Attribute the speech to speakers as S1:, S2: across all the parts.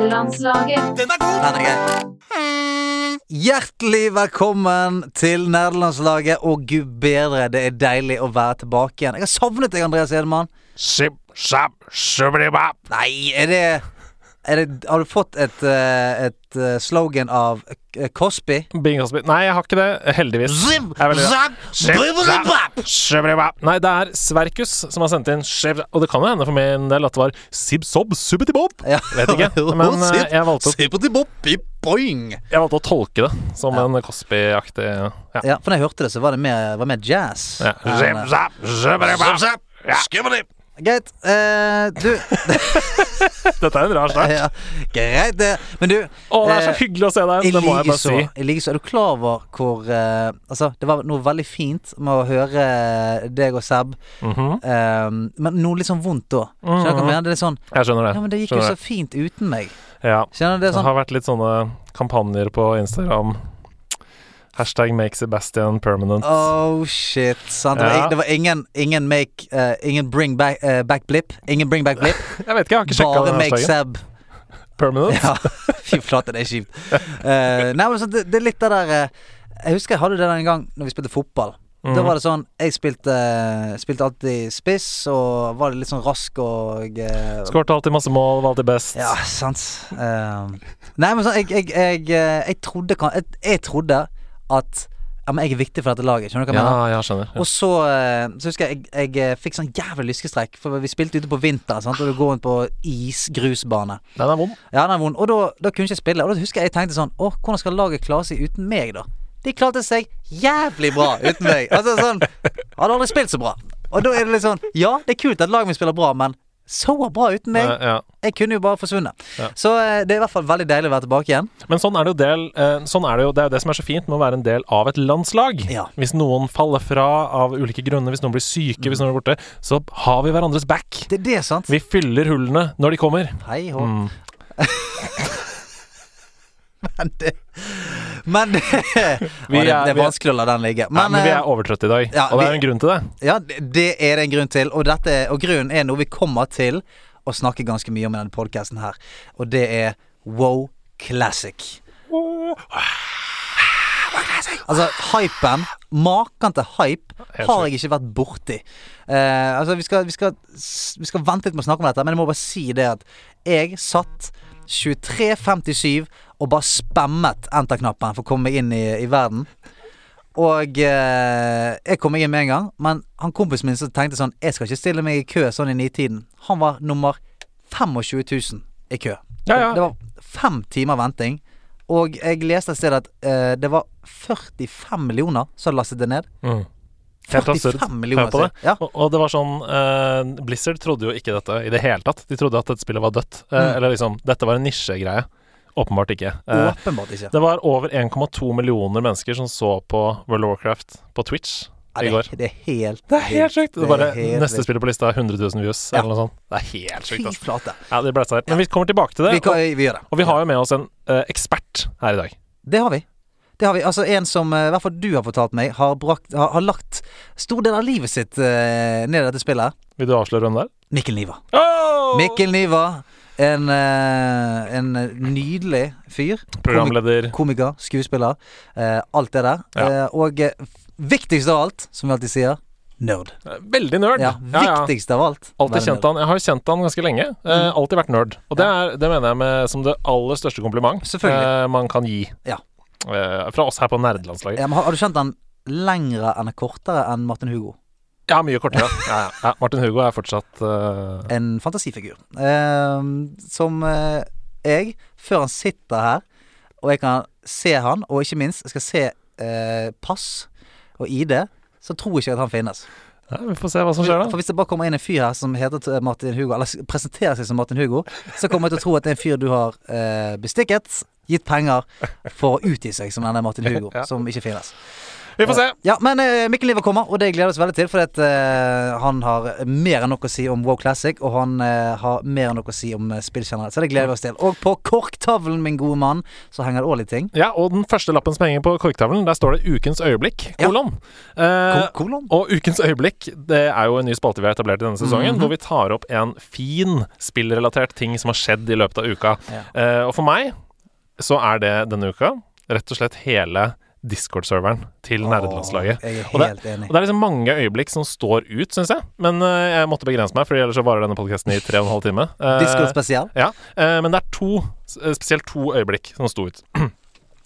S1: Nerdelandslaget.
S2: Den er god!
S3: Nei, den er grei. Hjertelig velkommen til Nerdelandslaget, og gud bedre, det er deilig å være tilbake igjen. Jeg har savnet deg, Andreas Edemann.
S2: Sip, sap, subidibap.
S3: Nei, er det, er det Har du fått et, eh, et eh, slogan av eh, Cosby?
S2: Bing Crosby. Nei, jeg har ikke det, heldigvis.
S3: Zip,
S2: Jeg er veldig-
S3: zap,
S2: Zip,
S3: bubble-bap.
S2: zap, subidibap. Nei, det er Sverkus som har sendt inn skjev- Og det kan jo hende for min del at det var sibsob subitibob.
S3: Ja.
S2: Vet ikke.
S3: Jo,
S2: Men eh,
S3: zip,
S2: jeg valgte, å,
S3: zip, zip, bop, bip, boing.
S2: jeg valgte å tolke det som en Cosby-aktig ja.
S3: Ja, for da jeg hørte det, så var det mer, var det mer jazz.
S2: Ja.
S3: Men, eh,
S2: zap, subidibap. Ja.
S3: Greit. eh, du
S2: Dette er en rar start.
S3: ja, Greit, det. Men du
S2: Å, det er så
S3: eh,
S2: hyggelig å se deg.
S3: I
S2: Det må jeg
S3: like
S2: bare
S3: så.
S2: si.
S3: I like så. Er du klar over hvor eh, Altså, det var noe veldig fint med å høre eh, deg og Seb,
S2: Mhm.
S3: eh, men noe litt sånn vondt òg. Skjønner du hva jeg mener? Det er sånn
S2: Jeg skjønner Mm-hmm. det.
S3: Ja, men det gikk jo
S2: Skjønner
S3: så fint uten meg.
S2: det. Ja.
S3: Skjønner du? Det er
S2: Det
S3: sånn
S2: har vært litt sånne kampanjer på Instagram. Hashtag make Sebastian permanent.
S3: Oh shit. Sant? Det,
S2: Ja.
S3: var, det var ingen, ingen make eh, Ingen bring back, eh, back blip. Ingen bring back blip.
S2: Jeg vet ikke, jeg har ikke sjekka
S3: Bare
S2: den
S3: make
S2: hashtagen.
S3: Seb
S2: Permanent?
S3: Ja, fy flate, det er kjipt. Eh, nei, men så det, det er litt det der eh, Jeg husker jeg hadde det der en gang Når vi spilte fotball. Da var det sånn Jeg spilte, spilte alltid spiss, og var litt sånn rask og eh,
S2: Skårte alltid masse mål, var alltid best.
S3: Ja, sant. Eh, nei, men sånn Jeg, jeg, jeg, eh, jeg trodde kan- jeg, jeg trodde at Ja, men jeg er viktig for dette laget. Skjønner du hva jeg
S2: ja
S3: mener?
S2: jeg skjønner.
S3: Og så, eh, så husker jeg jeg, jeg eh, fikk sånn jævlig lyskestrekk, for vi spilte ute på vinter. Sant? Og du går rundt på is, grusbane.
S2: Den er vond.
S3: Ja, den er vond. Og da, da kunne jeg ikke spille. Og da husker jeg jeg tenkte sånn Å, hvordan skal laget klare seg uten meg, da? De klarte seg jævlig bra uten meg. Altså sånn Hadde aldri spilt så bra. Og da er det litt sånn Ja, det er kult at laget mitt spiller bra, men så bra uten meg.
S2: Eh, ja.
S3: Jeg kunne jo bare forsvunnet.
S2: Ja.
S3: Så eh, det er i hvert fall veldig deilig å være tilbake igjen.
S2: Men sånn er det jo del eh, Sånn er det jo Det er jo det som er så fint med å være en del av et landslag.
S3: Ja.
S2: Hvis noen faller fra av ulike grunner, hvis noen blir syke, hvis noen er borte, så har vi hverandres back.
S3: Det er det, sant?
S2: Vi fyller hullene når de kommer.
S3: Hei hå.
S2: Mm.
S3: Men det Men det,
S2: Vi
S3: ja, det,
S2: er-
S3: det er
S2: vi er-
S3: vanskelig å la den ligge.
S2: Men, ja, men vi
S3: eh,
S2: er overtrøtte i dag,
S3: ja,
S2: og det er
S3: vi-
S2: jo en grunn til det.
S3: Ja, det det er det en grunn til, og, dette, og grunnen er noe vi kommer til å snakke ganske mye om i denne podkasten her, og det er Wow Classic. Altså, hypen Maken til hype
S2: Helt
S3: har jeg ikke vært borti. Eh, altså, vi skal, vi, skal, s- vi skal vente litt med å snakke om dette, men jeg må bare si det at jeg satt 23.57 og bare spammet enter-knappen for å komme meg inn i, i verden. Og eh, jeg kom meg inn med en gang, men han kompisen min som tenkte sånn Jeg skal ikke stille meg i kø sånn i nitiden. Han var nummer 25 000 i kø.
S2: Ja, ja.
S3: Det var fem timer venting. Og jeg leste et sted at eh, det var 45 millioner som lastet det ned.
S2: Mm. Helt absurd.
S3: 45 millioner.
S2: Hør på det.
S3: sier- Ja.
S2: Og, og det var sånn eh, Blizzard trodde jo ikke dette i det hele tatt. De trodde at dette spillet var dødt. Eh,
S3: Mm.
S2: Eller liksom Dette var en nisjegreie. Åpenbart ikke. Eh,
S3: Åpenbart ikke.
S2: det var over 1,2 millioner mennesker som så på World of Warcraft på Twitch
S3: Ja,
S2: i
S3: det,
S2: går.
S3: er- det er helt
S2: Det er helt sjukt! Det er bare
S3: helt
S2: Neste
S3: vilt.
S2: spillet på lista er 100 000 views,
S3: Ja.
S2: eller noe sånt. Det er helt
S3: Fy
S2: sjukt, altså.
S3: flate.
S2: Ja, de ble seg. Men vi kommer tilbake til det.
S3: Vi, kan, vi gjør det.
S2: Og vi har jo med oss en eh, ekspert her i dag.
S3: Det har vi. Det har vi. Altså En som eh, i hvert fall du har fortalt meg, har, brakt, har, har lagt stor del av livet sitt eh, ned i dette spillet.
S2: Vil du avsløre hvem det er?
S3: Mikkel Niva.
S2: Oh!
S3: Mikkel Niva. En, eh, en nydelig fyr.
S2: Programleder.
S3: Komiker, skuespiller. eh, alt det der.
S2: Ja.
S3: Eh, og eh, viktigst av alt, som vi alltid sier, nerd.
S2: Veldig nerd.
S3: Ja, viktigst av alt.
S2: Alltid
S3: være
S2: kjent
S3: nerd.
S2: han. Jeg har jo kjent han ganske lenge. Eh, alltid vært nerd. Og det, er, det mener jeg med, som det aller største kompliment
S3: Selvfølgelig.
S2: eh, man kan gi.
S3: Ja.
S2: Eh, fra oss her på nerdelandslaget. Ja.
S3: Ja, men har, har du kjent han lengre enn kortere enn Martin Hugo?
S2: mye kortere. ja, ja. ja, Martin Hugo er fortsatt eh,
S3: En fantasifigur. Eh, som eh, jeg, før han sitter her, og jeg kan se han, og ikke minst jeg skal se eh, pass og ID, så tror jeg ikke at han finnes.
S2: ja, Vi får se hva som skjer,
S3: For
S2: da.
S3: hvis det bare kommer inn en fyr her som heter t- Martin Hugo, eller s- presenterer seg som Martin Hugo, så kommer jeg til å tro at det er en fyr du har eh, bestikket, gitt penger for å utgi seg som denne Martin Hugo,
S2: Ja.
S3: som ikke finnes.
S2: Vi får se.
S3: Ja, men eh, Mikkel Niva kommer, og det gleder vi oss veldig til. For at, eh, han har mer enn nok å si om Wow Classic, og han eh, har mer enn nok å si om eh, spill generelt. Så det gleder vi oss til. Og på korktavlen, min gode mann, så henger det òg litt ting.
S2: Ja, og den første lappen som henger på korktavlen, der står det 'Ukens øyeblikk',
S3: Ja.
S2: kolon. Eh,
S3: Ko- kolon.
S2: og Ukens øyeblikk det er jo en ny spalte vi har etablert i denne sesongen,
S3: Mhm.
S2: hvor vi tar opp en fin spillrelatert ting som har skjedd i løpet av uka.
S3: Ja.
S2: Eh, og for meg så er det denne uka rett og slett hele Discord-serveren til nerdelandslaget.
S3: Åh, Jeg er
S2: Og det-
S3: helt enig.
S2: Og det er liksom mange øyeblikk som står ut, syns jeg. Men eh, jeg måtte begrense meg, for ellers så varer denne podkasten i tre og en halv time. Eh,
S3: Discord spesiell.
S2: ja, eh, men det er to, s- eh, spesielt to øyeblikk som sto ut.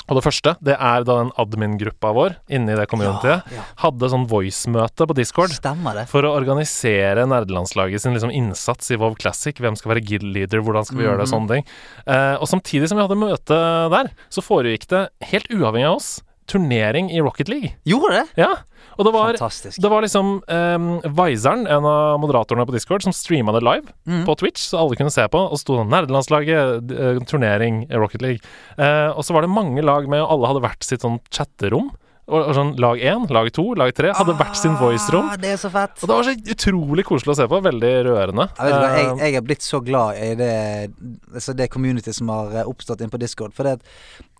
S2: Og det første, det er da den admin-gruppa vår inni det communityet
S3: Ja, ja.
S2: hadde sånn voice-møte på Discord
S3: Stemmer det.
S2: for å organisere nerdelandslaget sin liksom innsats i WoW Classic. Hvem skal være guild leader, hvordan skal vi gjøre det, og sånne ting. Eh, og samtidig som vi hadde møte der, så foregikk det, helt uavhengig av oss, turnering i Rocket League.
S3: Gjorde det?
S2: Ja, og det var
S3: Fantastisk.
S2: det var liksom um, Viseren, en av moderatorene på Discord, som streama det live
S3: Mm.
S2: på Twitch, så alle kunne se på, og sto sånn Nerdelandslaget, d- eh, turnering, eh, Rocket League. Eh, og så var det mange lag med, og alle hadde hvert sitt sånn chatterom. Og, og sånn lag én, lag to, lag tre hadde hvert sin voice-rom.
S3: Ah, det er så fett.
S2: Og det var så utrolig koselig å se på. Veldig rørende.
S3: Jeg, vet, ikke hva,
S2: Eh,
S3: jeg, jeg er blitt så glad i det, altså det community som har eh, oppstått inne på Discord. For det, at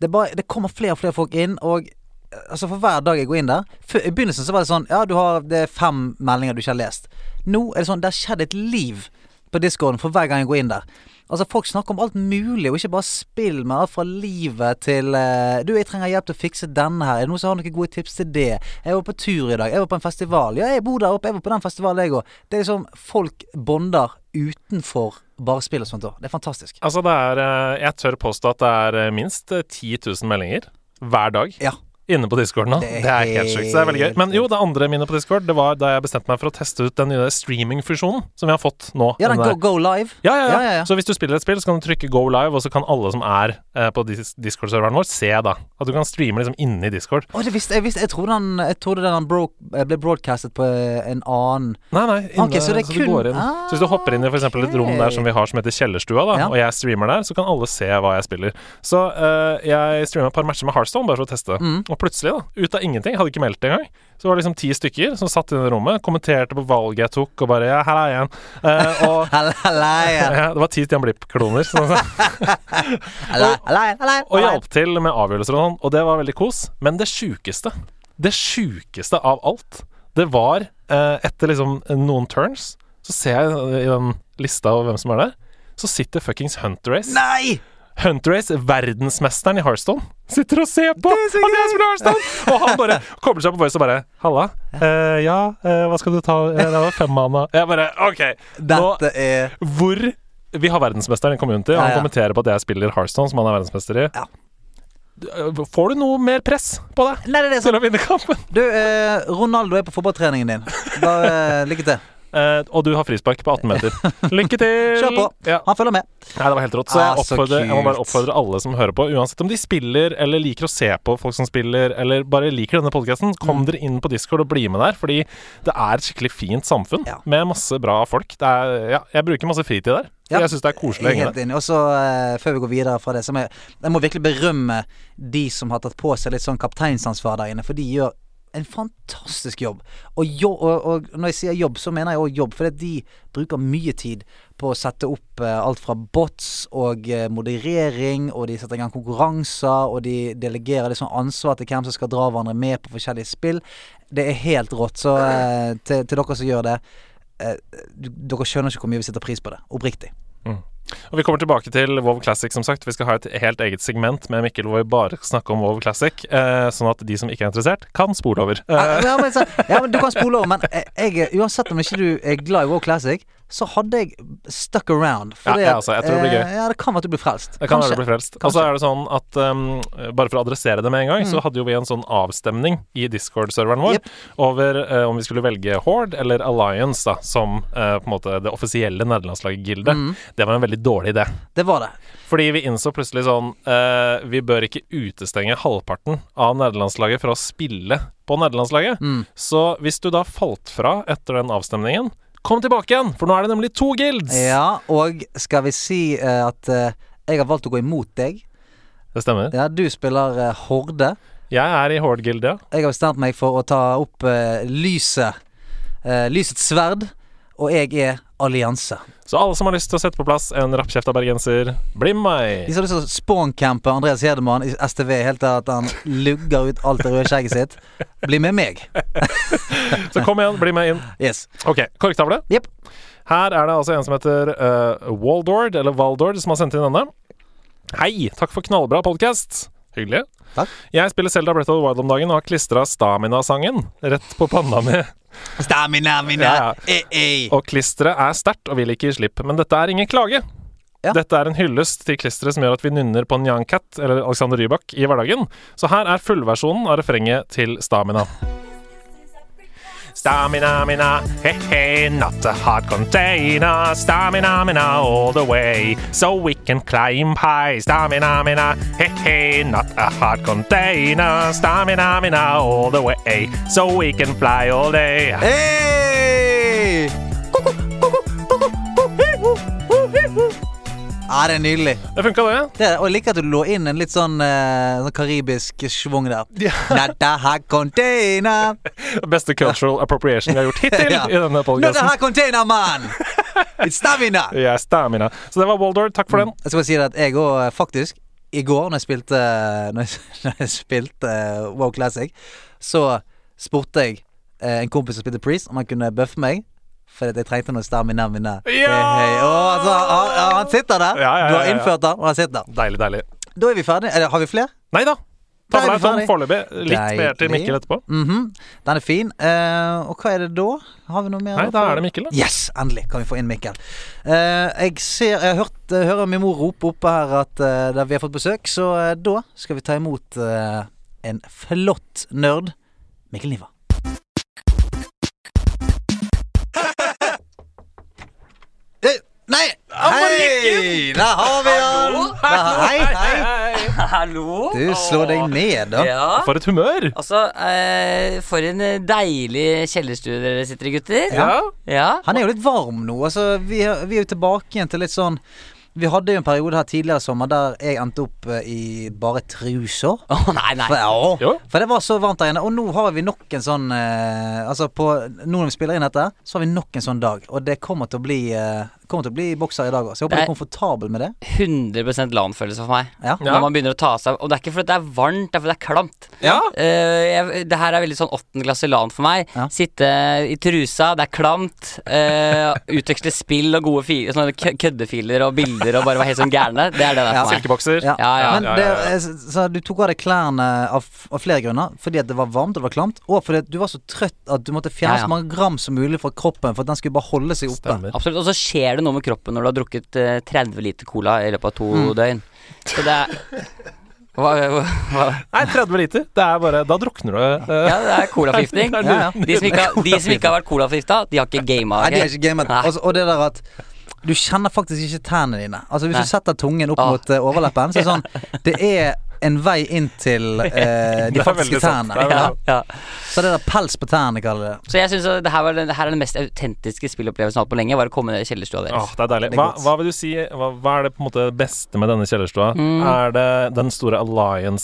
S3: det, er bare, det kommer flere og flere folk inn, og eh, altså for hver dag jeg går inn der før- I begynnelsen så var det sånn Ja, du har det er fem meldinger du ikke har lest. Nå er det sånn Det har skjedd et liv på Discorden for hver gang jeg går inn der. Altså Folk snakker om alt mulig, og ikke bare spill, men alt fra livet til eh, Du, jeg trenger hjelp til å fikse denne her. Er det noen som har noen gode tips til det? Jeg var på tur i dag. Jeg var på en festival. Ja, jeg bor der oppe. Jeg var på den festivalen, jeg òg. Det er liksom Folk bonder utenfor bare spill og sånt òg. Det er fantastisk.
S2: altså, det er eh, Jeg tør påstå at det er eh, minst eh, 10 000 meldinger hver dag.
S3: Ja.
S2: Inne på Discord nå. Det
S3: Det er
S2: er, helt sjukt. Så det er veldig gøy.
S3: helt
S2: Men jo, det andre minnet på Discord, det var da jeg bestemte meg for å teste ut den nye streamingfusjonen som vi har fått nå.
S3: Ja, den
S2: der-
S3: Go, go Live.
S2: ja, ja, ja.
S3: Ja, ja, ja.
S2: Så hvis du spiller et spill, så kan du trykke go live, og så kan alle som er eh, på dis Discord-serveren vår, se da. At du kan streame liksom inni Discord.
S3: Å, det visste jeg. Visste, jeg trodde den, jeg trodde den bro, ble broadcastet på eh, en annen
S2: Nei, nei. Inne,
S3: Ok, så det er
S2: du
S3: kun-
S2: går inn.
S3: Ah,
S2: så hvis du hopper inn i for eksempel et rom
S3: ok.
S2: der som vi har som heter Kjellerstua, da,
S3: Ja.
S2: og jeg streamer der, så kan alle se hva jeg spiller. Så eh, jeg streama et par matcher med Heartstone bare for å teste.
S3: Mm.
S2: Og plutselig, da, ut av ingenting, hadde ikke meldt det engang, så var det liksom ti stykker som satt inne i rommet, kommenterte på valget jeg tok, og bare ja, her er jeg igjen. Eh, og
S3: Helle- helle-
S2: ja, det var ti Stian Blipp-kloner. Sånn,
S3: helle- helle- helle-
S2: Og hjalp til med avgjørelser og sånn, og det var veldig kos. Men det sjukeste, det sjukeste av alt, det var eh, etter liksom noen turns, så ser jeg i den lista over hvem som er der, så sitter fuckings Hunter Race.
S3: Nei!
S2: Hunter Race, verdensmesteren i Hearthstone, sitter og ser på
S3: Det er så
S2: at jeg spiller Hearthstone! Og han bare kobler seg på voice og bare 'Halla, eh, ja, eh, hva skal du ta?' Eh, det var femmana. Jeg bare OK. Nå,
S3: Dette er
S2: hvor Vi har verdensmesteren i community, og
S3: Ja,
S2: han
S3: ja.
S2: kommenterer på at jeg spiller Hearthstone, som han er verdensmester i.
S3: Ja.
S2: D- Får du noe mer press på deg
S3: Nei, det er det
S2: til å vinne kampen?
S3: Du, eh, Ronaldo er på fotballtreningen din. Bare eh, lykke til.
S2: Eh, og du har frispark på 18 meter. Lykke til!
S3: Kjør på.
S2: Ja.
S3: Han følger med.
S2: Nei, det var helt rått. Så
S3: Ah,
S2: jeg,
S3: så
S2: oppfordrer, jeg må bare
S3: kult.
S2: oppfordre alle som hører på, uansett om de spiller eller liker å se på folk som spiller, eller bare liker denne podkasten, kom
S3: Mm.
S2: dere inn på Discord og bli med der, fordi det er et skikkelig fint samfunn
S3: Ja.
S2: med masse bra folk. Det er, ja, jeg bruker masse fritid der.
S3: Ja.
S2: Jeg syns det er koselig å henge
S3: Helt
S2: der.
S3: enig. Og så, eh, før vi går videre fra det, så må jeg, jeg må virkelig berømme de som har tatt på seg litt sånn kapteinsansvar der inne, for de gjør en fantastisk jobb. Og, jo, og, og når jeg sier jobb, så mener jeg òg jobb, fordi at de bruker mye tid på å sette opp eh, alt fra bots og eh, moderering, og de setter i gang konkurranser, og de delegerer liksom ansvar til hvem som skal dra hverandre med på forskjellige spill. Det er helt rått. Så eh, til, til dere som gjør det, eh, du, dere skjønner ikke hvor mye vi setter pris på det. Oppriktig.
S2: Og vi kommer tilbake til WoW Classic, som sagt. Vi skal ha et helt eget segment med Mikkel hvor vi bare skal snakke om WoW Classic, eh, sånn at de som ikke er interessert, kan spole over. Eh,
S3: Ja, ja, men, så, ja, men Du kan spole over, men eh, jeg, jeg- uansett om ikke du er glad i WoW Classic, så hadde jeg stuck around.
S2: Ja,
S3: fordi
S2: jeg
S3: at,
S2: også. Jeg tror det blir gøy.
S3: eh, Ja, det kan være at du blir frelst.
S2: det kan være
S3: Ah, Kanskje. Mm.
S2: du blir frelst. Og så er det sånn at um, Bare for å adressere det med en gang, så hadde jo vi en sånn avstemning i Discord-serveren vår
S3: Jep.
S2: over eh, om vi skulle velge Horde eller Alliance da, som eh, på en måte det offisielle nerdelandslaget-gildet.
S3: Mm.
S2: Det var en veldig dårlig idé.
S3: Det var det.
S2: Fordi vi innså plutselig sånn eh, Vi bør ikke utestenge halvparten av nederlandslaget fra å spille på nederlandslaget. Så hvis du da falt fra etter den avstemningen, kom tilbake igjen! For nå er det nemlig to guilds!
S3: Ja, og skal vi si eh, at eh, jeg har valgt å gå imot deg.
S2: Det stemmer.
S3: Ja, Du spiller eh, Horde.
S2: Jeg er i Horde-gildet.
S3: Jeg har bestemt meg for å ta opp eh, lyset. eh, lysets sverd. Og jeg er allianse.
S2: Så alle som har lyst til å sette på plass en rappkjefta bergenser, bli med
S3: De
S2: meg!
S3: som har lyst til å spawncampe Andreas Hedemann i STV helt til at han lugger ut alt det røde skjegget sitt, bli med meg.
S2: Så kom igjen, bli med inn.
S3: Yes.
S2: Ok, korktavle.
S3: Jepp.
S2: Her er det altså en som heter eh, Waldord, eller Valdord, som har sendt inn denne. Hei, takk for knallbra podkast. Hyggelig.
S3: Takk.
S2: Jeg spiller Selda Breath of the Wild om dagen og har klistra Stamina-sangen rett på panna mi.
S3: Stamina, mina.
S2: Ja, ja.
S3: Eh, eh.
S2: Og klisteret er sterkt og vil ikke gi slipp. Men dette er ingen klage.
S3: Ja.
S2: Dette er en hyllest til klisteret som gjør at vi nynner på Nyan Cat eller Alexander Rybak i hverdagen. Så her er fullversjonen av refrenget til Stamina. Stamina, mina, he-he, not a hard container. Stamina, mina, all the way, so we can climb high. Stamina, mina, he-he, not a hard container. Stamina, mina, all the way, so we can fly all day.
S3: Hey! Koko, koko, koko, ho, hi, ho, ho, hi, ho. Ja, det er nydelig.
S2: Det funka, det.
S3: Det, er- og jeg liker at du lå inn en litt sånn, eh, sånn karibisk schwung der.
S2: Ja.
S3: Nada ha container
S2: Beste cultural appropriation vi har gjort hittil
S3: Ja.
S2: i denne
S3: Nada
S2: podcasten
S3: ha container, man! It's stamina!
S2: Jeg er stamina. Så det var Waldor. Takk for den.
S3: Jeg skal bare si det at jeg òg faktisk I går når jeg spilte eh, Når jeg, når jeg spilte eh, Wow Classic, så spurte jeg eh, en kompis som spilte Priest, om han kunne bøffe meg. Fordi at jeg trengte noe stamina mine.
S2: Ja!
S3: altså, han, han- han sitter der.
S2: Ja, ja,
S3: Du
S2: ja,
S3: har
S2: ja.
S3: innført han, og han sitter der.
S2: Deilig, deilig.
S3: Da er vi ferdige. Eller har vi flere?
S2: Nei da.
S3: Da er vi
S2: Tavla er tom
S3: ferdig.
S2: foreløpig. Litt mer til
S3: Deilig.
S2: Mikkel etterpå.
S3: Mhm. Den er fin. Eh, og hva er det da? Har vi noe mer?
S2: Nei, da er det Mikkel, da.
S3: Yes, endelig kan vi få inn Mikkel. Eh, jeg ser, jeg har hørt, jeg hører min mor rope oppe her at eh, der vi har fått besøk, så eh, da skal vi ta imot eh, en flott nerd. Mikkel Niva. Eh, Nei! Hei! Der har vi han! Der har- Hei, hei!
S1: Hallo?
S3: Du slår deg ned, da.
S1: Ja.
S2: For et humør!
S1: Altså, eh, for en deilig kjellerstue dere sitter i, gutter.
S2: Ja.
S1: Ja.
S3: Han er jo litt varm nå. Altså, vi, er- vi er jo tilbake igjen til litt sånn Vi hadde jo en periode her tidligere i sommer der jeg endte opp eh, i bare truser.
S1: Å, nei, nei.
S3: For, ja,
S2: Jo.
S3: for det var så varmt der inne. Og nå har vi nok en sånn eh, Altså, på, nå når vi spiller inn dette, så har vi nok en sånn dag. Og det kommer til å bli, eh, kommer til å bli bokser i dag òg, så jeg håper du
S1: Det
S3: er komfortabel med det.
S1: 100 LAN-følelse for meg.
S3: Ja.
S2: Ja.
S1: Når man begynner å ta seg av Og det er ikke fordi det er varmt, det er fordi det er klamt.
S2: Ja.
S1: Eh, jeg, det her er veldig sånn åttende klasse LAN for meg.
S3: Ja.
S1: Sitte i trusa, det er klamt. eh, utveksle spill og gode fi- sånne kø- køddefiler og bilder og bare være helt sånn gærne. Det er det der
S3: Ja.
S1: for meg.
S2: Silkebokser.
S3: Ja.
S1: Ja, ja.
S3: Men
S2: Ja,
S3: det,
S2: ja, ja.
S3: eh, så- så du tok av deg klærne av, av flere grunner. Fordi at det var varmt og det var klamt, og fordi at du var så trøtt at du måtte fjerne
S1: Ja, ja.
S3: så mange gram som mulig fra kroppen for at den skulle bare holde seg oppe.
S2: Stemmer.
S1: Absolutt, Og så skjer det noe med kroppen når du har drukket eh, 30 liter cola i løpet av to døgn. Så det er hva, hva, hva?
S2: Nei, 30 liter. Det er bare Da drukner du. eh,
S1: Ja, det er colaforgiftning.
S2: Det er
S3: Ja, ja.
S1: De som ikke har, de som ikke har vært colaforgifta, de har ikke gama.
S3: Nei, det er
S1: ok?
S3: ikke gamet.
S1: Nei.
S3: Altså, og det der at du kjenner faktisk ikke tennene dine. Altså Hvis
S1: Nei.
S3: du setter tungen opp
S1: Ah.
S3: mot eh, overleppen, så er det sånn Det er en vei inn til eh,
S2: Det
S3: de
S2: er
S3: faktiske
S2: veldig sant.
S3: tærne.
S2: Det er veldig
S1: Ja,
S2: sant.
S1: ja.
S3: Så det der pels på tærne, kaller de det.
S1: Så jeg synes at det her, var, den- det her er den mest autentiske spillopplevelsen jeg har hatt på lenge. Var å komme ned i kjellerstua
S2: Åh,
S1: deres.
S2: det er deilig.
S3: Det er
S2: Hva,
S3: godt.
S2: hva vil du si hva, hva er det på en måte beste med denne kjellerstua?
S3: Mm.
S2: Er det den store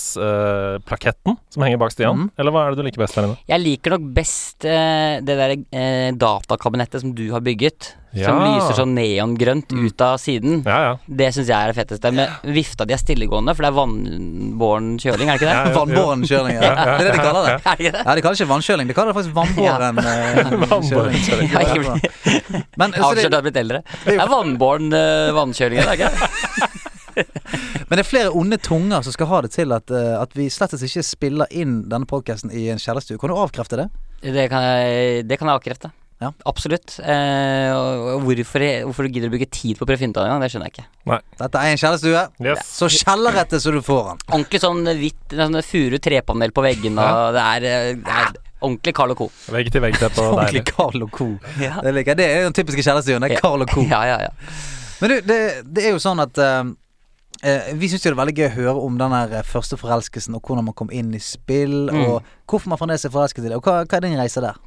S2: Alliance-plaketten eh, som henger bak Stian?
S3: Mm.
S2: Eller hva er det du liker best der inne?
S1: Jeg liker nok best eh, det der eh, datakabinettet som du har bygget. Som
S2: Ja.
S1: lyser sånn neongrønt ut av siden.
S2: Ja, ja.
S1: Det syns jeg er det fetteste. Men vifta di er stillegående, for det er vannbåren kjøling, er det ikke det?
S2: Ja, ja.
S3: Vannbårenkjøring. Ja. Det er det de kaller det.
S1: Er det ikke det?
S3: Ja, De kaller det ikke vannkjøling, de kaller det faktisk vannbåren.
S2: Vannbårenkjøring.
S1: Ja,
S3: eh,
S1: jeg
S3: Men, eh, så
S1: Avslørt at jeg
S3: det,
S1: har blitt eldre. Det er vannbåren uh, vannkjøling, er det ikke det?
S3: men det er flere onde tunger som skal ha det til at, eh, at vi slett ikke spiller inn denne podkasten i en kjellerstue. Kan du avkrefte det?
S1: Det kan jeg, det kan jeg avkrefte.
S3: Ja.
S1: Absolutt. Eh, og og hvorfor, hvorfor du gidder å bruke tid på å prøve å finne ut av det engang, det skjønner jeg ikke.
S3: Dette er en kjellerstue.
S2: Yes.
S3: Så kjellerete som du får den.
S1: Ordentlig sånn hvitt sånn furu trepanel på veggene, og det er, eh, det er ordentlig Carl og Co.
S2: Vegg til vegg til på
S3: Ordentlig
S2: deilig.
S3: Carl og Co.
S1: Ja.
S3: Det liker jeg. Det er jo den typiske kjærestestuen. Det er Carl og Co.
S1: Ja, ja, ja.
S3: Men du, det, det er jo sånn at eh, eh, vi syns jo det er veldig gøy å høre om den her eh, første forelskelsen, og hvordan man kom inn i spill, og hvorfor man fremdeles er forelsket i det. Og hva, hva er din reise der?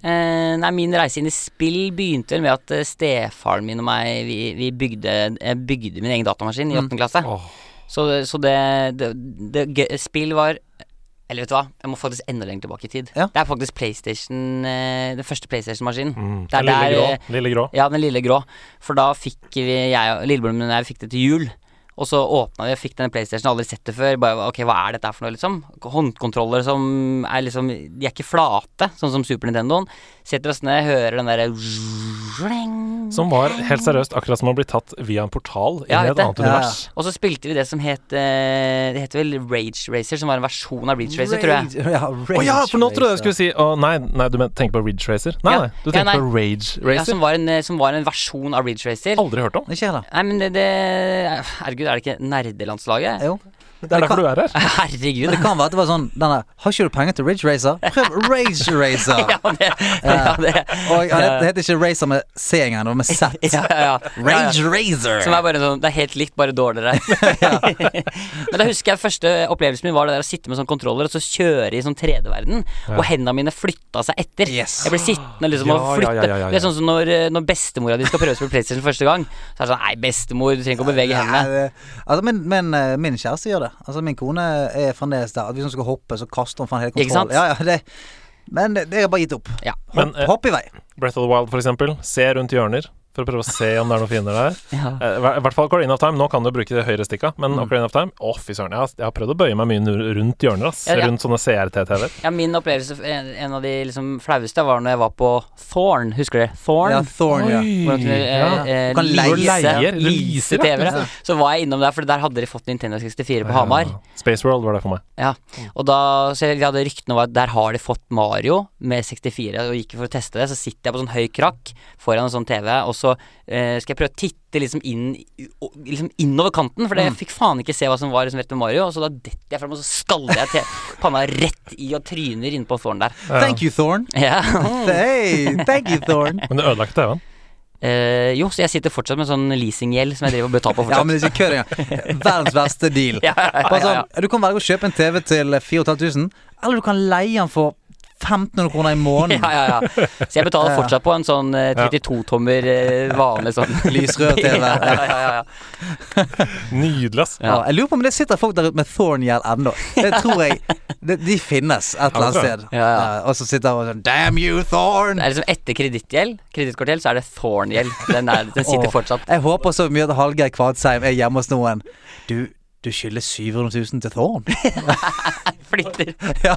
S1: Eh, nei, min reise inn i spill begynte vel med at eh, stefaren min og meg, vi, vi bygde, jeg bygde
S2: Mm.
S1: min egen datamaskin i åttende klasse.
S2: Åh.
S1: Så, så det, det, det gøy- Spill var Eller vet du hva, jeg må faktisk enda lenger tilbake i tid.
S3: Ja.
S1: Det er faktisk PlayStation eh, den første PlayStation-maskinen.
S2: Mm.
S1: Det er
S2: Den lille
S1: der,
S2: grå.
S1: eh,
S2: Lille grå.
S1: Ja, den lille grå. For da fikk vi jeg og lillebroren min og jeg fikk det til jul. Og så åpna vi og fikk denne PlayStation, aldri sett det før. Bare, ok, Hva er dette her for noe, liksom? Håndkontroller som er liksom De er ikke flate, sånn som Super Nintendoen. Setter oss ned, hører den derre
S2: Som var helt seriøst akkurat som å bli tatt via en portal inn
S1: Ja,
S2: i
S1: vet
S2: et
S1: det.
S2: annet
S3: Ja, ja.
S2: univers.
S1: Og så spilte vi det som het eh, Det heter vel Rage Racer, som var en versjon av Beach Racer, tror jeg.
S3: Rage- Ja,
S2: Å
S3: Rage
S2: ja, for nå trodde jeg
S3: Racer.
S2: du skulle si Å nei, nei, du men- tenker på Ridge Racer. Nei,
S1: Ja.
S2: nei, du
S1: Ja,
S2: tenker
S1: nei.
S2: på Rage
S1: Ja,
S2: Racer.
S1: som, var en, eh, som var en versjon av Rage Racer.
S2: Aldri hørt om.
S3: Ikke heller.
S1: Nei, men det, det Herregud, er det ikke nerdelandslaget?
S3: Jo.
S2: Det er derfor du er her.
S1: Herregud.
S3: Men det kan være at det var sånn den der, Har ikke du penger til Ridge Racer? Prøv Rage Racer!
S1: Ja, det, ja, det.
S3: Og ja, det, det heter ikke Racer med C engang, det var med Z.
S1: ja, ja, ja.
S3: Rage Racer!
S1: Som er bare sånn, Det er helt likt, bare dårligere. Men da husker jeg første opplevelsen min var det der å sitte med sånn kontroller og så kjøre i sånn 3D-verden, og hendene mine flytta seg etter.
S3: Yes.
S1: Jeg ble sittende liksom
S2: Ja,
S1: og
S2: ja, ja,
S1: flytte.
S2: ja, ja,
S1: Det er sånn som når, eh, når bestemora di skal prøve å spille PlayStation første gang. Så er det sånn Nei, bestemor, du trenger ikke å bevege
S3: Nei,
S1: hendene.
S3: det- altså, min, min, eh, min kjæreste gjør det. Altså Min kone er fremdeles der. At Hvis hun skal hoppe, så kaster hun faen hele
S1: Ikke sant?
S3: kontrollen. Ja, ja, det, men det, det er bare gitt opp.
S1: Ja.
S2: Men,
S3: Hopp,
S2: eh,
S3: hopp i vei.
S2: Breath of the Wild, for eksempel. Se rundt hjørner for å prøve å se om det er noen fiender der.
S1: Ja.
S2: Eh, I hvert fall Ocarina of Time. Nå kan du bruke de høyre stikka, men
S1: Mm.
S2: Ocarina of Time Å, fy søren. Jeg har, jeg har prøvd å bøye meg mye nu- rundt hjørner, ass.
S1: Ja, ja.
S2: Rundt sånne CRT-TV-er.
S1: ja, min opplevelse, en, en av de liksom flaueste, var når jeg var på Thorn. Husker dere? Thorn?
S3: Ja, Thorn, ja.
S1: Hvordan kunne,
S2: Ja.
S1: eh, eh,
S3: Du kan leie.
S1: lease,
S2: Leier, du
S1: lease
S2: leaser, ja.
S1: TV-er. ja. Så var jeg innom der, for der hadde de fått Nintendo 64 på Hamar.
S2: Space World var det for meg.
S1: Ja, og da så jeg, jeg hadde ryktene om at der har de fått Mario med 64, og gikk for å teste det. Så sitter jeg på sånn høy krakk foran en sånn TV, og så eh, skal jeg prøve å titte liksom inn i- o- Liksom innover kanten, for det- jeg fikk faen ikke se hva som var liksom, rett med Mario. Og så da detter jeg fram, og så skaller jeg te- panna rett i og tryner innpå Thorn der.
S3: Thank you, Thorn.
S1: Ja.
S3: Hey, thank you, Thorn.
S2: Men det ødela ikke TV-en.
S1: Eh, jo, så jeg sitter fortsatt med sånn leasinggjeld som jeg driver og betaler på
S3: Ja,
S1: fortsatt.
S3: men det er ikke kødd engang. Verdens verste deal.
S1: Ja, ja, ja,
S3: Bare
S1: ja, ja.
S3: sånn, Du kan velge å kjøpe en TV til 4500, eller du kan leie den for 1500 kroner i måneden.
S1: Ja, ja, ja. Så jeg betaler fortsatt på en sånn eh, 32-tommer eh, vanlig sånn
S3: Lysrød TV.
S1: Ja, ja, ja, ja.
S2: Nydelig, ass.
S1: Ja.
S3: Ja. Jeg lurer på om det sitter folk der ute med Thorn-gjeld ennå. Det tror jeg de, de finnes et eller annet
S2: Ja, det tror jeg.
S3: sted.
S1: Ja, ja.
S3: Eh, og så sitter han og sånn Damn you, Thorn!
S1: Det er liksom etter kredittgjeld, kredittkortgjeld, så er det Thorn-gjeld. Den, er- den sitter
S3: Åh,
S1: fortsatt.
S3: Jeg håper så mye at Hallgeir Kvadsheim er hjemme hos noen. Du, du skylder 700 000 til Thorn.
S1: Flytter.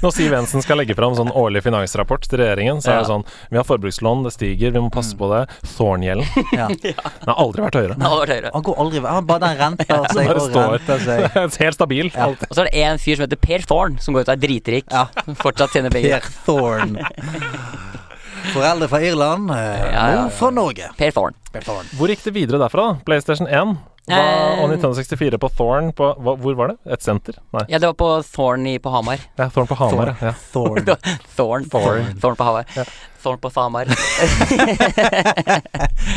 S2: Når Siv Jensen skal legge fram sånn årlig finansrapport til regjeringen, så er det
S1: Ja. Mm.
S2: sånn Vi har forbrukslån, det stiger, vi må passe på det. Thorngjelden.
S3: Ja.
S2: Den har aldri vært høyere.
S1: Den har vært høyere.
S3: Han går aldri Han bare den renter seg
S2: bare
S3: og
S2: står.
S3: renter seg.
S2: Helt stabil. Alt.
S1: Og så er det en fyr som heter Per Thorn, som går ut og er dritrik.
S3: Ja.
S1: Som Fortsatt tjener penger.
S3: Per Thorn. Foreldre fra Irland, eh,
S1: Ja, ja, ja.
S3: mor fra Norge.
S1: Per Thorn.
S3: Per Thorn.
S2: Hvor gikk det videre derfra, da? PlayStation 1 hva, og
S1: Eh,
S2: 1964 på Thorn på hva, Hvor var det? Et senter? Nei.
S1: Ja, det var på Thorn i, på Hamar.
S2: Ja, Thorn på Hamar, ja. ja.
S3: Thorn.
S1: Thorn. Thorn, på Hamar. Thorn på Hamar.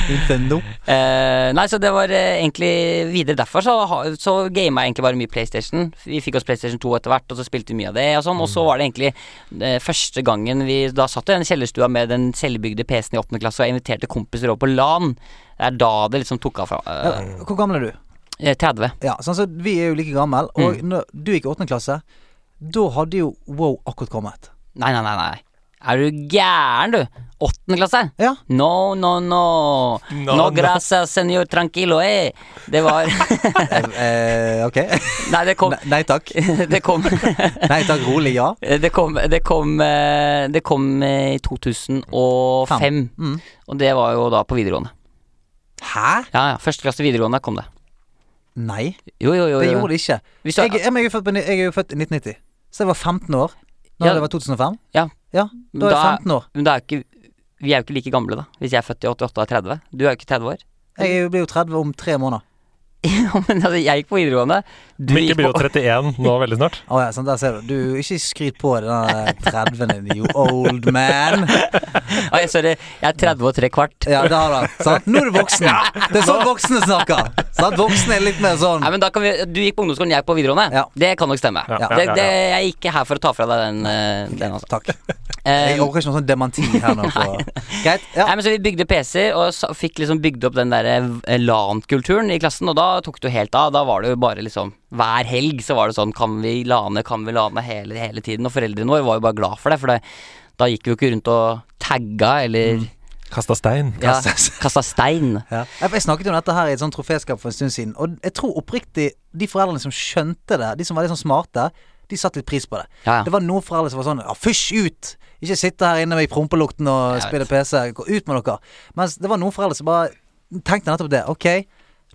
S3: Nintendo.
S1: Eh, nei, så det var eh, egentlig videre derfor så, ha- så gama jeg egentlig bare mye PlayStation. Vi fikk oss PlayStation 2 etter hvert, og så spilte vi mye av det og sånn. Og så var det egentlig eh, første gangen vi da satt i den kjellerstua med den selvbygde PC-en i åttende klasse og jeg inviterte kompiser over på LAN. Det er da det liksom tok av fra.
S3: Ja,
S1: eh,
S3: Hvor gammel er du?
S1: eh, 30.
S3: Ja, sånn så Vi er jo like gammel Og
S1: Mm.
S3: når du gikk i åttende klasse, da hadde jo Wow akkurat kommet.
S1: Nei, nei, nei. nei. Er du gæren, du? Åttende klasse?
S3: Ja.
S1: No, no, no. No,
S2: No, no.
S1: gracias, senor tranquilo, eh. Det var
S3: Eh, ok.
S1: Nei, det kom
S3: Nei, nei takk.
S1: Det kom
S3: Nei takk, rolig, ja.
S1: Eh, Det kom, det kom, eh, det kom eh, i 2005,
S3: Mm.
S1: og det var jo da på videregående.
S3: Hæ?
S1: Ja, ja, Første klasse videregående kom det.
S3: Nei,
S1: Jo, jo, jo.
S3: det
S1: jo.
S3: gjorde det ikke.
S1: Hvis du,
S3: Jeg, jeg, men jeg, er født på, ni- jeg er jo født i 1990, så jeg var 15 år da
S1: Ja.
S3: det var 2005.
S1: Ja.
S3: ja
S1: Men
S3: da er jeg
S1: da-
S3: 15 år.
S1: men det er jo ikke, vi er jo ikke like gamle, da. Hvis jeg er født i 88 og er 30. Du er jo ikke 30 år.
S3: Jeg er jo- blir jo 30 om tre måneder.
S1: Ja, men altså, jeg gikk på videregående. Du
S2: Mikke
S1: gikk
S2: blir
S1: på
S2: jo 31 nå veldig snart.
S3: Å ja, sånn, der ser du. Du, Ikke skryt på den der 30-en din, you old man.
S1: Oi, Sorry, jeg er 30 og tre kvart.
S3: Ja, det har du. Sant? Nå er du voksen. Det er sånn voksne snakker. Sant? Voksne er litt mer sånn
S1: Nei, men da kan vi, Du gikk på ungdomsskolen, jeg gikk på videregående.
S3: Ja.
S1: Det kan nok stemme.
S2: Ja, ja,
S1: Det,
S2: ja, ja.
S1: det, jeg er ikke her for å ta fra deg den. eh, den altså.
S3: Takk.
S1: Eh,
S3: Jeg orker ikke noen sånn dementi her nå. På. Greit. Ja.
S1: Nei, men så Vi bygde PC-er og sa- eh, fikk liksom bygd opp den der eh, LAN-kulturen i klassen. Og da tok det jo helt av. Da var det jo bare liksom hver helg så var det sånn Kan vi lane, kan vi lane hele, hele tiden? Og foreldrene våre var jo bare glad for det, for det, da gikk vi jo ikke rundt og tagga eller
S2: Kasta stein.
S1: ja,
S3: Kasta-
S1: kasta stein.
S3: Ja. Jeg jeg snakket jo om dette her i et sånt troféskap for en stund siden, og jeg tror oppriktig de foreldrene som skjønte det, de som var litt sånn smarte, de satte litt pris på det.
S1: Ja, ja.
S3: Det var noen foreldre som var sånn Ja, fysj ut! Ikke sitte her inne i prompelukten og
S1: Jeg vet.
S3: spille PC. Gå ut med dere. Mens det var noen foreldre som bare tenkte nettopp det. Ok,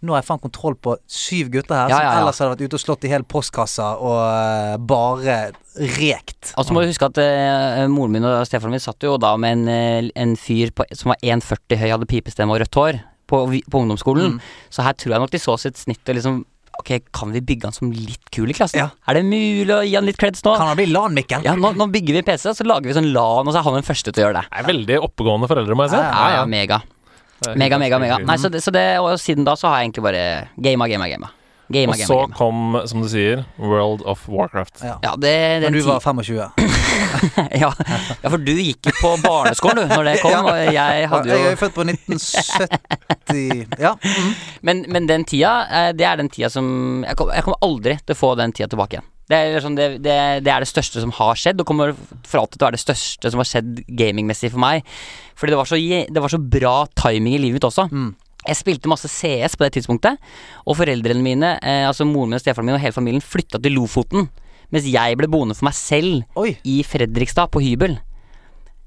S3: nå har jeg faen kontroll på syv gutter her
S1: Ja, ja,
S3: som
S1: ja.
S3: ellers hadde vært ute og slått i hele postkassa og eh, bare rekt.
S1: Og så må du huske at eh, moren min og stefaren min satt jo da med en, eh, en fyr på, som var 1,40 høy, hadde pipestemme og rødt hår på, vi- på ungdomsskolen.
S3: Mm.
S1: Så her tror jeg nok de så sitt snitt og liksom Ok, kan vi bygge han som litt kul i klassen?
S3: Ja.
S1: Er det mulig å gi han litt creds nå?
S3: Kan han bli LAN-Mikkel?
S1: Ja, nå, nå bygger vi en PC, så lager vi sånn LAN, og så er han den første til å gjøre det.
S2: Det er veldig oppegående foreldre, må jeg si.
S3: Ja,
S1: Ja, ja, mega.
S2: Det er
S1: Mega,
S2: helt
S1: mega, mega.
S2: utrolig.
S1: Nei, så det, så det, og siden da så har jeg egentlig bare gama, gama, gama. Gama,
S2: Og så
S1: gama, gama.
S2: kom, som du sier, World of Warcraft.
S3: Ja.
S1: Ja, det,
S3: Når
S1: den
S3: du
S1: ti-
S3: var 25.
S1: ja. ja, for du gikk jo på barneskolen, du, når det kom, og jeg
S3: Ja,
S1: hadde
S3: Jeg er
S1: jo
S3: jo født på 1970 Ja. Mm.
S1: Men, men den tida, eh, det er den tida som Jeg kom- jeg kommer aldri til å få den tida tilbake igjen. Det er, liksom det, det, det er det største som har skjedd, og kommer for alltid til å være det største som har skjedd gamingmessig for meg. Fordi det var så, je- det var så bra timing i livet mitt også. Jeg spilte masse CS på det tidspunktet, og foreldrene mine, eh, altså moren min og stefaren min og hele familien, flytta til Lofoten. Mens jeg ble boende for meg selv
S3: Oi.
S1: i Fredrikstad, på hybel.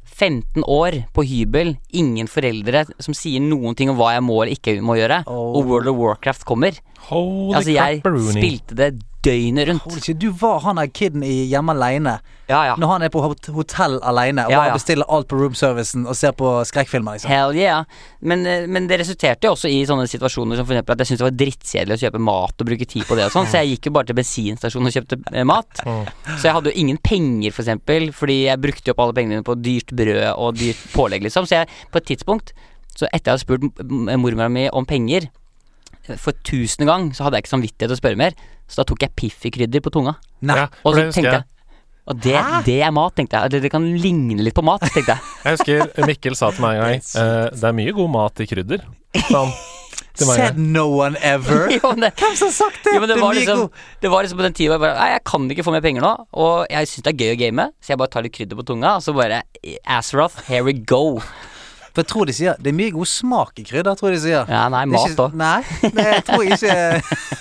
S1: 15 år på hybel, ingen foreldre som sier noen ting om hva jeg må eller ikke må gjøre,
S3: Oh.
S1: og World of Warcraft kommer.
S2: Holy
S1: altså, jeg
S2: crapperoonie.
S1: spilte det døgnet rundt.
S3: Holy shit, du var han der kiden i Hjemme aleine.
S1: Ja, ja.
S3: Når han er på hot- hotell aleine og
S1: Ja,
S3: bare
S1: ja.
S3: bestiller alt på roomservicen og ser på skrekkfilmer. liksom
S1: Hell yeah. Men, eh, men det resulterte jo også i sånne situasjoner som for eksempel at jeg syntes det var drittkjedelig å kjøpe mat og bruke tid på det og sånn, så jeg gikk jo bare til bensinstasjonen og kjøpte eh, mat. Så jeg hadde jo ingen penger, for eksempel, fordi jeg brukte jo opp alle pengene mine på dyrt brød og dyrt pålegg, liksom. Så jeg, på et tidspunkt, så etter jeg hadde spurt m- m- mormora mi om penger eh, for tusende gang, så hadde jeg ikke samvittighet til å spørre mer, så da tok jeg Piffi-krydder på tunga.
S3: Nei.
S2: Ja, for
S1: Og så
S2: det husker
S1: tenkte
S2: jeg.
S1: jeg og det, det er mat, tenkte jeg. Eller det kan ligne litt på mat, tenkte jeg.
S2: Jeg husker Mikkel sa til meg en gang eh, Det er mye god mat i krydder. sa han til meg en
S3: Said
S2: gang.
S3: no one ever.
S1: Jo, men det,
S3: Hvem som har sagt det?
S1: Jo, men det,
S3: er
S1: var
S3: mye
S1: liksom,
S3: god-
S1: det var liksom på den tida hvor jeg bare Nei, jeg kan ikke få mer penger nå, og jeg syns det er gøy å game, så jeg bare tar litt krydder på tunga, og så bare Azeroth, here we go.
S3: For jeg tror de sier Det er mye god smak i krydder, tror jeg de sier.
S1: Ja, nei,
S3: Det er
S1: mat
S3: ikke-
S1: òg.
S3: Nei, det jeg tror jeg ikke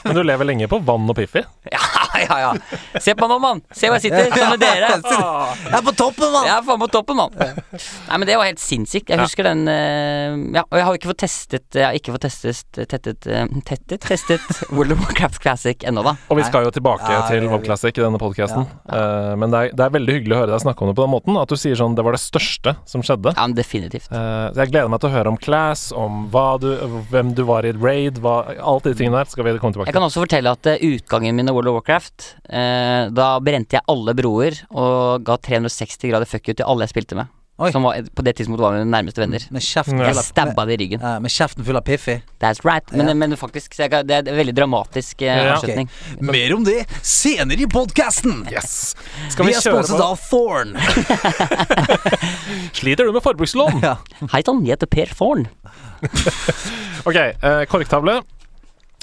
S2: Men du lever lenge på vann og Piffi.
S1: Ja, ja, ja. Se på meg, mann. Se hvor jeg sitter, sammen med dere.
S3: Jeg er på toppen, mann!
S1: Jeg er faen på toppen, mann. Nei, men det var helt sinnssykt. Jeg husker den eh, Ja, og jeg har ikke fått testet Jeg har ikke fått testet Tettet eh, Tettet? Testet World of Warcraft Classic ennå, da.
S2: Og vi skal jo tilbake
S3: Ja,
S2: til
S3: det-
S2: Mob Classic i denne podkasten. Men det er, det er veldig hyggelig å høre deg snakke om det på den måten. At du sier sånn Det var det største som skjedde.
S1: Ja, men definitivt.
S2: Eh, så jeg gleder meg til å høre om Class, om hva du, hvem du var i raid, hva, alt de tingene der. Skal vi komme tilbake
S1: Jeg kan også fortelle at eh, utgangen min av World of Warcraft eh, Da brente jeg alle broer og ga 360 grader fuck you til alle jeg spilte med.
S3: Oi.
S1: Som var, på det tidspunktet var mine nærmeste venner.
S3: Med kjeften
S2: Ja.
S3: full
S1: Jeg
S3: av
S1: stabba det i ryggen.
S3: Ja, Med kjeften full av Piffi.
S1: That's right. Men,
S3: Ja.
S1: men faktisk, så jeg, ga- det er en veldig dramatisk eh,
S2: Ja, ja.
S1: avslutning.
S3: Mer om det senere i podkasten!
S2: Yes! Skal
S3: Vi
S2: vi
S3: er
S2: kjøre
S3: sponset
S2: på?
S3: av Thorn.
S2: Sliter du med forbrukslån?
S3: Ja.
S1: Hei sann, jeg heter Per Forn.
S2: Ok, eh, korktavle.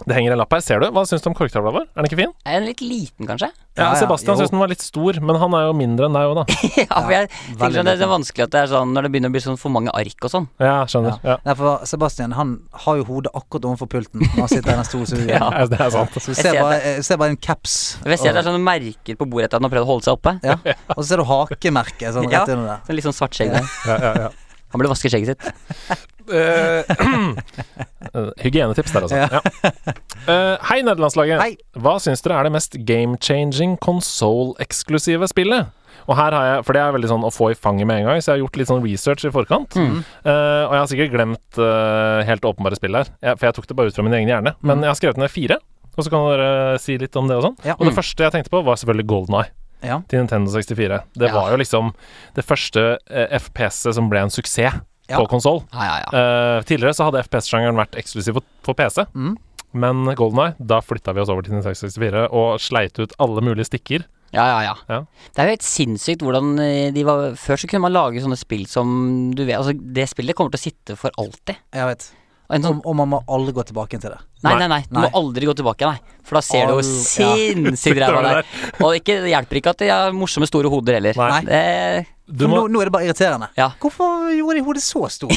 S2: Det henger en lapp her. Ser du? Hva syns du om korktavla vår? Er den ikke fin?
S1: Er jeg litt liten, kanskje?
S2: Ja,
S3: Ja, ja,
S2: Sebastian
S3: jo.
S2: syns den var litt stor, men han er jo mindre enn deg òg, da.
S1: ja, for jeg
S3: veldig
S1: tenker sånn, det er så vanskelig at det er sånn når det begynner å bli sånn for mange ark og sånn.
S2: Ja, skjønner. Ja.
S3: Nei, for Sebastian han har jo hodet akkurat overfor pulten når han sitter i den stolen. som vi-
S1: Ja.
S2: Ja, det er sant.
S3: Så vi
S1: Jeg
S3: ser
S1: ser
S3: bare, jeg ser bare en caps.
S1: Jeg ser det er sånne merker på bordet etter at han har prøvd å holde seg oppe.
S3: ja. og så ser du hakemerket sånn
S1: Ja.
S3: rett under der.
S1: Sånn litt sånn svart skjegg der.
S2: Ja, ja, ja.
S1: Han burde vaske skjegget sitt.
S2: Eh, eh, hygienetips der, altså. Ja. Eh, hei, nederlandslaget.
S3: Hei.
S2: Hva syns dere er det mest game-changing console-eksklusive spillet? Og her har jeg, For det er veldig sånn å få i fanget med en gang, så jeg har gjort litt sånn research i forkant. Eh, og jeg har sikkert glemt eh, helt åpenbare spill her, jeg, for jeg tok det bare ut fra min egen hjerne. Men jeg har skrevet ned fire, og så kan dere si litt om det og sånn.
S3: Ja.
S2: Og det første jeg tenkte på, var selvfølgelig Golden Eye
S3: Mm. Ja.
S2: til Nintendo 64. Det
S1: Ja.
S2: var jo liksom det første eh, FPS-et som ble en suksess
S3: Ja.
S2: på konsoll.
S1: Ja, ja, ja.
S2: Eh, tidligere så hadde FPS-sjangeren vært eksklusiv for, for PC.
S3: Mm.
S2: Men Golden Eye, da flytta vi oss over til Nintendo 64 og sleit ut alle mulige stikker.
S1: Ja, ja, ja,
S2: Ja.
S1: Det er jo helt sinnssykt hvordan eh, de var Før så kunne man lage sånne spill som du vet Altså, det spillet kommer til å sitte for alltid.
S3: Jeg vet.
S1: Og en sånn,
S3: Og, og man må aldri gå tilbake til det.
S1: nei, nei, nei, du må
S3: Nei.
S1: aldri gå tilbake, nei. For da ser du
S3: Al-
S1: hvor sinnssykt
S2: Ja.
S1: ræva det er. Og ikke, det hjelper ikke at de har morsomme, store hoder heller.
S2: Nei.
S1: Det,
S2: Du
S3: For
S2: må,
S3: nå, nå er det bare irriterende.
S1: Ja.
S3: Hvorfor gjorde de hodet så stort?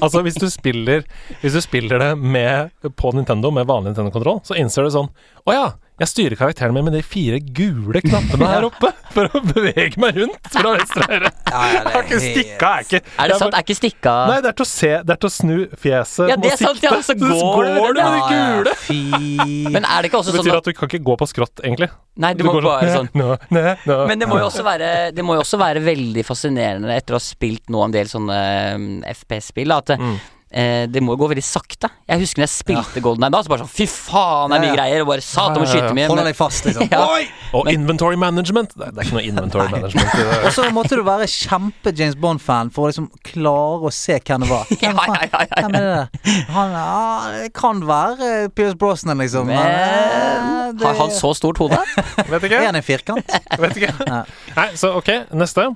S2: altså, hvis du spiller Hvis du spiller det med, på Nintendo med vanlig Nintendo-kontroll, så innser du sånn Å ja, jeg styrer karakteren min med de fire gule knappene her oppe for å bevege meg rundt fra venstre og høyre.
S3: Ja, ja, det
S2: Jeg har ikke
S3: helt-
S2: stikka, jeg er ikke
S1: er det sant? Er ikke stikka
S2: Nei, det er til å se Det er til å snu fjeset.
S1: Ja,
S2: Du må
S1: det er sant, ja,
S2: sikte.
S1: så
S2: Du
S1: går du
S2: går
S1: med
S2: du med
S3: Ja,
S2: de
S3: ja,
S2: gule.
S3: Fy
S1: Men er det ikke også
S2: Det
S1: sånn
S2: betyr
S1: at
S2: at du kan ikke gå på skrått, egentlig.
S1: Nei, du må
S2: går
S1: bare sånn
S2: Nå, nå, nå.
S1: Men det må jo også være, det må jo også være veldig fascinerende etter å ha spilt nå en del sånne mm, FPS-spill, da, at det-
S3: Mm.
S1: eh, det må jo gå veldig sakte. Jeg husker når jeg spilte Golden Eye da, så bare sånn fy faen, det er
S3: Ja,
S1: mye
S3: ja.
S1: greier, og bare satan, må
S2: Ja, ja, ja.
S1: skyte mye.
S3: Holder
S1: Men,
S3: deg fast, liksom.
S1: Ja.
S3: Oi!
S2: Og inventory management. Det er, det er ikke noe inventory management. i det.
S3: Og så måtte du være kjempe James Bond-fan for å liksom klare å se hvem det var.
S1: ja,
S3: Hvem
S1: ja,
S3: faen-
S1: ja, ja.
S3: Hvem er det? der? Han ja, det kan være eh, Pierce Brosnan, liksom. Men, eh,
S1: men
S3: det-
S1: har han så stort hode?
S2: Vet ikke.
S3: Er han en firkant?
S2: Vet ikke.
S3: Ja.
S2: Nei, så OK, neste.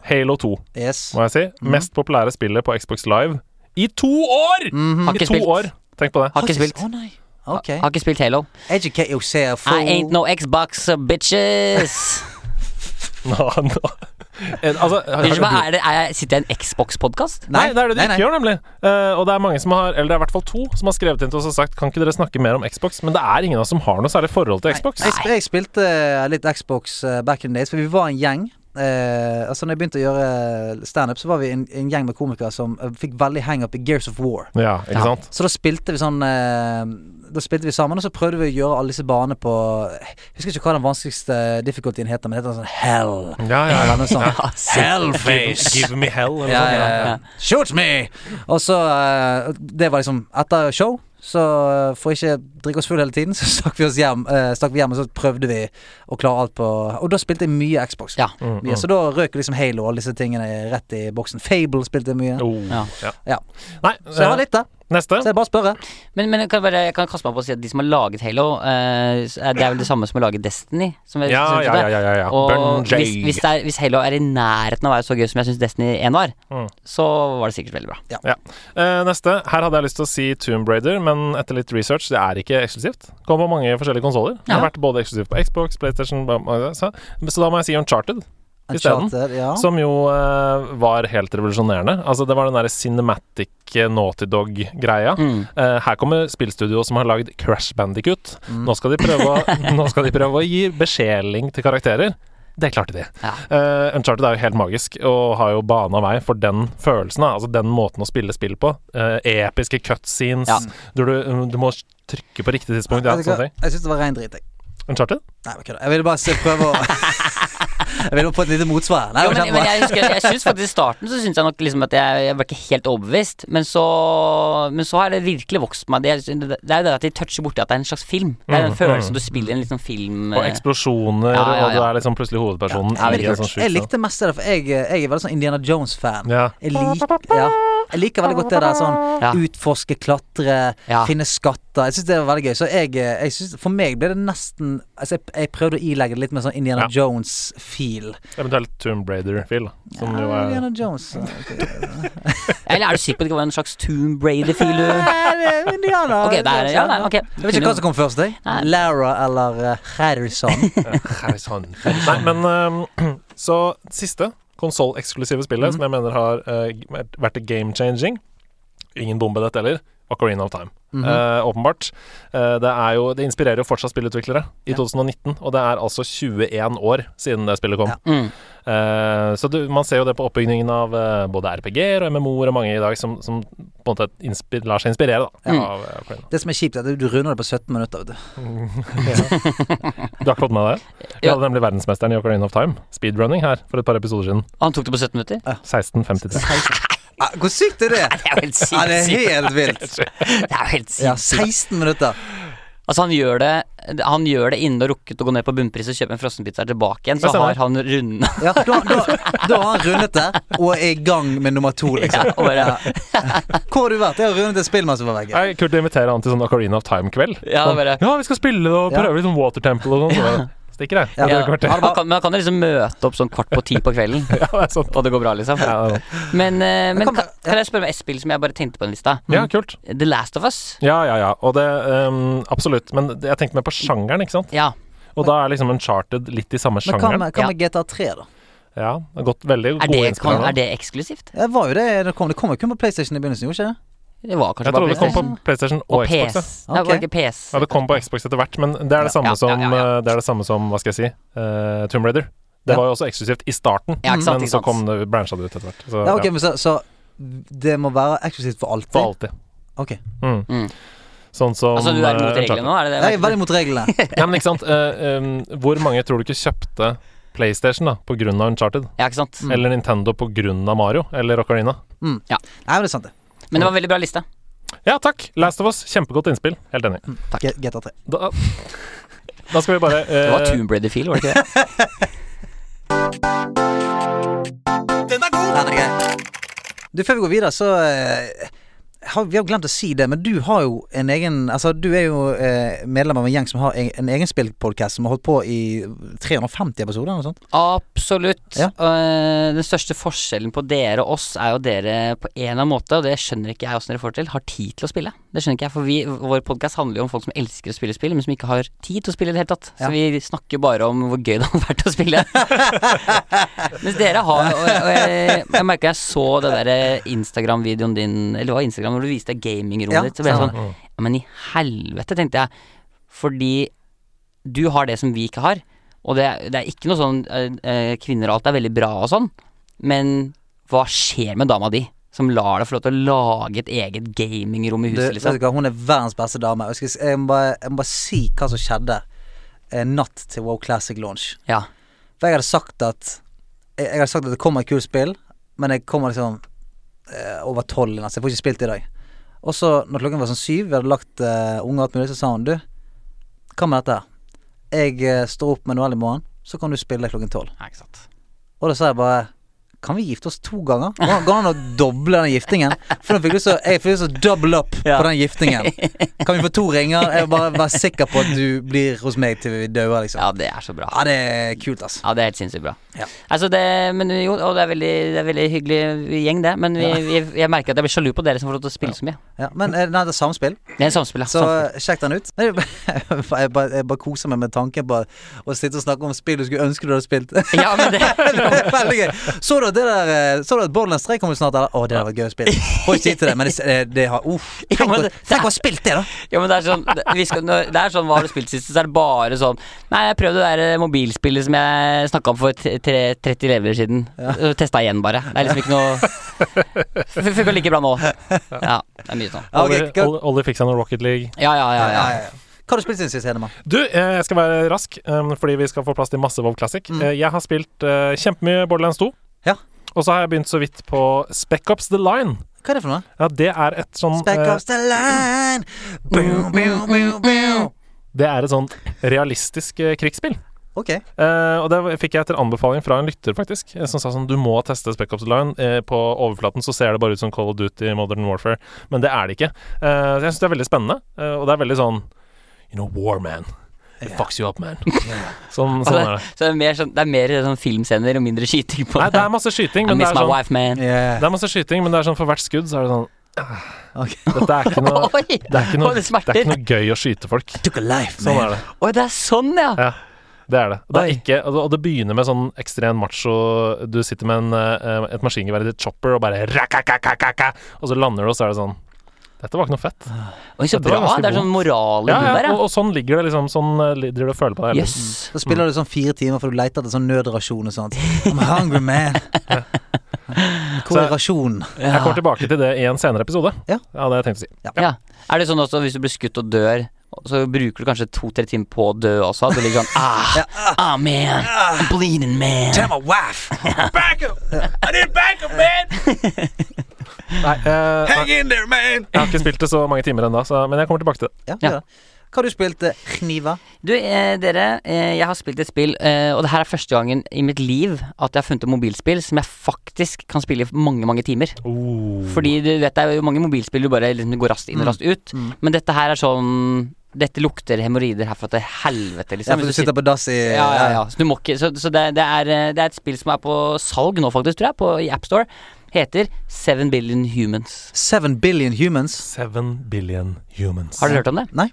S2: Halo 2,
S3: Yes.
S2: må jeg si.
S1: Mhm.
S2: Mest populære spillet på Xbox Live i to år!
S1: Mhm. Har
S2: I
S1: ikke
S2: to
S1: spilt.
S2: år. Tenk på det.
S1: Har ikke spilt.
S3: Å nei. Ok.
S1: Har ikke spilt Halo.
S3: Educate yourself.
S1: I ain't no Xbox, uh, bitches.
S2: Nå, nå. Eh, Altså, har-
S1: Unnskyld meg,
S2: har-
S1: er det, er jeg, sitter jeg i en Xbox-podkast?
S2: Nei, det er det de ikke gjør, nemlig. Eh, og det er mange som har Eller det er i hvert fall to som har skrevet inn til oss og sagt Kan ikke dere snakke mer om Xbox? Men det er ingen av oss som har noe særlig forhold til Xbox.
S3: Jeg, sp- jeg spilte eh, litt Xbox eh, back in the days, for vi var en gjeng. Eh, altså når jeg begynte å gjøre eh, standup, så var vi en, en gjeng med komikere som eh, fikk veldig hang-up i Gears of War.
S2: Ja, ikke
S1: Ja.
S2: sant?
S3: Så da spilte vi sånn eh, Da spilte vi sammen, og så prøvde vi å gjøre alle disse banene på Jeg husker ikke hva den vanskeligste difficultyen heter, men det heter sånn Hell.
S2: Ja, ja, ja.
S3: Eller noe sånt. Hellface.
S2: Give me hell, eller sånn, noe
S3: sånn Ja, ja,
S2: sånt.
S3: ja. Shoot me! Og så eh, Det var liksom etter show. Så eh, for ikke drikke oss full hele tiden, så stakk vi oss hjem, eh, stakk vi hjem og så prøvde vi å klare alt på Og da spilte jeg mye Xbox.
S1: Ja.
S3: Mye, så da røk liksom Halo og alle disse tingene rett i boksen. Fable spilte jeg mye.
S2: Oh.
S1: Ja.
S2: Ja.
S3: Ja.
S2: Nei,
S3: Så jeg har
S2: eh,
S3: litt, da.
S2: neste.
S3: Så jeg bare eh. spørre.
S1: Men, men jeg, kan bare, jeg kan kaste meg på å si at de som har laget Halo, eh, s- er- det er vel det samme som å lage Destiny? Som jeg,
S2: Ja,
S1: synes
S2: ja,
S1: det.
S2: ja, ja, ja, ja.
S1: Og
S2: Bungie.
S1: hvis, hvis, det er, hvis Halo er i nærheten av å være så gøy som jeg syns Destiny 1 var,
S2: Mm.
S1: så var det sikkert veldig bra.
S2: Ja. Eh, neste. Her hadde jeg lyst til å si Tomb Raider, men etter litt research, det er ikke eksklusivt. Kommer på mange forskjellige konsoller. Det har
S1: Ja.
S2: vært både eksklusivt på Xbox, PlayStation bla, bla, bla, Så så da må jeg si Uncharted. Isteden.
S3: Uncharted, ja.
S2: Som jo eh, var helt revolusjonerende. Altså Det var den derre cinematic eh, naughty dog-greia.
S1: Mm.
S2: Eh, her kommer spillstudio som har lagd Crash Bandicoot. Nå, skal de prøve å, nå skal de prøve å gi besjeling til karakterer. Det klarte de.
S1: Ja.
S2: Eh, Uncharted er jo helt magisk, og har jo bana vei for den følelsen. da. Altså den måten å spille spill på. Eh, episke cutscenes,
S1: Ja.
S2: hvor du, du må trykke på riktig tidspunkt. Ja,
S3: Vet du hva?
S2: sånne ting.
S3: Jeg syns det var rein drit, jeg.
S2: Uncharted?
S3: Nei, jeg kødder. Jeg ville bare se, prøve å Jeg ville få et lite motsvar. Nei,
S1: Jo,
S3: det var
S1: men, men
S3: kjempebra.
S1: jeg husker Jeg synes faktisk I starten så synes jeg nok liksom at jeg, jeg var ikke helt overbevist, men så Men så har det virkelig vokst på meg. Det, er- det er jo det at de toucher borti at det er en slags film. Det er den følelsen du spiller i en liksom film
S2: Mm, Og
S1: eh,
S2: eksplosjoner,
S1: Ja, ja,
S2: og du
S1: ja.
S2: er liksom plutselig hovedpersonen.
S3: Jeg,
S2: i en
S3: likte,
S2: sånn sjuk
S3: jeg
S2: scene.
S3: likte mest det, for jeg, jeg er veldig sånn Indiana Jones-fan.
S2: Ja.
S3: Jeg, lik, ja. jeg liker veldig godt det der sånn
S1: Ja.
S3: utforske, klatre,
S1: eh, Ja.
S3: finne skatter. Jeg syns det var veldig gøy. Så jeg, eh, jeg synes, for meg ble det nesten Altså, jeg, jeg prøvde å ilegge det litt med sånn Indiana
S2: Ja.
S3: Jones-feel.
S2: Eventuelt Tomb Raider-fil, som jo
S3: Ja,
S2: er
S3: Indiana Jones. ja, ok.
S1: Eller er du sikker på at det ikke var en slags Tomb Raider-fil du
S3: Nei, det er Indiana.
S1: Ok, der, ja, nei, ok.
S3: Jeg vet ikke hva som kom først, jeg.
S1: Nei.
S3: Lara eller eh, Harrison.
S2: sånn. Nei, men ehm, så siste konsolleksklusive spillet,
S3: Mhm.
S2: som jeg mener har eh, vært game-changing Ingen bombe, dette heller. Ocarina of Time.
S3: Mhm.
S2: Eh, åpenbart. Eh, det, er jo, det inspirerer jo fortsatt spillutviklere i
S3: Ja.
S2: 2019, og det er altså 21 år siden det spillet kom.
S3: Ja.
S1: mm.
S2: Eh, så du, man ser jo det på oppbyggingen av eh, både RPG-er og MMO-er og mange i dag som, som på en måte inspi- lar seg inspirere da,
S1: Ja.
S2: av eh, Ocarina.
S3: Det som er kjipt, er at du runder det på 17 minutter. Vet du.
S2: Du har ikke fått med deg det? Vi
S1: Ja.
S2: hadde nemlig verdensmesteren i Ocarina of Time, speedrunning, her for et par episoder siden.
S1: Han tok det på 17 minutter?
S2: 16.53.
S3: Ah, Hvor sykt er det?
S1: Det er jo helt
S3: Ja, det er
S1: sinnssykt.
S3: helt vilt.
S1: Det er jo helt
S3: Ja,
S1: sinnssykt.
S3: 16 minutter.
S1: Altså han gjør det Han gjør det innen å rukket å gå ned på bunnpris og kjøpe en frossenpizza tilbake igjen, så
S2: Det stemmer.
S1: har han runden
S3: Ja, da, da, da har han rundet det, og er i gang med nummer to, liksom.
S1: Ja, og bare-
S3: Hvor har du vært? Jeg har rundet et spill mens jeg var vegge.
S2: Nei, Kult å invitere han til sånn Ocarina of Time-kveld.
S1: Ja,
S2: Sånn,
S1: bare-
S2: ja, vi skal spille og
S3: Ja.
S2: prøve litt sånn Water Temple og sånn. Så bare, stikker, jeg.
S3: Ja.
S2: Det er et kvarter.
S1: Ja, man, kan, man kan jo liksom møte opp sånn kvart på ti på kvelden,
S2: Ja, det er sant.
S1: og det går bra, liksom.
S2: Ja, det er sant.
S1: Men, eh, men
S3: kan-
S1: kan, kan jeg spørre om et spill som jeg bare tenkte på den lista?
S2: sånn. ja, kult.
S1: The Last of Us.
S2: Ja, ja, ja. Og det ehm, Absolutt. Men det- jeg tenkte mer på sjangeren, ikke sant.
S1: Ja.
S2: Og da er liksom Uncharted litt i samme
S3: Men hva
S2: sjangeren.
S3: med, hva med GTA 3, da?
S2: Ja, det har gått veldig
S1: Er
S2: gode
S1: det,
S2: innspill.
S1: kan,
S2: her nå.
S1: er det eksklusivt?
S3: Det var jo det, det kom, det kom jo kun på PlayStation i begynnelsen, gjorde ikke det?
S1: Det var kanskje
S2: Jeg trodde
S1: bare
S2: det kom på
S1: PlayStation.
S2: PlayStation og,
S1: Og
S2: Xbox.
S1: PS.
S2: ja.
S1: Nei, det
S3: Ok.
S1: var ikke PS.
S2: Ja, det kom på Xbox etter hvert, men det er det samme
S1: Ja,
S2: som
S1: ja, ja, ja.
S2: eh, Det er det samme som, hva skal jeg si, eh, Tomb Raider. Det
S3: Ja.
S2: var jo også eksklusivt i starten,
S1: Ja, ikke sant,
S2: men
S1: ikke
S2: så
S1: sant.
S2: kom det bransja det ut etter hvert. Så,
S3: Ja, ok,
S2: ja,
S3: men så, så det må være eksklusivt for alltid?
S2: for alltid.
S3: Ok.
S2: Mm.
S1: Mm.
S2: Sånn som
S1: Altså, du er imot
S2: eh,
S1: reglene nå? Er det det?
S3: Jeg er veldig imot reglene.
S2: Uncharted. Ja, men ikke sant. eh, um, hvor mange tror du ikke kjøpte PlayStation da, på grunn av Uncharted?
S1: Ja, ikke sant?
S2: Eller Nintendo på grunn av Mario? Eller Ocarina?
S3: Nei, men det er sant, det.
S1: Men det var en veldig bra liste.
S2: Ja, takk! Last of Us, kjempegodt innspill. Helt enig.
S1: Takk.
S3: G- GTA 3.
S2: Da, da skal vi bare eh,
S1: Det var Tomb Raider-fil, var det ikke det?
S3: Den er grei. Du, før vi går videre, så eh, har, Vi har glemt å si det, men du har jo en egen Altså, du er jo eh, medlem av en gjeng som har en, en egen spillpodkast som har holdt på i 350 episoder eller noe sånt.
S1: Absolutt.
S3: Ja.
S1: Eh, den største forskjellen på dere og oss er jo dere på en eller annen måte, og det skjønner ikke jeg åssen dere får til, har tid til å spille. Det skjønner ikke jeg, for vi, vår podkast handler jo om folk som elsker å spille spill, men som ikke har tid til å spille i det hele tatt. Så
S3: Ja.
S1: vi snakker jo bare om hvor gøy det hadde vært å spille. Mens dere har Og, og jeg, jeg merka jeg så den der Instagram-videoen din, eller det var Instagram, hvor du viste gamingrommet
S3: Ja,
S1: ditt, så ble jeg
S3: stemmer.
S1: sånn
S2: Mm.
S1: Ja, men i helvete, tenkte jeg. Fordi du har det som vi ikke har. Og det, er- det er ikke noe sånn eh, eh, Kvinner og alt er veldig bra og sånn, men hva skjer med dama di? Som lar deg få lov til å lage et eget gamingrom i
S3: Du,
S1: huset,
S3: vet
S1: liksom.
S3: du hva, hun er verdens beste dame. Og Jeg, skal, s- jeg, må bare, jeg må bare si hva som skjedde eh, natt til Wow Classic launch.
S1: Ja.
S3: For jeg hadde sagt at Jeg, jeg hadde sagt at det kommer et kult spill, men jeg kommer liksom eh, over tolv i natt, så jeg får ikke spilt det i dag. Og så, når klokken var sånn syv, vi hadde lagt eh, unger og alt mulig, så sa hun du, hva med dette? her? Jeg eh, står opp med Noel i morgen, så kan du spille klokken tolv.
S1: Nei, ikke sant.
S3: Og da sa jeg bare kan vi gifte oss to ganger? Går går det an å doble den giftingen? For nå fikk du så, jeg fikk lyst til å double up
S1: Ja.
S3: på den giftingen. Kan vi få to ringer? Jeg vil bare være sikker på at du blir hos meg til vi dør, liksom.
S1: Ja, det er så bra.
S3: Ja, det er kult, altså.
S1: Ja, det er helt sinnssykt bra.
S3: Ja.
S1: Altså det, men jo, og det er veldig, det er veldig hyggelig gjeng, det. Men vi, vi, jeg merker at jeg blir sjalu på dere som får lov til å spille så mye.
S3: Ja, men eh, nei, det er samspill,
S1: Det er en samspill, ja.
S3: så
S1: Samspill.
S3: eh, sjekk den ut. Nei, Jeg bare, jeg bare koser meg med tanken på å sitte og snakke om spill du skulle ønske du hadde spilt. Det
S1: Ja, men det
S3: er Veldig gøy. Så du at det der eh, Så du at Borderlands 3 kommer snart? Eller? Å, det hadde vært gøy å spille. Får ikke tid til det, men det, eh, det har uff.
S1: Ja,
S3: Tenk,
S1: men
S3: å-
S1: det-
S3: tenk å ha spilt det, da.
S1: Ja, men det er sånn, det, vi skal, når, det er sånn Hva har du spilt sist? Så er det bare sånn Nei, jeg prøvde det der eh, mobilspillet som jeg snakka om for t- tre- 30 lever siden. Ja. Testa igjen, bare. Det er liksom ikke noe Funka like bra nå. Ja, det er mye sånn.
S3: Ja, ok,
S2: Ollie,
S3: hva-
S2: Ollie- Ollie fikk seg noe Rocket League.
S1: Ja, ja, ja. ja.
S3: ja, ja. Hva har du spilt siden sist, Hedemann?
S2: Du, eh, jeg skal være rask, eh, fordi vi skal få plass til masse WoW Classic.
S1: Mm.
S2: Eh, Jeg har spilt eh, kjempemye Borderlands 2.
S3: Ja.
S2: Og så har jeg begynt så vidt på Speckups The Line.
S3: Hva er det for noe?
S2: Ja, det er et sånn
S3: Back
S2: eh,
S3: up the line boom, boom, boom, boom.
S2: Det er et sånn realistisk eh, krigsspill.
S3: Ok.
S2: Eh, og det fikk jeg etter anbefaling fra en lytter, faktisk, eh, som sa sånn Du må teste Speckups The Line. Eh, på overflaten så ser det bare ut som Call of Duty Modern Warfare, men det er det ikke. Eh, så jeg syns det er veldig spennende, eh, og det er veldig sånn You know, war, man. It fucks you up, man. Sånn, sånn
S1: Så det,
S2: er det.
S1: så det er mer sånn, det er mer sånn filmscener og mindre skyting på
S2: Nei, det er masse skyting,
S1: I
S2: men det
S1: miss
S2: er
S1: my
S2: sånn
S1: wife, man.
S3: Yeah.
S2: Det er masse skyting, men det er sånn for hvert skudd så er det sånn ah,
S3: Ok.
S2: Dette er ikke noe
S1: Oi!
S2: det er ikke noe,
S1: Å, det
S2: det er
S1: smerter.
S2: ikke noe gøy å skyte folk.
S3: Took a life,
S2: Sånn
S3: man.
S2: er det.
S1: Oi, det er sånn, ja!
S2: Ja, det er det. Og Det,
S3: Oi.
S2: er ikke, og det- og det begynner med sånn ekstrem macho Du sitter med en, eh, et maskingevær i ditt chopper og bare rakakakakaka, Og så lander du, og så er det sånn Dette var ikke noe fett.
S1: Oi, så
S2: Det var
S1: bra.
S2: ganske
S1: Det er sånn moral i
S2: Ja,
S1: det der,
S2: ja, og,
S1: ja.
S2: og sånn ligger det liksom. Sånn eh, ligger det og føler på det. hele
S1: Jøss.
S3: Så spiller du sånn fire timer for du leter etter sånn nødrasjon og sånt. I'm hungry, man. Hvor
S2: Så-
S3: er rasjonen?
S2: tiden. Jeg kommer tilbake til det i en senere episode.
S3: Ja.
S2: det har jeg tenkt å si.
S1: Ja. Er det sånn også hvis du blir skutt og dør, så bruker du kanskje to-tre timer på å dø også? At du ligger sånn ah, ah, man. I'm bleeding, man.
S3: Tell my wife.
S4: Back him! I didn't back him, man!
S2: Nei, eh, nei,
S4: Hang in there, man!
S2: jeg har ikke spilt det så mange timer ennå, men jeg kommer tilbake til det.
S3: Ja,
S1: Ja.
S3: ja. Hva har du spilt? eh, Kniver?
S1: Du, eh, dere, eh, jeg har spilt et spill, eh, og det her er første gangen i mitt liv at jeg har funnet et mobilspill som jeg faktisk kan spille i mange, mange timer.
S2: Oh.
S1: Fordi du vet, det er jo mange mobilspill du bare liksom,
S3: Mm.
S1: går raskt inn og raskt ut. Men dette her er sånn Dette lukter hemoroider herfra til helvete,
S3: Ja,
S1: liksom.
S3: for
S1: Hvis
S3: du sitter på dass i eh,
S1: ja, ja, ja. Så, du må ikke, så, så det, det, er, eh, det er et spill som er på salg nå, faktisk, tror jeg, på, i AppStore. Heter Seven Billion Humans.
S3: Seven billion humans.
S2: Seven billion humans.
S1: Har dere hørt om det?
S3: Nei?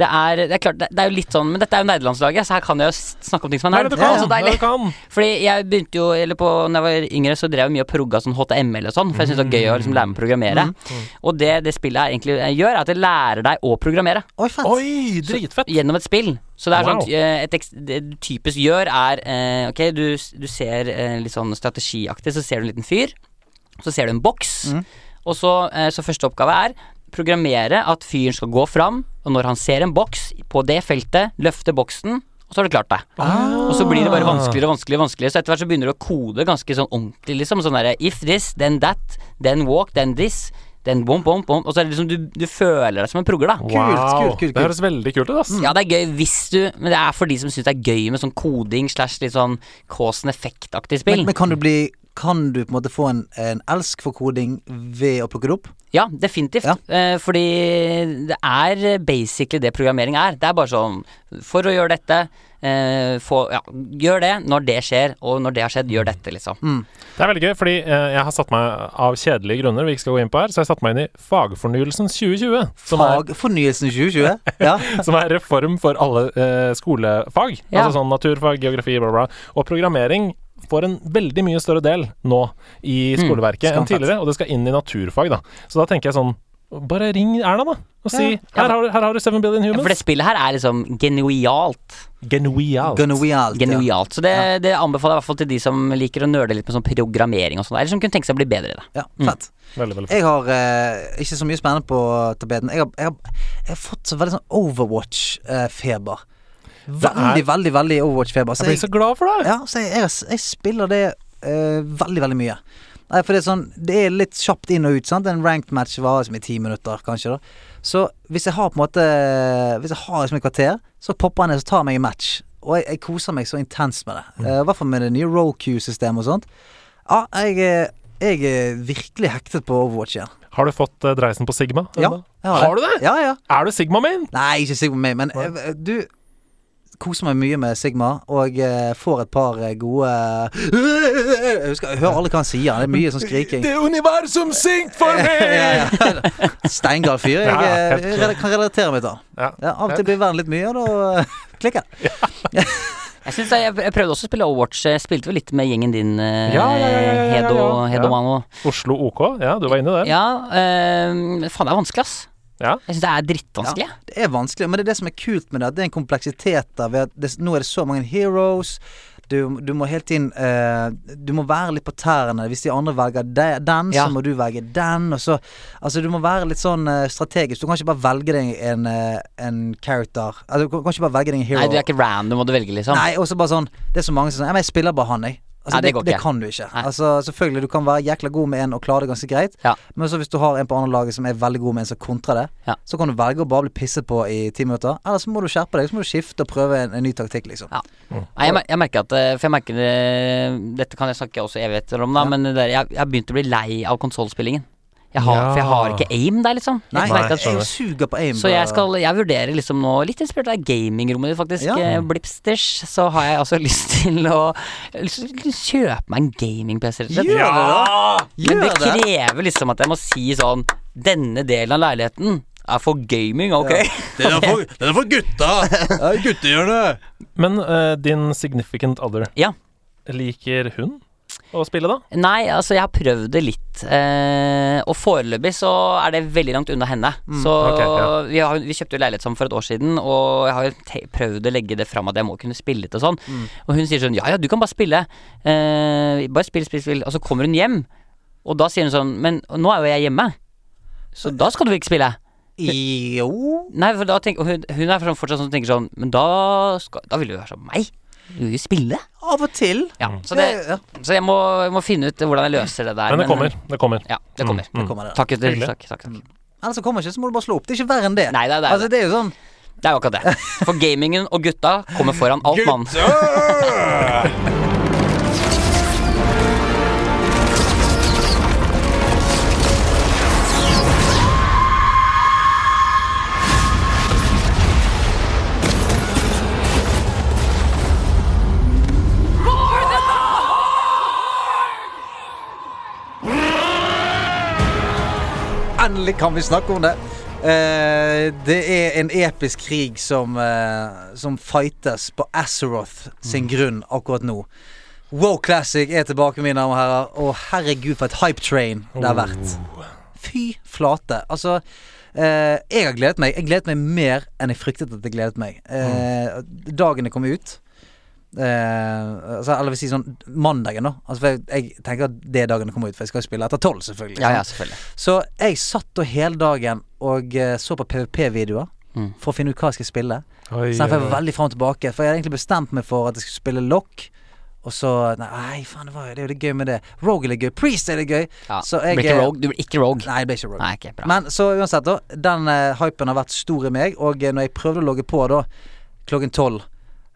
S1: Det er, det er klart, det, det er jo litt sånn Men dette er jo nerdelandslaget, så her kan jeg jo s- snakke om ting som
S2: Hva
S1: er
S2: er det
S1: nerd.
S2: du kan?
S1: Det er så
S2: Hva er det
S1: deilig.
S2: du kan?
S1: Fordi jeg begynte jo Eller på Når jeg var yngre Så drev jeg mye og progga sånn HTML og sånn For jeg syntes det var gøy Å liksom lære meg å programmere
S2: Mm.
S1: Og det det spillet her egentlig eh, gjør Er at det lærer deg å programmere
S3: Oi, fett.
S2: Oi, dritfett.
S1: Gjennom et spill Så det er
S2: Wow.
S1: sånn eh, et, eks- Det du typisk gjør er eh, Ok, du, s- du ser eh, litt sånn strategiaktig Så ser du en liten fyr Så ser du en boks
S2: Mm.
S1: Og så, eh, så første oppgave er Programmere at fyren skal gå fram Og når han ser en boks På det feltet Løfte boksen Og så har du klart deg
S2: Ah.
S1: og så blir det bare vanskeligere og vanskeligere. og vanskeligere Så etter hvert så begynner du å kode ganske sånn ordentlig. liksom Sånn derre if this, then that, then walk, then this, then bom, bom, bom. Og så er det liksom du, du føler deg som en progler, da.
S2: Wow.
S3: kult, kult, kult.
S2: Det høres veldig kult ut, ass.
S1: Ja, det er gøy hvis du Men det er for de som syns det er gøy med sånn koding slash litt sånn cause and effect-aktig
S3: Men,
S1: spill.
S3: men kan du bli Kan du på en måte få en, en elsk for koding ved å plukke det opp?
S1: Ja, definitivt.
S3: Ja.
S1: Eh, fordi det er basically det programmering er. Det er bare sånn For å gjøre dette eh, få, ja, Gjør det når det skjer, og når det har skjedd, gjør dette, liksom.
S2: Mm. Det er veldig gøy, fordi eh, jeg har satt meg av kjedelige grunner vi ikke skal gå inn på her, så jeg har satt meg inn i Fagfornyelsen 2020. Som er,
S3: Fagfornyelsen 2020? eh? Ja.
S2: som er reform for alle eh, skolefag.
S1: Ja.
S2: Altså sånn naturfag, geografi, bla, bla. Og programmering får en veldig mye større del nå i
S1: Mm.
S2: skoleverket enn
S3: skamfett.
S2: tidligere, og det skal inn i naturfag, da. Så da tenker jeg sånn bare ring Erna, da, og si her, har, du- 'Her har du 7 billion
S1: Ja, for det
S2: humans'.
S1: spillet her er liksom genialt.
S2: Genuialt.
S3: Gonna we out, ja.
S1: Genialt. Så det, det anbefaler jeg i hvert fall til de som liker å nøle litt med sånn programmering og sånn, eller som kunne tenke seg å bli bedre i det.
S3: Ja, fett.
S2: Veldig, veldig fint.
S3: Jeg har eh, ikke så mye spennende på tabeten. Jeg har, jeg har, jeg har fått så veldig sånn Overwatch-feber. Veldig, veldig, veldig Overwatch-feber.
S2: Jeg blir så glad for deg.
S3: Ja, så jeg, jeg, jeg spiller det eh, veldig, veldig mye. Nei, for det er sånn Det er litt kjapt inn og ut, sant. En ranked match varer liksom i ti minutter, kanskje, da. Så hvis jeg har på en måte Hvis jeg har liksom et kvarter, så popper han ned og tar meg en match. Og jeg, jeg koser meg så intenst med det.
S2: Mm.
S3: Eh, I hvert fall med det nye Roku-systemet og sånt. Ja, jeg, er- jeg er virkelig hektet på Overwatch igjen.
S2: Har du fått eh, dreisen på Sigma?
S3: Ja,
S2: Enda?
S3: jeg har,
S2: Har du det?
S3: Ja, ja.
S2: Er du Sigma-min?
S3: Nei, ikke Sigma meg, men eh, du koser meg mye med Sigma, og eh, får et par eh, gode eh, Jeg husker, jeg hører alle hva han sier, det er mye sånn skriking.
S2: Det universum synk for meg!
S3: Ja, ja. Steingal fyr. Jeg
S2: Ja, ja,
S3: eh,
S2: helt klart.
S3: rela- kan relatere meg til han.
S2: Ja.
S3: Ja, av og til blir verden litt mye, og da eh, klikker det.
S1: Jeg, synes jeg, jeg prøvde også å spille Overwatch. eh, Spilte vel litt med gjengen din, eh,
S2: Ja, ja, ja, ja, ja, ja, ja.
S1: Hedo, Hedo
S2: Ja.
S1: Mano.
S2: Oslo OK, ja, du var inne der.
S1: Ja, eh, faen det er vanskelig, ass.
S2: Ja.
S1: Jeg syns det er drittvanskelig.
S3: Det er vanskelig, men det er det som er kult med det. at Det er en kompleksitet der. Ved at det, nå er det så mange heroes. Du, du må hele tiden eh, Du må være litt på tærne. Hvis de andre velger de, den,
S1: Ja.
S3: så må du velge den. Og så, altså, du må være litt sånn eh, strategisk. Du kan ikke bare velge deg en, eh, en character. Altså, du kan kan ikke bare velge deg en hero.
S1: Nei, du er ikke random og du velger, liksom.
S3: Nei, og så bare sånn Det er så mange som sier «Ja, men 'Jeg spiller bare han, jeg'. Altså,
S1: Nei, det
S3: det,
S1: går
S3: det,
S1: ikke.
S3: kan du ikke.
S1: Nei.
S3: Altså, selvfølgelig, du kan være jækla god med en og klare det ganske greit,
S1: Ja.
S3: men så hvis du har en på andre laget som er veldig god med en som kontrer det,
S1: Ja.
S3: så kan du velge å bare bli pisset på i ti minutter, eller så må du skjerpe deg, så må du skifte og prøve en, en ny taktikk, liksom.
S1: Ja. Nei, jeg, mer- jeg merker at eh, For jeg merker det Dette kan jeg snakke også evigheter om, da, men det der, jeg, jeg har begynt å bli lei av konsollspillingen. Jeg har, For jeg har
S2: Ja.
S1: ikke aim der, liksom. Jeg
S3: Nei,
S1: merker at-
S3: jeg er jo suger på aim.
S1: Så jeg skal Jeg vurderer liksom nå Litt inspirert av gamingrommet ditt faktisk
S3: Ja.
S1: eh, Blipsters Så har jeg altså lyst til å lyst til å Kjøpe meg en gaming-PC rett og slett.
S3: Gjør det, da!
S1: Men det
S3: Gjør det!
S1: krever liksom at jeg må si sånn Denne delen av leiligheten er for gaming, ok?
S4: Den er for, den er for gutta! Ja, Guttehjørnet!
S2: Men eh, din significant other,
S1: Ja.
S2: liker hun å spille, da?
S1: Nei, altså jeg har prøvd det litt. Eh, og foreløpig så er det veldig langt unna henne. så
S2: ok, ja.
S1: vi, har, vi kjøpte jo leilighet sammen for et år siden, og jeg har jo te prøvd å legge det fram at jeg må kunne spille litt og sånn. Og hun sier sånn ja ja, du kan bare spille. Eh, bare spill, spill, spill. Og så kommer hun hjem, og da sier hun sånn men nå er jo jeg hjemme, så da skal du ikke spille.
S3: Jo
S1: Nei, for da tenker og hun, hun er sånn fortsatt sånn som tenker sånn men da, skal, da vil du være som meg. Du vil jo spille.
S3: Av og til.
S1: Ja, så, det,
S3: Ja, ja.
S1: så jeg, må, jeg må finne ut hvordan jeg løser det der. eh,
S2: Men det kommer. Det kommer. Mm,
S1: Ja, det kommer.
S3: Kommer det.
S1: Takk, gutter.
S2: Hyggelig.
S1: Takk, takk, takk.
S3: Ellers så kommer ikke, så må du bare slå opp. Det er ikke verre enn det.
S1: Nei, det er det.
S3: Altså, det er jo sånn
S1: Det er jo akkurat det. For gamingen og gutta kommer foran alt, mann.
S3: Endelig kan vi snakke om det. Eh, det er en episk krig som, eh, som fightes på Azeroth
S1: Mm.
S3: sin grunn akkurat nå. Wow Classic er tilbake, mine damer og herrer. Og herregud, for et hype train det har vært.
S1: Oh.
S3: Fy flate. Altså eh, Jeg har gledet meg. Jeg gledet meg mer enn jeg fryktet at jeg gledet meg. Eh, Dagene kom ut. Eh, altså, eller vil si sånn mandagen, da. Altså, for jeg, jeg tenker at det er dagen det kommer ut, for jeg skal jo spille etter tolv, selvfølgelig.
S1: Ja, ja, selvfølgelig.
S3: Så jeg satt da hele dagen og eh, så på PVP-videoer
S1: Mm.
S3: for å finne ut hva jeg skal spille.
S2: Oi,
S3: Så derfor
S2: oi,
S3: var jeg veldig fram og tilbake. For jeg hadde egentlig bestemt meg for at jeg skulle spille lock. Og så Nei, faen, det, var jo, det er jo det gøy med det. Rogue er litt gøy. Priest er litt gøy.
S1: Ja.
S3: Så
S1: Du
S3: jeg
S1: blir ikke rogue. Du blir ikke rogue.
S3: Nei, jeg ble ikke rogue.
S1: Nei, ikke bra.
S3: Men så uansett, da. Den eh, hypen har vært stor i meg. Og eh, når jeg prøvde å logge på da klokken tolv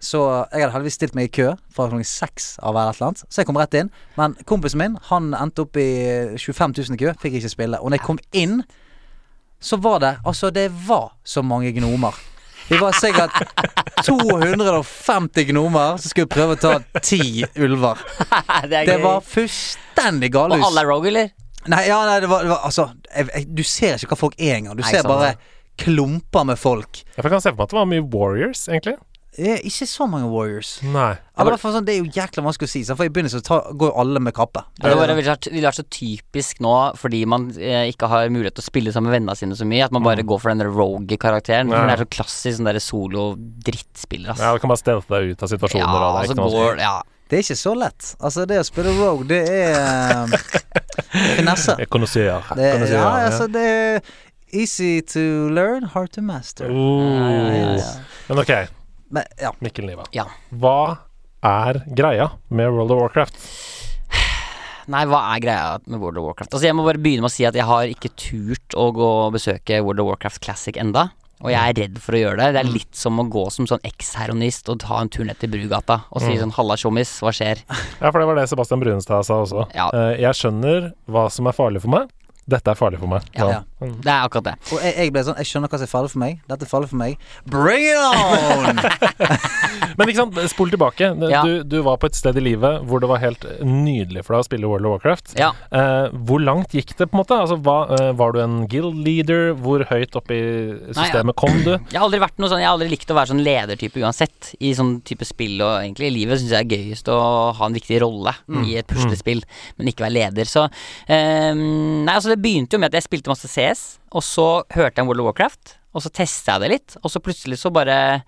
S3: så jeg hadde heldigvis stilt meg i kø fra klokken seks av eller et eller annet. Så jeg kom rett inn. Men kompisen min han endte opp i 25 000 i kø, fikk ikke spille. Og når jeg kom inn, så var det Altså, det var så mange gnomer. Vi var sikkert 250 gnomer som skulle prøve å ta ti ulver.
S1: det er
S3: Det
S1: gøy.
S3: var fullstendig
S1: og
S3: galehus.
S1: alle er rogue, eller?
S3: Nei, ja, nei, det var, det var altså jeg, jeg, Du ser ikke hva folk er engang. Du
S1: Nei,
S3: ser
S1: sant
S3: bare
S1: det.
S3: klumper med folk.
S2: Jeg kan se for meg at det var mye Warriors, egentlig.
S3: Eh, ikke så mange Warriors.
S2: Nei.
S3: Ja, men i hvert fall sånn, det er jo jækla vanskelig å si, sant, for i begynnelsen så ta, går jo alle med kappe.
S1: Ja, det bare ville vært, ville vært så typisk nå, fordi man eh, ikke har mulighet til å spille sammen med vennene sine så mye, at man bare går for den der rogue-karakteren.
S2: Mm. Ja.
S1: For Det er så klassisk sånn derre solo-drittspiller, ass.
S2: Ja, du kan bare stelte deg ut av situasjoner.
S1: Ja,
S2: og det er
S1: altså
S2: ikke noe
S1: går Ja.
S3: Det er ikke så lett. Altså, det å spille rogue, det er eh, finesse.
S2: Jeg kan jo si, ja.
S3: Det,
S2: Kan du si,
S3: ja,
S2: ja,
S3: altså, det er easy to learn, hard to master.
S2: Oh. Men ok,
S3: Men ja.
S2: Mikkel Niva.
S1: Ja.
S2: Hva er greia med World of Warcraft?
S1: Nei, hva er greia med World of Warcraft? Altså, jeg må bare begynne med å si at jeg har ikke turt å gå og besøke World of Warcraft Classic enda. Og jeg er redd for å gjøre det. Det er
S2: Mm.
S1: litt som å gå som sånn eks-heronist og ta en tur ned til Brugata og
S2: Mm.
S1: si sånn 'halla, tjommis, hva skjer?'
S2: Ja, for det var det Sebastian Brunestad sa også.
S1: Ja.
S2: Eh, jeg skjønner hva som er farlig for meg. Dette er farlig for meg.
S1: Ja.
S3: Ja.
S1: Det er akkurat det.
S3: Og jeg, jeg ble sånn Jeg skjønner hva som er farlig for meg. Dette er farlig for meg. Bring it on!
S2: Men ikke sant, spol tilbake.
S1: Ja.
S2: Du, du var på et sted i livet hvor det var helt nydelig for deg å spille World of Warcraft.
S1: Ja.
S2: Eh, hvor langt gikk det, på en måte? Altså, hva, eh, var du en guild leader? Hvor høyt opp i systemet kom du?
S1: Jeg har aldri vært noe sånn Jeg har aldri likt å være sånn ledertype uansett. I sånn type spill og egentlig i livet syns jeg det er gøyest å ha en viktig rolle
S2: Mm.
S1: i et puslespill, men ikke være leder. Så eh, Nei, altså det begynte jo med at jeg spilte masse CS, og så hørte jeg om World of Warcraft, og så testa jeg det litt, og så plutselig så bare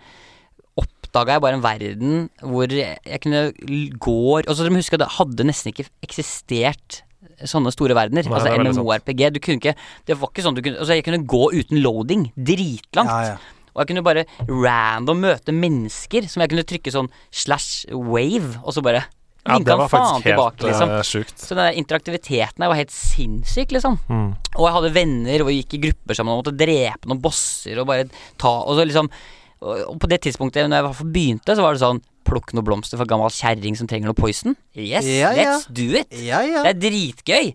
S1: oppdaga jeg bare en verden hvor jeg kunne l- gå Og så dere må huske at det hadde nesten ikke eksistert sånne store verdener.
S2: Nei,
S1: altså
S2: det er veldig sant.
S1: MMORPG. Du kunne ikke Det var ikke sånn du kunne Altså, jeg kunne gå uten loading dritlangt.
S3: Ja, ja.
S1: Og jeg kunne bare random møte mennesker som jeg kunne trykke sånn slash wave, og så bare
S2: Ja,
S1: linka
S2: det var
S1: faen
S2: faktisk helt
S1: tilbake, liksom.
S2: eh, sjukt. Hmm.
S1: Så den der interaktiviteten her var helt sinnssyk, liksom. Og jeg hadde venner, og vi gikk i grupper sammen og måtte drepe noen bosser og bare ta Og så liksom Og og på det tidspunktet, når jeg i hvert fall begynte, så var det sånn Plukk noen blomster for gammel kjerring som trenger noe poison. Yes,
S3: Ja, ja.
S1: let's do it.
S3: Ja, ja.
S1: Det er dritgøy.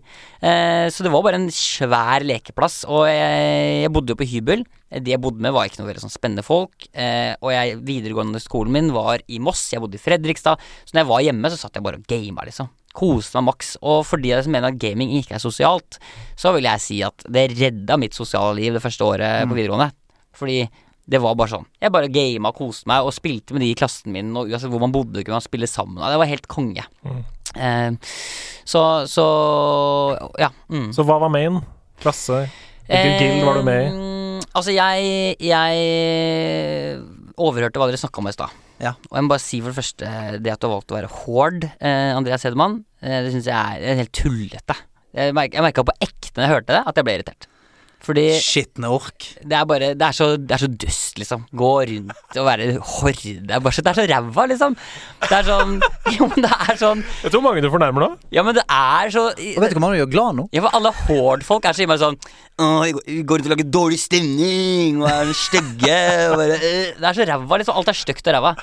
S1: Eh, så det var bare en svær lekeplass. Og jeg, jeg bodde jo på hybel. Eh, De jeg bodde med, var ikke noe veldig sånn spennende folk. Eh, og jeg, videregående skolen min var i Moss. Jeg bodde i Fredrikstad. Så når jeg var hjemme, så satt jeg bare og gama, liksom. Koste meg maks. Og for de som mener at gaming ikke er sosialt, så vil jeg si at det redda mitt sosiale liv det første året på videregående. Fordi det var bare sånn. Jeg bare gama, koste meg og spilte med de i klassen min. Og uansett hvor man bodde, kunne man spille sammen. Og Det var helt konge. Eh, så, så Ja. Mm.
S2: Så hva var main? Klasse? Hvilken guild var du med i?
S1: Eh, altså, jeg Jeg overhørte hva dere snakka om i stad.
S3: Ja.
S1: Og jeg må bare si for det første det at du har valgt å være hård, eh, Andreas Hedemann. Eh, det syns jeg er helt tullete. Jeg merka på ekte når jeg hørte det, at jeg ble irritert. Fordi
S3: Skitne ork.
S1: det er bare Det er så, det er så dust, liksom. Gå rundt og være horde. Det er bare så, det er så ræva, liksom. Det er sånn Jo, men det er sånn
S2: Jeg tror mange du fornærmer nå.
S1: Ja, men det er så
S3: Og vet du hva man gjør glad nå?
S1: ja, for alle Horde-folk er så innmari sånn Åh, vi går- vi går rundt og lager dårlig stemning og er stygge og bare øh. Det er så ræva, liksom. Alt er stygt og ræva.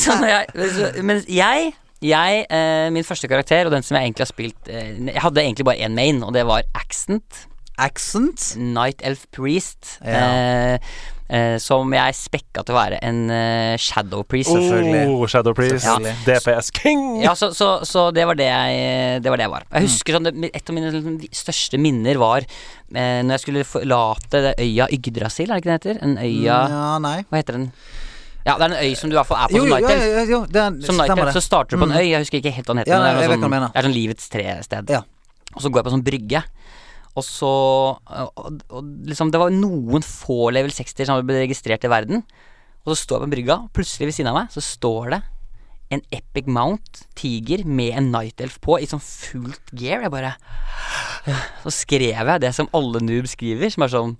S1: så når jeg så, Mens jeg jeg, eh, Min første karakter, og den som jeg egentlig har spilt eh, Jeg hadde egentlig bare én main, og det var Accent.
S3: Accent?
S1: Night Elf Priest.
S3: Ja.
S1: Eh, eh, som jeg spekka til å være en eh, Shadow Priest.
S3: Selvfølgelig.
S2: Oh, Shadow Priest.
S3: Selvfølgelig.
S2: DPS King.
S1: Ja, så, så, så det, var det, jeg, det var det jeg var.
S3: Mm.
S1: Jeg husker sånn, det- Et av mine liksom, største minner var eh, Når jeg skulle forlate det øya Yggdrasil, er det ikke det heter? En øya
S3: Ja, nei.
S1: Hva heter den? Ja, det er en øy som du i hvert fall er på
S3: Jo,
S1: som
S3: jo,
S1: Night
S3: jo,
S1: Elf.
S3: jo, jo det er,
S1: Som Night
S3: stemmer
S1: Elf så
S3: det.
S1: starter du på
S3: Mm.
S1: en øy, jeg husker ikke helt hva den heter.
S3: Ja,
S1: men det,
S3: jeg vet
S1: er noe
S3: hva du
S1: sånn,
S3: mener.
S1: det er sånn livets tre-sted.
S3: Ja.
S1: Og så går jeg på en sånn brygge. Og så og, og liksom, Det var noen få level 60 som hadde blitt registrert i verden. Og så står jeg på brygga, og plutselig ved siden av meg så står det en epic mount tiger med en night elf på i sånn fullt gear. Jeg bare Så skrev jeg det som alle noobs skriver, som er sånn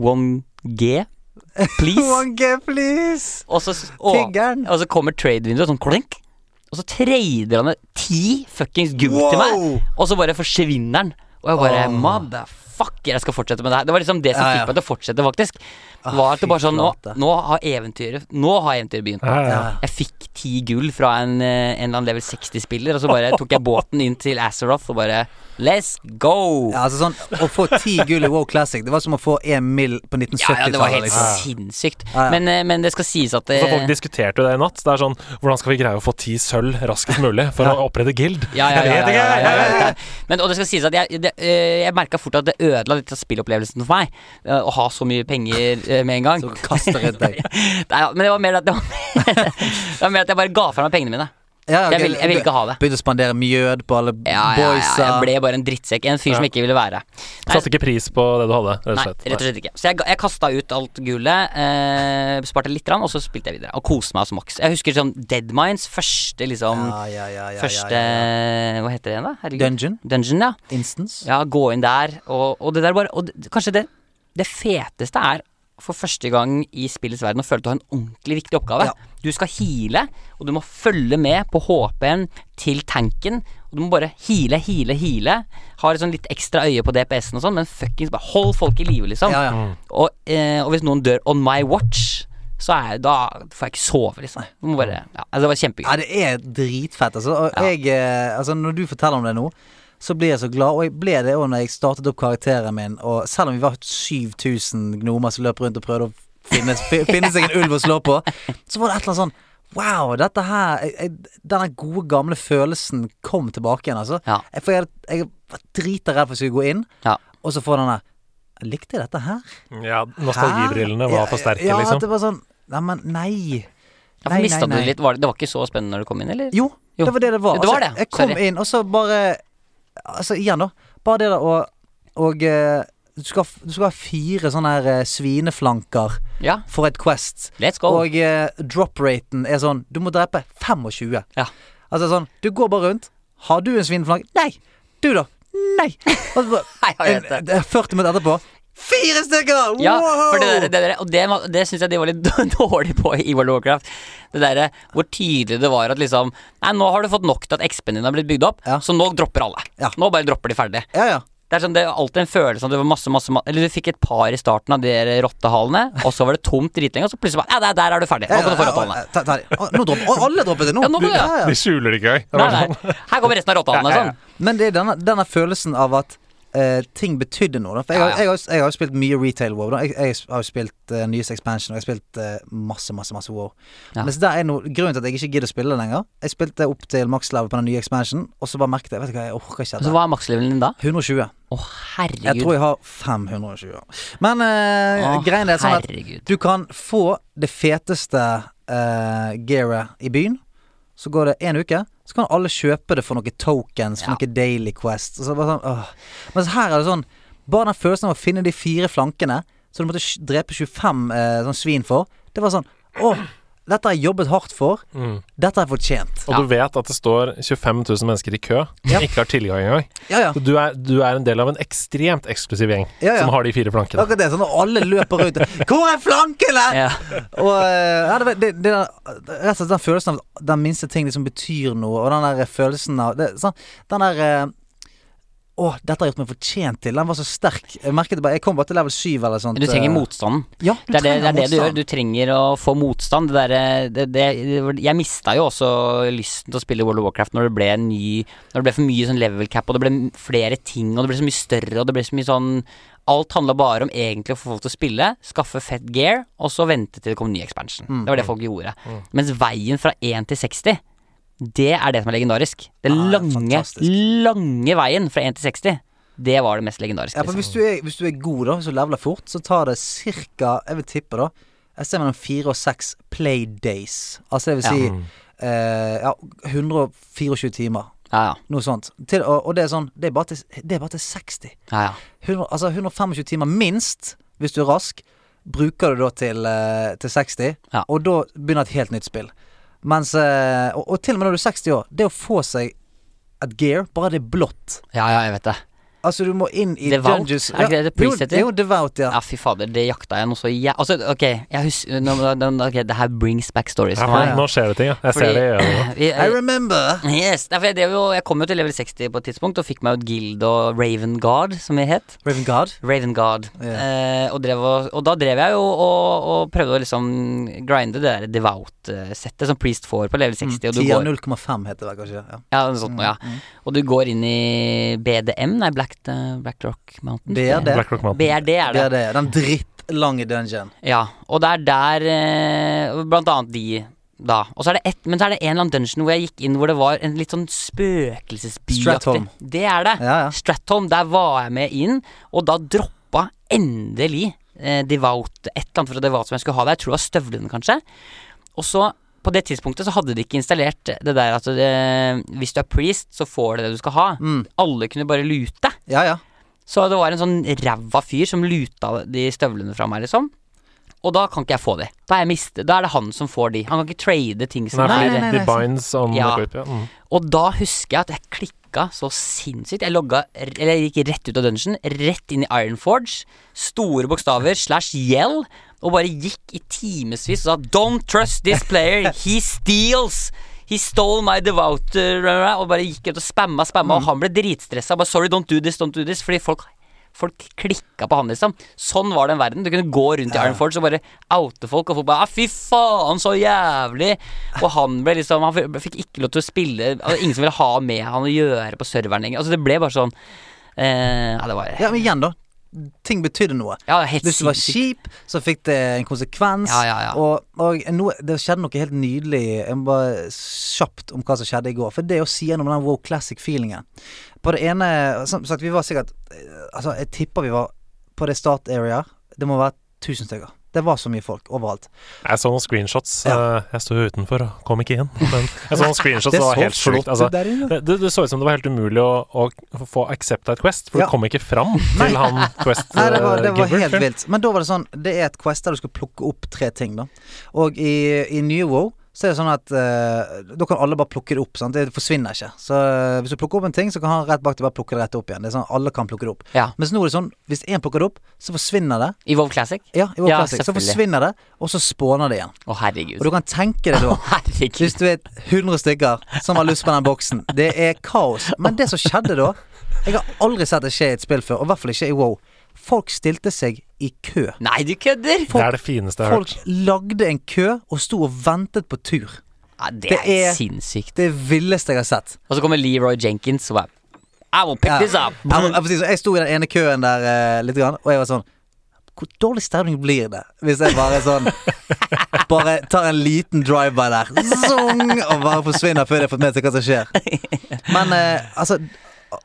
S1: 1G, please.
S3: One game, please!
S1: Og så, og,
S3: Tiggeren.
S1: og så kommer trade-vinduet sånn klink. Og så trader han et ti fuckings gull til meg,
S3: Wow!
S1: og så bare forsvinner han. Og jeg bare
S3: Åh.
S1: Motherfucker, jeg skal fortsette med det her. Det var liksom det som
S3: Ja, ja.
S1: fikk meg til å fortsette, faktisk.
S3: Ah,
S1: Var at
S3: fy
S1: det bare sånn Nå,
S3: flate.
S1: nå har eventyret Nå har eventyret begynt.
S2: Ja, ja.
S3: Ja.
S1: Jeg fikk ti gull fra en, eh, en eller annen level 60-spiller, og så bare tok jeg båten inn til Azeroth og bare Let's go!
S3: Ja, altså sånn, Å få ti gull i WoW Classic, det var som å få én mill. på
S1: Ja, ja, det var
S3: 1970-tallet.
S1: helt
S3: liksom.
S1: sinnssykt.
S3: Ja, ja.
S1: Men, eh, men det skal sies at
S2: Så
S1: eh,
S2: Altså, Folk diskuterte jo det i natt. Det er sånn, Hvordan skal vi greie å få ti sølv raskest mulig for å opprette guild?
S1: Ja, ja, ja,
S2: Jeg
S1: ja,
S2: vet
S1: ja,
S2: ikke!
S1: ja, ja, ja, ja. Men og det skal sies at jeg, det, eh, jeg merka fort at det ødela litt av spillopplevelsen for meg. eh, Å ha så mye penger eh, med en gang.
S3: Så kaster rundt deg.
S1: Nei, ja, men det var mer at det var det var mer at jeg bare ga fra meg pengene mine.
S3: Ja, ok,
S1: Jeg vil- jeg vil ikke ha det.
S3: Begynte å spandere mjød på alle
S1: Ja, ja, ja,
S3: boysa.
S1: jeg ble bare en drittsekk. En fyr som
S2: Ja.
S1: ikke ville være. Nei,
S2: Satte ikke pris på det du hadde, rett og
S1: Nei,
S2: slett.
S1: rett og slett ikke. Så jeg, ga- jeg kasta ut alt gullet, eh, sparte litt, grann, og så spilte jeg videre. Og koste meg som maks. Jeg husker sånn Dead Minds, første liksom
S3: ja, ja, ja, ja,
S1: Første
S3: ja, ja,
S1: Hva heter det igjen, da?
S3: ja.
S1: Herregud.
S3: Dungeon
S1: Dungeon, ja.
S3: Instance.
S1: Ja, gå inn der, og, og det der bare Og det, kanskje det, det feteste er for første gang i spillets verden å føle at du har en ordentlig viktig oppgave.
S3: Ja.
S1: Du skal heale, og du må følge med på HP-en til tanken. Og du må bare heale, heale, heale. Har et sånn litt ekstra øye på DPS-en og sånn, men fuckings bare hold folk i live, liksom.
S3: Ja, ja.
S1: Og, eh, og hvis noen dør on my watch, så er jeg, da får jeg ikke sove, liksom. Du må bare Ja, altså, det var kjempegøy.
S3: Ja, det er dritfett. Altså. Og jeg, eh, altså, når du forteller om det nå, så blir jeg så glad. Og jeg ble det òg når jeg startet opp karakteren min. Og selv om vi var 7000 gnomer som løp rundt og prøvde å finne, fi- finne seg en ulv å slå på, så var det et eller annet sånn Wow, dette her jeg, jeg, Denne gode, gamle følelsen kom tilbake igjen, altså.
S1: Ja.
S3: Jeg, for jeg, jeg var drita redd for at jeg skulle gå inn,
S1: Ja.
S3: og så får den der «Jeg Likte jeg dette her?
S2: Ja, Nostalgibrillene var for sterke,
S3: ja, Ja,
S2: liksom.
S3: det var sånn Neimen, nei.
S1: Ja, for mistet du litt? Var det, det var ikke så spennende når du kom inn, eller?
S3: Jo,
S1: Jo.
S3: det var det det var.
S1: Det var
S3: Altså,
S1: det.
S3: Jeg kom
S1: Sorry.
S3: inn, og så bare Altså, igjen, da. Bare det der å Og eh, du skal, du skal ha fire sånne her eh, svineflanker
S1: Ja.
S3: for et Quest.
S1: Let's go.
S3: Og eh, drop-raten er sånn Du må drepe 25.
S1: Ja.
S3: Altså sånn Du går bare rundt. Har du en svineflank? Nei. Du, da? Nei. Og så bare,
S1: Nei, jeg vet det.
S3: en, det er 40 minutter etterpå. Fire stykker!
S1: Ja,
S3: wow!
S1: for det der, det der, og det, var- det syns jeg de var litt dårlige på i World of Warcraft. Det derre hvor tydelig det var at liksom Nei, nå har du fått nok til at XP-en din har blitt bygd opp,
S3: Ja.
S1: så nå dropper alle.
S3: Ja.
S1: Nå bare dropper de ferdig.
S3: ja, ja.
S1: Det er sånn, det er alltid en følelse av at det var masse, masse, ma- Eller du fikk et par i starten av de der rottehalene, og så var det tomt dritlenge, og så plutselig bare Ja, der, der er du ferdig. Nå kan du få rottehalene.
S3: Ta- ta de. Å, Nå dropper å, alle droppet det nå.
S1: Ja, nå må du-
S2: De skjuler det ikke engang. Det
S1: Nei,
S2: var
S1: nei.
S2: sånn-
S1: Her kommer resten av rottehalene.
S2: Ja, ja, ja.
S1: Sånn.
S3: Men det er denne, denne følelsen av at eh, ting betydde noe. Da. For jeg,
S1: Ja, ja.
S3: har- jeg, har, jeg har jo spilt mye retail wow. Da. Jeg, jeg har jo spilt uh, nyeste expansion, og jeg har spilt eh, masse, masse masse wow.
S1: Ja.
S3: Mens der er noe, grunnen til at jeg ikke gidder å spille det lenger Jeg spilte opp til maks level på den nye expansion, og så bare merket jeg Vet du hva, jeg orker ikke
S1: Så
S3: dette.
S1: hva er makslevelen din da?
S3: 120.
S1: Å,
S3: Jeg tror
S1: herregud.
S3: jeg har 520. Men uh,
S1: Å,
S3: greien er sånn at
S1: herregud.
S3: du kan få det feteste uh, gearet i byen. Så går det en uke, så kan alle kjøpe det for noen tokens, for
S1: Ja.
S3: noen Daily Quest. Og så bare sånn, åh. Mens her er det sånn Bare den følelsen av å finne de fire flankene som du måtte sj- drepe 25 eh, sånn svin for, det var sånn Åh, Dette har jeg jobbet hardt for.
S2: Mm.
S3: Dette har jeg fortjent.
S2: Og du vet at det står 25 000 mennesker i kø som
S3: Ja.
S2: ikke har tilgang engang.
S3: Ja, ja.
S2: Så du er, du er en del av en ekstremt eksklusiv gjeng
S3: Ja, ja.
S2: som har de fire flankene.
S3: Akkurat det. Sånn at alle løper ut. Hvor er flankene?!
S1: Ja.
S3: Og eh, ja, det, var- det, det der, Rett og slett den følelsen av at den minste ting liksom betyr noe, og den der eh, følelsen av det, sånn, Den der eh, Å, dette har gjort meg fortjent til. Den var så sterk. Jeg merket det bare Jeg kom bare til level 7 eller sånt.
S1: Men du trenger
S3: eh,
S1: motstanden.
S3: Ja, du
S1: Det er det,
S3: trenger
S1: det er det du gjør.
S3: motstand.
S1: Du trenger å få motstand. Det derre- det, det, det, jeg mista jo også lysten til å spille World of Warcraft når det ble, en ny, når det ble for mye sånn level cap, og det ble flere ting, og det ble så mye større, og det ble så mye sånn Alt handla bare om egentlig å få folk til å spille, skaffe fett gear, og så vente til det kom ny expansion.
S3: Mm.
S1: Det var det folk gjorde. Mens veien fra 1 til 60 det er det som er legendarisk. Den
S3: Ja,
S1: lange,
S3: fantastisk.
S1: lange veien fra 1 til 60. Det var det mest legendariske. liksom.
S3: Ja, for hvis du, er, hvis du er god, da, hvis du leveler fort, så tar det ca. Jeg vil tippe, da Jeg ser mellom fire og seks play days. Altså det vil si eh, ja, 124 timer.
S1: Ja, ja.
S3: Noe sånt. Til, og, og det er sånn Det er bare til, det er bare til 60.
S1: ja, ja.
S3: 100, altså 125 timer minst, hvis du er rask, bruker du da til, eh, til 60,
S1: Ja.
S3: og da begynner et helt nytt spill. Mens eh, og, og til og med når du er 60 år, det å få seg et gear, bare det er blått
S1: Ja, ja, jeg vet det.
S3: Altså, du må inn i
S1: Devout?
S3: dungeons
S1: Er ikke det det
S3: Jo,
S1: priest heter?
S3: Jo, devout, ja.
S1: Ja, fy fader, det jakta jeg noe så jæ... Altså, ok, jeg husker nå, nå, nå, ok, Det her brings back stories.
S2: Ja,
S1: for meg.
S2: for nå skjer det ting, ja. Jeg
S1: Fordi-
S2: ser det i øynene.
S1: Vi-
S3: I remember.
S1: Yes, nei, for jeg, drev jo, jeg kom jo til level 60 på et tidspunkt og fikk meg jo et guild og Raven Guard, som vi het.
S3: Raven God.
S1: Raven Guard.
S3: Ja.
S1: Eh, og, drev og, og da drev jeg jo og, og prøvde å liksom grinde det der devout-settet som Priest får på
S3: Mm,
S1: level 60. Og du
S3: Tia
S1: går
S3: 0,5 heter det vel kanskje. Ja. Mm,
S1: Ja, noe sånt, noe, ja. Og du går inn i BDM, nei, Black, eh, Black Rock Mountain.
S3: BRD.
S2: Black Rock Mountain.
S1: BRD er
S3: Det
S1: det.
S3: er det. Den drittlange dungeon.
S1: Ja, og det er der eh, Blant annet de da. Og så er det ett, men så er det en eller annen dungeon hvor jeg gikk inn hvor det var en litt sånn spøkelsesby.
S3: Stratholm.
S1: Det er det.
S3: Ja, ja.
S1: Stratholm. Der var jeg med inn, og da droppa endelig eh, Devout et eller annet fra Devout som jeg skulle ha der. Jeg tror det var støvlene, kanskje. Og så på det tidspunktet så hadde de ikke installert det der at eh, hvis du er priest, så får du det du skal ha. Alle kunne bare lute.
S3: Mm. Ja, ja.
S1: Så det var en sånn ræva fyr som luta de støvlene fra meg, liksom. Og da kan ikke jeg få de. Da, er jeg miste, da er det han som får de. Han kan ikke trade ting som
S2: Nei,
S1: er
S2: fordi
S3: nei, nei,
S2: de
S3: nei,
S2: binds on
S1: Ja.
S2: knockout, ja. Mm.
S1: Og da husker jeg at jeg klikka så sinnssykt. Jeg, logga, eller jeg gikk rett ut av dungeon, rett inn i Ironforge. Store bokstaver slash yell. Og bare gikk i timevis og sa 'Don't trust this player. He steals'. He stole my devout uh, Og bare gikk ut og spamma,
S3: Mm.
S1: spamma. Og han ble dritstressa. Bare 'Sorry, don't do this, don't do this'. Fordi folk Folk klikka på han, liksom. Sånn var den verden. Du kunne gå rundt i Iron Forge og bare oute folk, og folk bare «Ah, 'Fy faen, så jævlig'. Og han ble liksom Han f- fikk ikke lov til å spille altså, Ingen som ville ha med han å gjøre på serveren lenger. Altså, det ble bare sånn eh, Ja, det var
S3: Ja, men igjen, da. Ting betydde noe.
S1: Ja, helt
S3: Hvis du var
S1: sinnssykt.
S3: kjip, så fikk det en konsekvens.
S1: Ja, ja, ja.
S3: Og, og noe, det skjedde noe helt nydelig Jeg må bare kjapt om hva som skjedde i går. For det å si gjennom den wow classic-feelingen På det ene Som sagt, vi var sikkert eh, Altså, jeg tipper vi var på det start area. Det må være 1000 stykker. Det var så mye folk overalt.
S2: Jeg så noen screenshots.
S3: Ja.
S2: eh, Jeg sto jo utenfor og kom ikke inn. Men jeg så noen screenshots,
S3: Det
S2: det
S3: så
S2: var helt sjukt.
S3: flott
S2: Altså,
S3: ut der inne.
S2: det, det, det så ut som det var helt umulig å, å få accepta et Quest, for
S3: Ja.
S2: du kom ikke fram til han Quest
S3: Nei, det var, det var
S2: eh,
S3: helt
S2: Gilbert, tror jeg.
S3: vilt. Men da var det sånn Det er et quest der du skal plukke opp tre ting, da. Og i, i nye WoW så er det sånn at eh, da kan alle bare plukke det opp. Sant? Det forsvinner ikke. Så eh, hvis du plukker opp en ting, så kan han rett bak deg bare plukke det rett opp igjen. Det er sånn Alle kan plukke det opp.
S1: Ja.
S3: Mens nå er det sånn hvis én plukker det opp, så forsvinner det.
S1: I WoW Classic? Å,
S3: Ja, i vår
S1: Ja,
S3: classic. Så
S1: selvfølgelig.
S3: forsvinner det, og så spåner det igjen. Og
S1: herregud.
S3: du kan tenke deg da
S1: Herregud.
S3: hvis du er 100 stykker som har lyst på den boksen. Det er kaos. Men det som skjedde da Jeg har aldri sett det skje i et spill før, og i hvert fall ikke i WoW. Folk stilte seg i kø.
S1: Nei, du kødder!
S2: Det er det fineste jeg har
S3: Folk
S2: hørt.
S3: lagde en kø og sto og ventet på tur.
S1: Ja, det,
S3: Det
S1: er,
S3: er-
S1: sinnssykt.
S3: Det villeste jeg har sett.
S1: Og så kommer Leroy Jenkins og bare I will pick
S3: Ja.
S1: this up.
S3: Jeg, må- jeg, må si sånn, jeg sto i den ene køen der eh, litt, grann, og jeg var sånn Hvor dårlig stemning blir det hvis jeg bare sånn Bare tar en liten drive-by der, zung, og bare forsvinner før jeg har fått med seg hva som skjer. Men eh, altså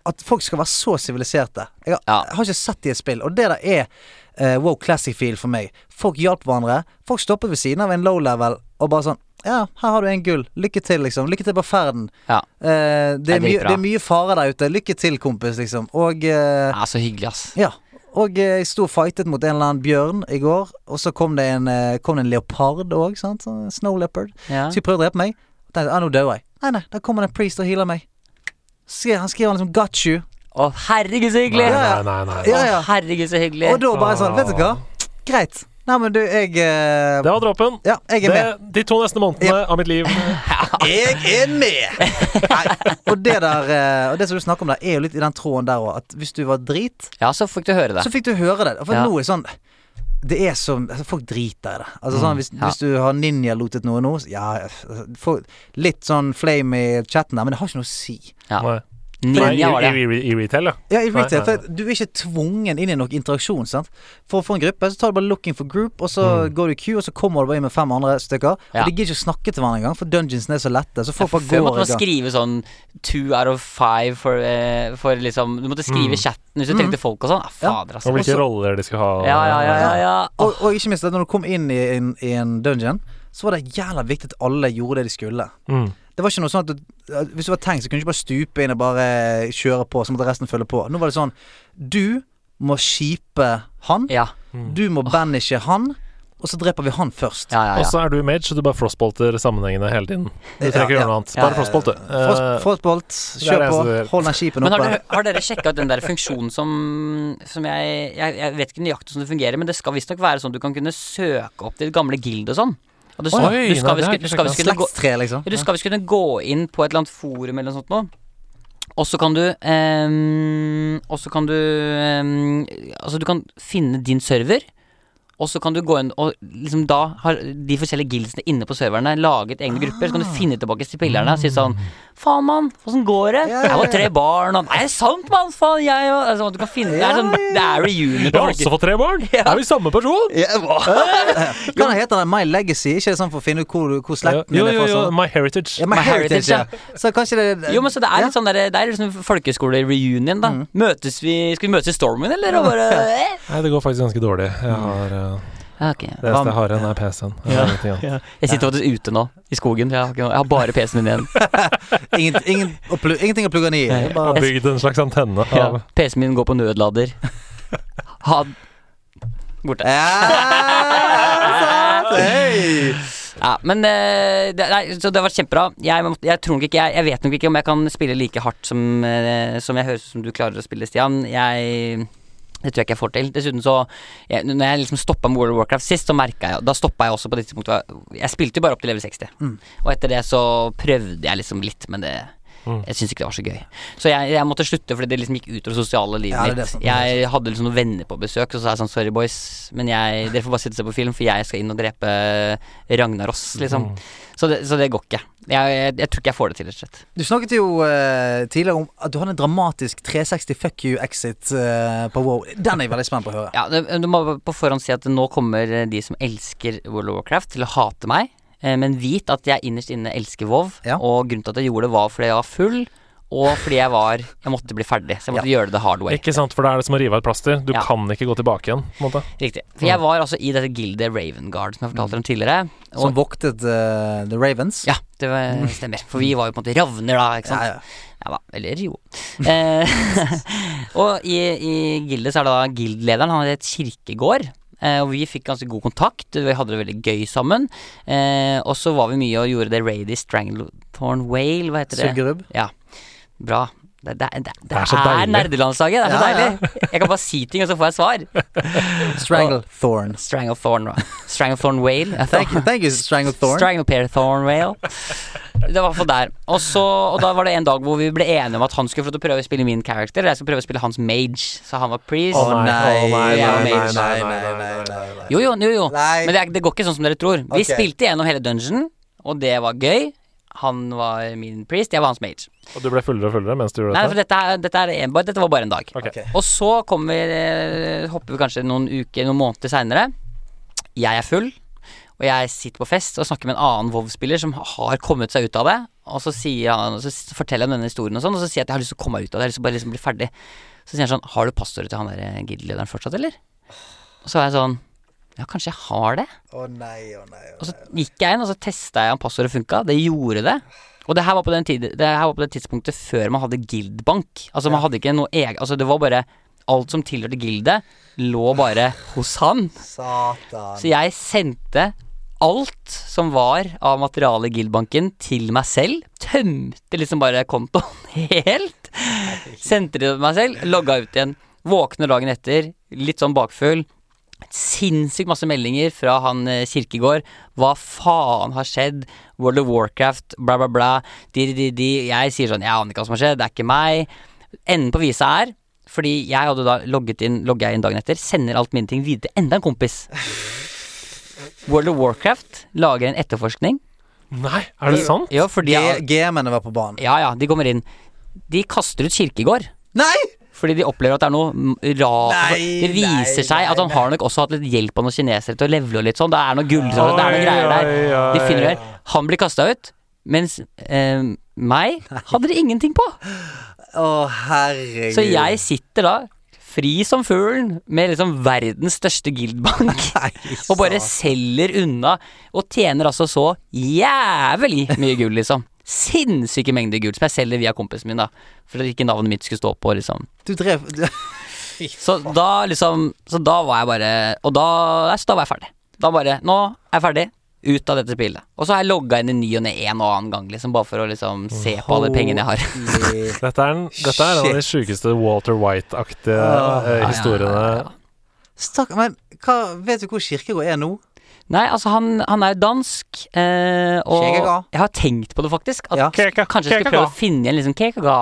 S3: At folk skal være så siviliserte jeg, har-
S1: Ja.
S3: jeg har ikke sett det i et spill, og det der er eh, wow classic-feel for meg. Folk hjalp hverandre. Folk stoppet ved siden av en low level og bare sånn Ja, her har du en gull. Lykke til, liksom. Lykke til på ferden.
S1: Ja.
S3: Eh, det, er
S1: Det er
S3: mye,
S1: dritbra.
S3: det er mye fare der ute. Lykke til, kompis, liksom. Og eh,
S1: ja, så hyggelig, ass.
S3: ja. Og eh, jeg sto og fightet mot en eller annen bjørn i går, og så kom det en, eh, kom det en leopard òg, sant. Sånn Snow leopard.
S1: Ja.
S3: Så jeg prøvde å drepe meg. Og tenkte ah, nå dør jeg. Nei, nei, der kommer det en priest og healer meg. Skri- Han skriver liksom 'got you'.
S1: Å, herregud, så hyggelig!
S3: Ja,
S2: Nei,
S3: ja.
S2: nei, nei.
S3: Ja, ja.
S1: Å, herregud, så hyggelig.
S3: Og da bare sånn, vet du hva. Greit. Nei, men du, jeg eh,
S2: Det var dråpen.
S3: Ja, jeg er
S2: Det,
S3: med.
S2: de to neste månedene av mitt liv.
S3: Jeg er med! Nei, og det der eh, Og det som du snakker om der, er jo litt i den tråden der òg. At hvis du var drit,
S1: Ja, så fikk du høre det.
S3: så fikk du høre det. For
S1: Ja.
S3: nå er sånn det er så, altså Folk driter i det. Altså sånn, hvis,
S1: ja.
S3: hvis du har ninjalotet noe nå så- Ja, altså, folk- litt sånn flame i chatten der, men det har ikke noe å si.
S1: Ja.
S2: Nei. Nei, i,
S1: Ninja var det.
S2: i, i, I retail, ja.
S3: Ja, i retail,
S2: Nei, nei,
S3: for Du er ikke tvungen inn i noen interaksjon. sant? For å få en gruppe så tar du bare 'looking for group', og så går du i queue, og så kommer du bare inn med fem andre stykker. Og
S1: Ja.
S3: de gidder ikke å snakke til hverandre engang, for dungeonsene er så lette. Så folk bare
S1: Før
S3: går
S1: måtte
S3: i
S1: man
S3: gang.
S1: skrive sånn two out of five for, eh, for liksom Du måtte skrive i chatten hvis du trengte folk og sånn. Ah,
S3: Ja.
S1: fader,
S2: Mm. Og
S1: altså.
S2: hvilke
S3: Også-
S2: roller de skal ha.
S1: Ja, ja, ja. ja, ja.
S3: Og, og ikke minst at når du kom inn i en, i en dungeon, så var det jævla viktig at alle gjorde det de skulle.
S2: Mm.
S3: Det var ikke noe sånn at du, at Hvis du var tenkt, så kunne du ikke bare stupe inn og bare kjøre på, så måtte resten følge på. Nå var det sånn Du må skipe han.
S1: Ah, Ja, Ah.
S3: Du må banishe han. Og så dreper vi han først.
S1: ja, ja.
S2: Og
S1: ja.
S2: så er du mage, så du bare frostbolter sammenhengende hele tiden. Du trenger ikke
S3: Ja,
S2: gjøre noe annet.
S1: ja.
S2: Bare Eh, frostbolt, du.
S1: Eh,
S3: Frost- Frostbolt,
S2: det er
S3: kjør
S2: det
S3: på.
S2: eneste du gjør.
S3: Hold den skipen
S1: Men har
S3: oppe.
S1: dere, har dere sjekka ut den der funksjonen som, som jeg, jeg Jeg vet ikke nøyaktig hvordan det fungerer, men det skal visstnok være sånn at du kan kunne søke opp ditt gamle guild og sånn. Og du, skal-
S2: Oi, nei,
S1: du skal
S2: det har jeg
S1: visst-
S2: ikke
S1: du skal visst kunne gå
S3: Slektstre, liksom.
S1: Ja, Du skal visst kunne gå inn på et eller annet forum eller noe sånt nå. Og så kan du ehm, Og så kan du ehm, Altså, du kan finne din server. Og så kan du gå inn og liksom da har de forskjellige guildsene inne på serverne laget egne grupper. Så kan du finne tilbake spillerne og si sånn Faen, mann, åssen går det?
S3: Ja, ja,
S1: Jeg var
S3: ja.
S1: tre barn, og Nei, sant, mann! Faen, jeg og altså, Du kan finne Det er sånn Det er reunion.
S2: Jeg har også fått tre barn!
S1: Ja.
S2: Er vi samme person?
S3: Kan det hete den My Legacy? Ikke det sånn for å finne ut hvor, du- hvor slekten
S2: Jo,
S3: din er
S2: jo,
S3: fra?
S2: jo.
S3: sånn?
S2: My heritage.
S3: Ja, my,
S1: My
S3: heritage,
S1: heritage,
S3: ja. Så kanskje det
S1: Jo, men så det er litt sånn der, Det er liksom folkeskole-reunion, da. Møtes vi Skal vi møtes i stormen, eller? Og bare eh?
S2: Nei, det går faktisk ganske dårlig. Jeg har, eh,
S1: Ok.
S2: det eneste jeg har igjen, er PC-en. Jeg har ingenting annet.
S1: Jeg sitter faktisk ute nå, i skogen. Jeg har, ikke noe, jeg har bare PC-en min igjen.
S3: Ingen, ingen, å plu- ingenting å plugge den i. Det er
S2: Jeg har
S3: Bare,
S2: bygd en slags antenne
S1: Ja.
S2: av
S1: PC-en min går på nødlader. Ha Borte.
S3: ja, Ah, sant. Hei.
S1: Ja, men eh, det, nei, Så det har vært kjempebra. Jeg, må- jeg, tror nok ikke, jeg, jeg vet nok ikke om jeg kan spille like hardt som, eh, som jeg høres ut som du klarer å spille, Stian. Jeg det tror jeg ikke jeg får til. Dessuten så jeg, Når jeg liksom stoppa med World of Warcraft sist, så merka jeg Da stoppa jeg også på det tidspunktet Jeg spilte jo bare opp til level 60.
S3: Mm.
S1: Og etter det så prøvde jeg liksom litt, men det
S3: Mm.
S1: Jeg syns ikke det var så gøy. Så jeg, jeg måtte slutte fordi det liksom gikk ut over det sosiale livet
S3: Ja, det er det
S1: mitt.
S3: som-
S1: Jeg hadde liksom noen venner på besøk, og så sa jeg sånn Sorry, boys, men jeg, dere får bare sitte og se på film, for jeg skal inn og drepe Ragnaros, liksom.
S2: Mm.
S1: Så, det, så det går ikke. Jeg, jeg, jeg tror ikke jeg får det til, rett og slett.
S3: Du snakket jo eh, tidligere om at du hadde en dramatisk 360 fuck you exit eh, på Wow. Den er jeg veldig spent på å høre.
S1: Ja, du, du må på forhånd si at nå kommer eh, de som elsker World of Warcraft til å hate meg, eh, men vit at jeg innerst inne elsker WoW,
S3: Ja.
S1: og grunnen til at jeg gjorde det var fordi jeg var full, og fordi jeg var Jeg måtte bli ferdig, så jeg måtte gjøre det the hard way.
S2: Ikke sant, for da er det som å rive av et plaster. Du
S1: Ja.
S2: kan ikke gå tilbake igjen. på en måte
S1: Riktig. For jeg var altså i dette gildet Ravenguard, som jeg fortalte om tidligere.
S3: Som voktet eh, The Ravens.
S1: Ja, det var, stemmer. For vi var jo på en måte ravner, da. ikke sant?
S3: Ja, ja.
S1: Ja da, eller jo. Eh, og i, i gildet så er det da gildlederen, han heter Kirkegård. Eh, og vi fikk ganske god kontakt, vi hadde det veldig gøy sammen. Eh, og så var vi mye og gjorde det raidy stranglethorn whale, hva heter det?
S3: Suggerubb.
S1: Ja, bra. Det, det, det, det,
S2: er så
S1: er
S2: deilig.
S1: nerdelandslaget, det er så
S3: Ja, ja.
S1: deilig. Jeg kan bare si ting, og så får jeg svar.
S3: Stranglethorn.
S1: Stranglethorn, stranglethorn whale. jeg
S3: Thank you, thank you Stranglethorn.
S1: Stranglepair Thornrail. Det var i hvert fall der. Og, så, og da var det en dag hvor vi ble enige om at han skulle få lov til å prøve å spille min character, og jeg skulle prøve å spille hans mage. Så han var priest.
S3: Å, nei,
S1: nei, nei,
S3: nei,
S2: nei,
S3: nei,
S2: nei,
S3: nei, nei, nei.
S1: Jo, jo, jo, jo.
S3: Nei.
S1: Men det, er, det går ikke sånn som dere tror. Vi
S3: Ok.
S1: spilte gjennom hele dungeon, og det var gøy. Han var min priest, jeg var hans mage.
S2: Og du ble fullere og fullere mens du gjorde
S1: Nei,
S2: dette?
S1: for dette, er- dette, er en, bare- dette var bare en dag.
S2: Ok.
S3: Ok.
S1: Og så kommer eh, hopper vi kanskje noen uker, noen måneder seinere. Jeg er full, og jeg sitter på fest og snakker med en annen Vov-spiller som har kommet seg ut av det. Og så, sier han, og så s- forteller jeg om denne historien, og sånn Og så sier jeg at jeg har lyst til å komme meg ut av det. Jeg har lyst til å bare liksom bli ferdig Så sier han sånn Har du passordet til han der giddelederen fortsatt, eller? Og så var jeg sånn Ja, kanskje jeg har det?
S3: Å nei, å nei. å
S1: Og
S3: nei.
S1: så gikk jeg inn, og så testa jeg om passordet funka. Det gjorde det. Og det her var på, den tid, det her var på det tidspunktet før man hadde Guildbank. Altså man hadde ikke noe egen Altså det var bare alt som tilhørte gildet, lå bare hos han.
S3: Satan.
S1: Så jeg sendte alt som var av materiale i Guildbanken til meg selv. Tømte liksom bare kontoen helt. Sendte det til meg selv, logga ut igjen. Våkner dagen etter, litt sånn bakfull. Sinnssykt masse meldinger fra han eh, Kirkegård. Hva faen har skjedd? World of Warcraft, bla, bla, bla. De, de, de, de. Jeg sier sånn, jeg aner ikke hva som har skjedd, det er ikke meg. Enden på visa er fordi jeg hadde da logget inn, logget jeg inn dagen etter, sender alt mine ting videre til enda en kompis. World of Warcraft lager en etterforskning.
S2: Nei, er det sant?
S1: Jo, fordi
S3: G- GM-ene var på banen.
S1: Ja, ja, de kommer inn. De kaster ut Kirkegård.
S3: Nei!
S1: Fordi de opplever at det er noe m- ra... altså, det
S3: nei,
S1: viser seg at han
S3: nei,
S1: har nok også hatt litt hjelp av noen kinesere til å levele og litt sånn. Det er noe gull, det er noen
S2: Oi,
S1: greier der.
S2: oi,
S1: De finner det.
S2: oi.
S1: her. Han blir kasta ut, mens eh, meg hadde de ingenting på.
S3: Å, herregud.
S1: Så jeg sitter da fri som fuglen med liksom verdens største guildbank. Og bare selger unna, og tjener altså så jævlig mye gull, liksom. Sinnssyke mengder gull som jeg selger via kompisen min, da. For at ikke navnet mitt skulle stå på, liksom.
S3: Du drev du,
S1: Så da liksom Så da var jeg bare Og da, nei, så da var jeg ferdig. Da bare Nå er jeg ferdig. Ut av dette spillet. Og så har jeg logga inn i ny og ne en og annen gang, liksom. Bare for å liksom se på alle pengene jeg har.
S3: Holy-
S2: Dette er, en, dette er en av de sjukeste Walter White-aktige eh, historiene.
S3: Stakk, men hva, vet du hvor Kirkegård er nå?
S1: Nei, altså, han, han er jo dansk, eh, og
S3: Kjekega.
S1: jeg har tenkt på det, faktisk. At
S3: Ja.
S2: Kjeka-
S1: Kanskje jeg skal
S2: kjekega.
S1: prøve å finne en liksom kekaga,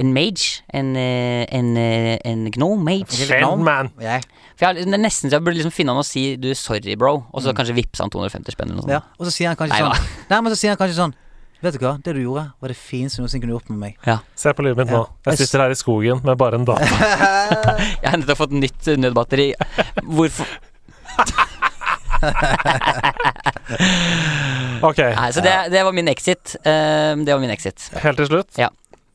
S1: en mage, en, eh, en, eh, en gnome mage.
S2: Shen man.
S3: Jeg.
S1: For jeg, har- det er nesten så jeg burde liksom finne han og si du, sorry, bro, og så kanskje vippse han 250 spenn eller noe sånt.
S3: Mm. Ja. Og så sier han kanskje
S1: Nei,
S3: sånn Nei, men så sier han kanskje sånn Vet du hva, det du gjorde, var det fineste du noensinne kunne gjort med meg.
S2: Se på livet mitt nå.
S3: Ja.
S2: Jeg sitter her i skogen med bare en data.
S1: Jeg har nettopp fått nytt eh, nødbatteri. Hvorfor
S2: Ok,
S1: Nei, så det, det var min exit. Eh, det var min exit.
S2: helt til slutt.
S1: Ja.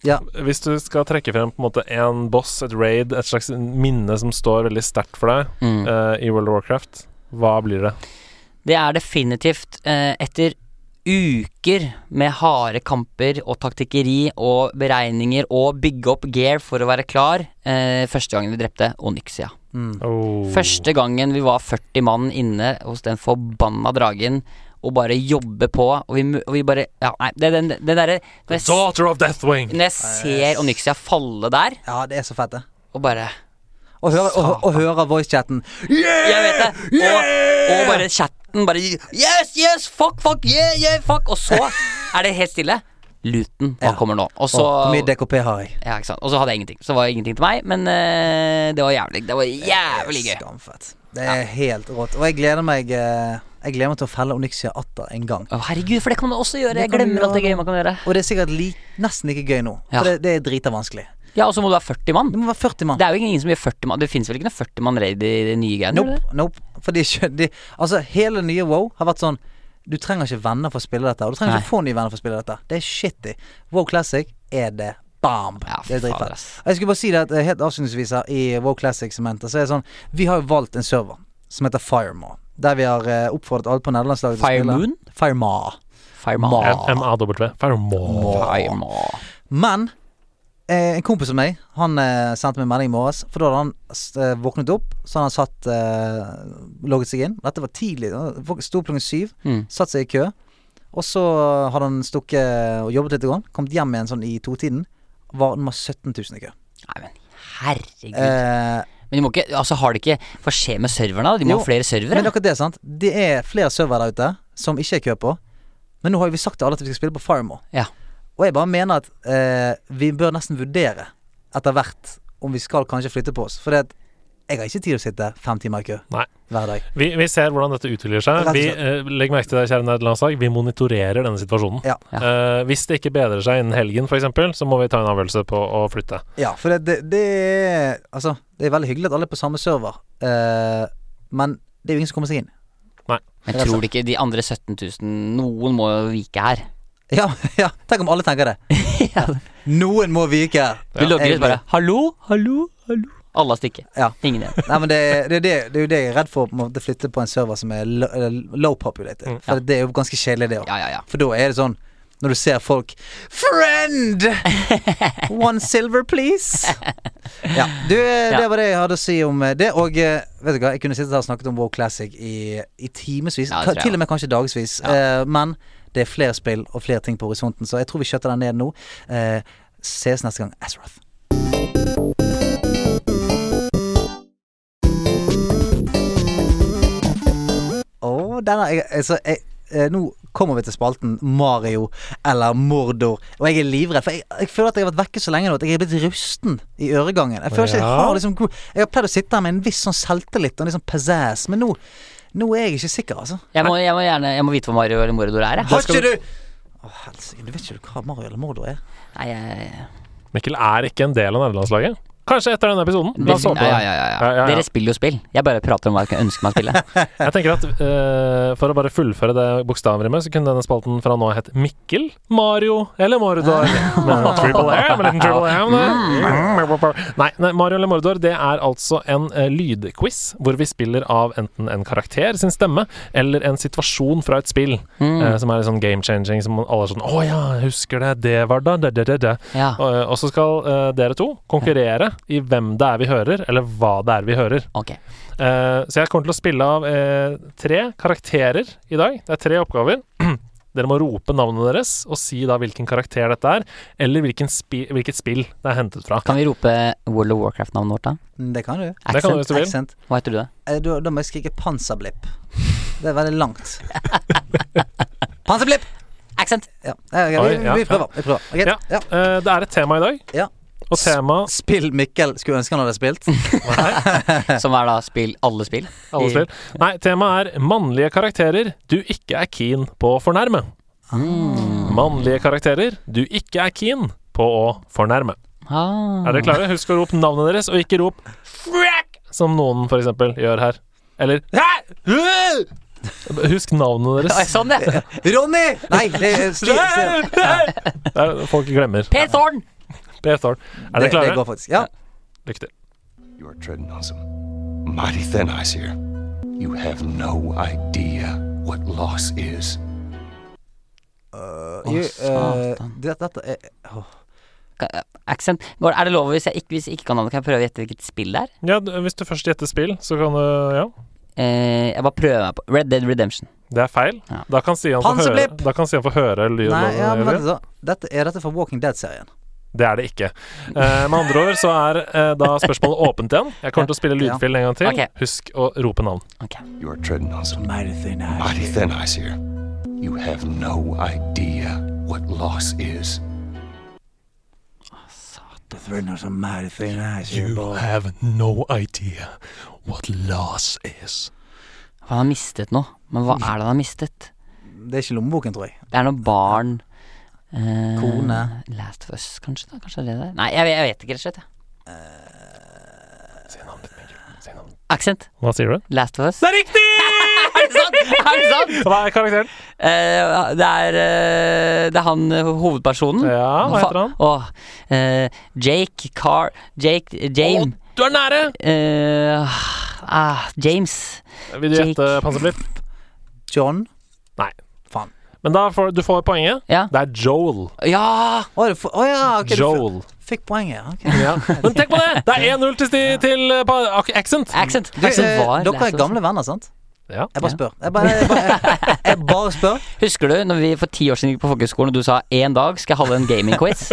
S3: Ja.
S2: Hvis du skal trekke frem på en måte en boss, et raid, et slags minne som står veldig sterkt for deg
S1: Mm.
S2: eh, i World of Warcraft, hva blir det?
S1: Det er definitivt eh, etter uker med harde kamper og taktikkeri og beregninger og bygge opp gear for å være klar, eh, første gangen vi drepte Onyxia.
S3: Mm.
S2: Oh.
S1: Første gangen vi var 40 mann inne hos den forbanna dragen og bare jobbe på, og vi, mu- og vi bare Ja, nei, det er den, den derre når, jeg s-
S2: Daughter of Deathwing!
S1: når jeg ser Onyxia falle der,
S3: Ja, det er så fett, det.
S1: og bare
S3: Og hører, og, og hører voice-chatten
S1: Jeg vet det. Og, og bare chatten bare Yes, yes, fuck, fuck, yeah, yeah, fuck. Og så er det helt stille. Luten, hva
S3: Ja.
S1: kommer nå? Og så
S3: Å, Hvor mye DKP har jeg?
S1: ja, ikke sant? Og så hadde jeg ingenting. Så det var ingenting til meg, men eh, det var jævlig Det var jævlig gøy.
S3: Skamfett. Det er helt rått. Og jeg gleder meg eh, Jeg gleder meg til å felle Onyxia atter en gang.
S1: Å, herregud, for det kan man også gjøre.
S3: Det
S1: Jeg
S3: kan du
S1: glemmer alt det
S3: gjøre.
S1: gøye man kan gjøre.
S3: Og det er sikkert li nesten like gøy nå.
S1: Ja.
S3: For det, det er drita vanskelig.
S1: Ja, og så må du ha 40 mann.
S3: Det må være 40 mann.
S1: Det er jo ingen som gjør 40 mann. Det fins vel ikke noe 40 mann raid i de nye greiene?
S3: Nope.
S1: eller?
S3: nope For de, kjø- de, altså, hele nye WoW har vært sånn Du trenger ikke venner for å spille dette. Og du trenger
S1: Nei.
S3: ikke få nye venner for å spille dette. Det er shitty. WoW Classic er det bomb. det
S1: Ja,
S3: er
S1: fader,
S3: dritfett.
S1: ass.
S3: Jeg skulle bare si det at eh, helt avslutningsvis her i WoW Classic-segmentet, så er det sånn Vi har jo valgt en server som heter Firemaw. Der vi har eh, oppfordret alle på nederlandslaget til å spille.
S1: Firemoon?
S3: Firemaw.
S1: Fireman.
S2: MAW. Farmo.
S1: Fireman.
S3: Men eh, en kompis av meg Han eh, sendte meg en melding i morges. For da hadde han s- eh, våknet opp, så hadde han satt eh, logget seg inn. Dette var tidlig. han våk- Sto opp klokken syv,
S1: Mm.
S3: satt seg i kø. Og så hadde han stukket og jobbet litt. grann, Kommet hjem igjen sånn i totiden. Var nummer 17 000 i kø.
S1: Nei, men herregud.
S3: Eh,
S1: Men de må ikke, altså har det ikke Hva skjer med serverne? da? De må
S3: Jo,
S1: ha flere
S3: men
S1: servere.
S3: akkurat det, sant. Det er flere servere der ute som ikke er kø på. Men nå har jo vi sagt til alle at vi skal spille på Firemore.
S1: Ja.
S3: Og jeg bare mener at eh, vi bør nesten vurdere etter hvert om vi skal kanskje flytte på oss. For det at jeg har ikke tid til å sitte fem timer i kø
S2: Nei.
S3: hver dag.
S2: Vi, vi ser hvordan dette utvikler seg.
S3: Rett og
S2: Vi,
S3: slett.
S2: eh, legg merke til det, kjære nederlandslag, vi monitorerer denne situasjonen.
S3: Ja.
S2: Eh, hvis det ikke bedrer seg innen helgen, f.eks., så må vi ta en avgjørelse på å flytte.
S3: Ja, for det, det, det er Altså, det er veldig hyggelig at alle er på samme server, eh, men det er jo ingen som kommer seg inn.
S1: Men tror du ikke de andre 17 000 Noen må jo vike her.
S3: Ja, ja, tenk om alle tenker det. Noen må vike.
S1: Du logger ut bare 'hallo, hallo, hallo'. Alle har stikket.
S3: Ja.
S1: Ingen igjen.
S3: Nei, men det, det, er det, det er jo det jeg er redd for, å på en måte flytte på en server som er lo- eh, low populated. For det er jo ganske kjedelig, det òg.
S1: Mm, Ja, ja, ja.
S3: For da er det sånn når du ser folk Friend! One silver, please! Ja. Du, eh,
S1: Ja.
S3: det var det jeg hadde å si om eh, det. Og eh, vet du hva, jeg kunne sittet her og snakket om WoW Classic i, i timevis.
S1: Ja,
S3: ka-
S1: det tror jeg.
S3: til og med kanskje dagevis. Eh, men det er flere spill og flere ting på horisonten, så jeg tror vi skjøtter den ned nå. Eh, ses neste gang, Azroth. Å, denne jeg, altså, jeg, eh, Nå kommer vi til spalten Mario eller Mordor. Og jeg er livredd, for jeg, jeg føler at jeg har vært vekke så lenge nå at jeg er blitt rusten i øregangen. Jeg føler ikke jeg
S2: Ja.
S3: har liksom god Jeg har pleid å sitte her med en viss sånn selvtillit og en litt sånn pizzazz, men nå, nå er jeg ikke sikker, altså.
S1: Jeg må, jeg må gjerne jeg må vite hva Mario eller Mordor er. Jeg.
S3: Har ikke du Å, helsike, du vet ikke hva Mario eller Mordor er?
S1: Nei, jeg,
S2: Mikkel er ikke en del av nederlandslaget. Kanskje etter denne episoden. La oss håpe
S1: ja, ja,
S2: det.
S1: ja, ja.
S2: Ja, ja, ja.
S1: Dere spiller jo spill. Jeg bare prater om hva jeg kunne ønske meg å spille.
S2: Jeg tenker at eh, For å bare fullføre det bokstavrimet, så kunne denne spalten fra nå av hett Mikkel, Mario eller Mordor. Men triple A, med en liten triple A om
S1: Mm.
S2: det. Nei, nei, Mario eller Mordor det er altså en eh, lydquiz hvor vi spiller av enten en karakter sin stemme eller en situasjon fra et spill. eh, som er litt sånn game changing, som alle er sånn Å ja, husker det, det var da, det, det, det, det.
S1: Ja.
S2: Og, og så skal eh, dere to konkurrere i hvem det er vi hører, eller hva det er vi hører.
S1: Ok.
S2: Eh, så jeg kommer til å spille av eh, tre karakterer i dag. Det er tre oppgaver. Dere må rope navnet deres og si da hvilken karakter dette er, eller hvilken spi hvilket spill det er hentet fra.
S1: Kan vi rope World of Warcraft-navnet vårt, da?
S3: Mm, Det kan du.
S2: Det kan du hvis
S1: Accent?
S2: du vil.
S3: Accent.
S1: Hva heter du, da?
S3: Eh, Da, da må jeg skrike panserblipp. Det er veldig langt. panserblipp!
S1: Accent!
S3: Ja, eh, ok,
S2: Oi,
S3: vi,
S2: ja,
S3: vi prøver. Vi prøver. Ok,
S2: Ja.
S3: ja.
S2: Eh, det er et tema i dag,
S3: Ja.
S2: og temaet
S3: Spill Mikkel skulle ønske han hadde spilt.
S1: Som er da spill alle spill.
S2: alle spill. Nei, temaet er mannlige karakterer du ikke er keen på å fornærme. Mannlige karakterer du ikke er keen på å fornærme.
S1: Ah.
S2: Er dere klare? Husk å rope navnet deres, og ikke rop Frack! Som noen for eksempel gjør her. Eller «Hæ? Øh!» Husk navnet
S1: Oi,
S2: deres.
S1: Sånn, ja.
S3: Ronny! Nei, det er Stian. Stian.
S2: Det er- Folk glemmer.
S1: Per Thorn!
S2: Per Thorn. Er
S3: Det,
S2: dere
S3: det går
S2: klare?
S3: faktisk. Ja.
S2: Lykke til.
S5: You are treading on some mighty thin ice here. You have no idea what loss is.
S3: Jo, eh,
S1: satan.
S3: det, dette er åh.
S1: Ka- Accent. Går- Er det lov hvis jeg ikke, hvis jeg ikke kan navnet, kan jeg prøve å gjette hvilket spill det er?
S2: Ja, d- hvis du først gjetter spill, så kan du Ja.
S1: Eh, jeg bare prøver meg på Red Dead Redemption.
S2: Det er feil.
S1: Ja.
S2: Da kan Stian få høre,
S3: Panserblipp!
S2: da kan Stian få høre lyden.
S3: Nei, ja,
S2: av
S3: men
S2: det.
S3: vent litt, da. Dette, er dette fra Walking Dead-serien?
S2: Det er det ikke. Eh, med andre ord så er eh, da spørsmålet åpent igjen. Jeg kommer til å spille
S3: Ja.
S2: lydfil en gang til.
S1: Ok.
S2: Husk å rope navn.
S1: Ok.
S5: You are treading on some
S3: Mighty thin ice.
S5: mighty thin ice here. You have no idea what loss is.
S3: The thread of some mighty thin ice.
S4: have no idea what loss is.
S1: Han har mistet noe. Men hva er det han har mistet?
S3: Det er ikke lommeboken, tror jeg.
S1: Det er noe barn eh,
S3: Kone.
S1: Last of Us, kanskje? da Kanskje det er det der? Nei, jeg, jeg vet ikke, rett og slett. jeg. Accent.
S2: Hva sier du?
S1: Last of Us.
S2: Det er riktig!
S1: Er det sant? Er det sant?
S2: Hva er karakteren?
S1: Eh, det, er, eh, det er han eh, hovedpersonen.
S2: Ja, hva heter han?
S1: Åh, eh, Jake Carr Jake eh, James.
S2: Du er nære!
S1: Eh, ah, James.
S2: Vil du
S1: Jake.
S2: gjette panserblipp?
S3: John?
S2: Nei.
S3: Faen.
S2: Men da får du får poenget.
S1: Ja.
S2: Det er Joel.
S1: Ja!
S3: Å du får- å ja, ok. du f-
S2: Joel.
S3: Fikk poenget. ok.
S2: Men tenk på det! Det er 1-0 til, sti- til eh, pa- ak- Accent.
S1: Accent.
S3: Du,
S1: Accent
S3: eh,
S1: var
S3: dere er
S1: Last of Us.
S3: gamle venner, sant?
S2: Ja.
S3: Jeg bare
S1: Ja.
S3: spør. Jeg bare, jeg bare, jeg bare spør.
S1: Husker du når vi for ti år siden gikk på folkehøgskolen og du sa én dag skal jeg holde en gaming-quiz?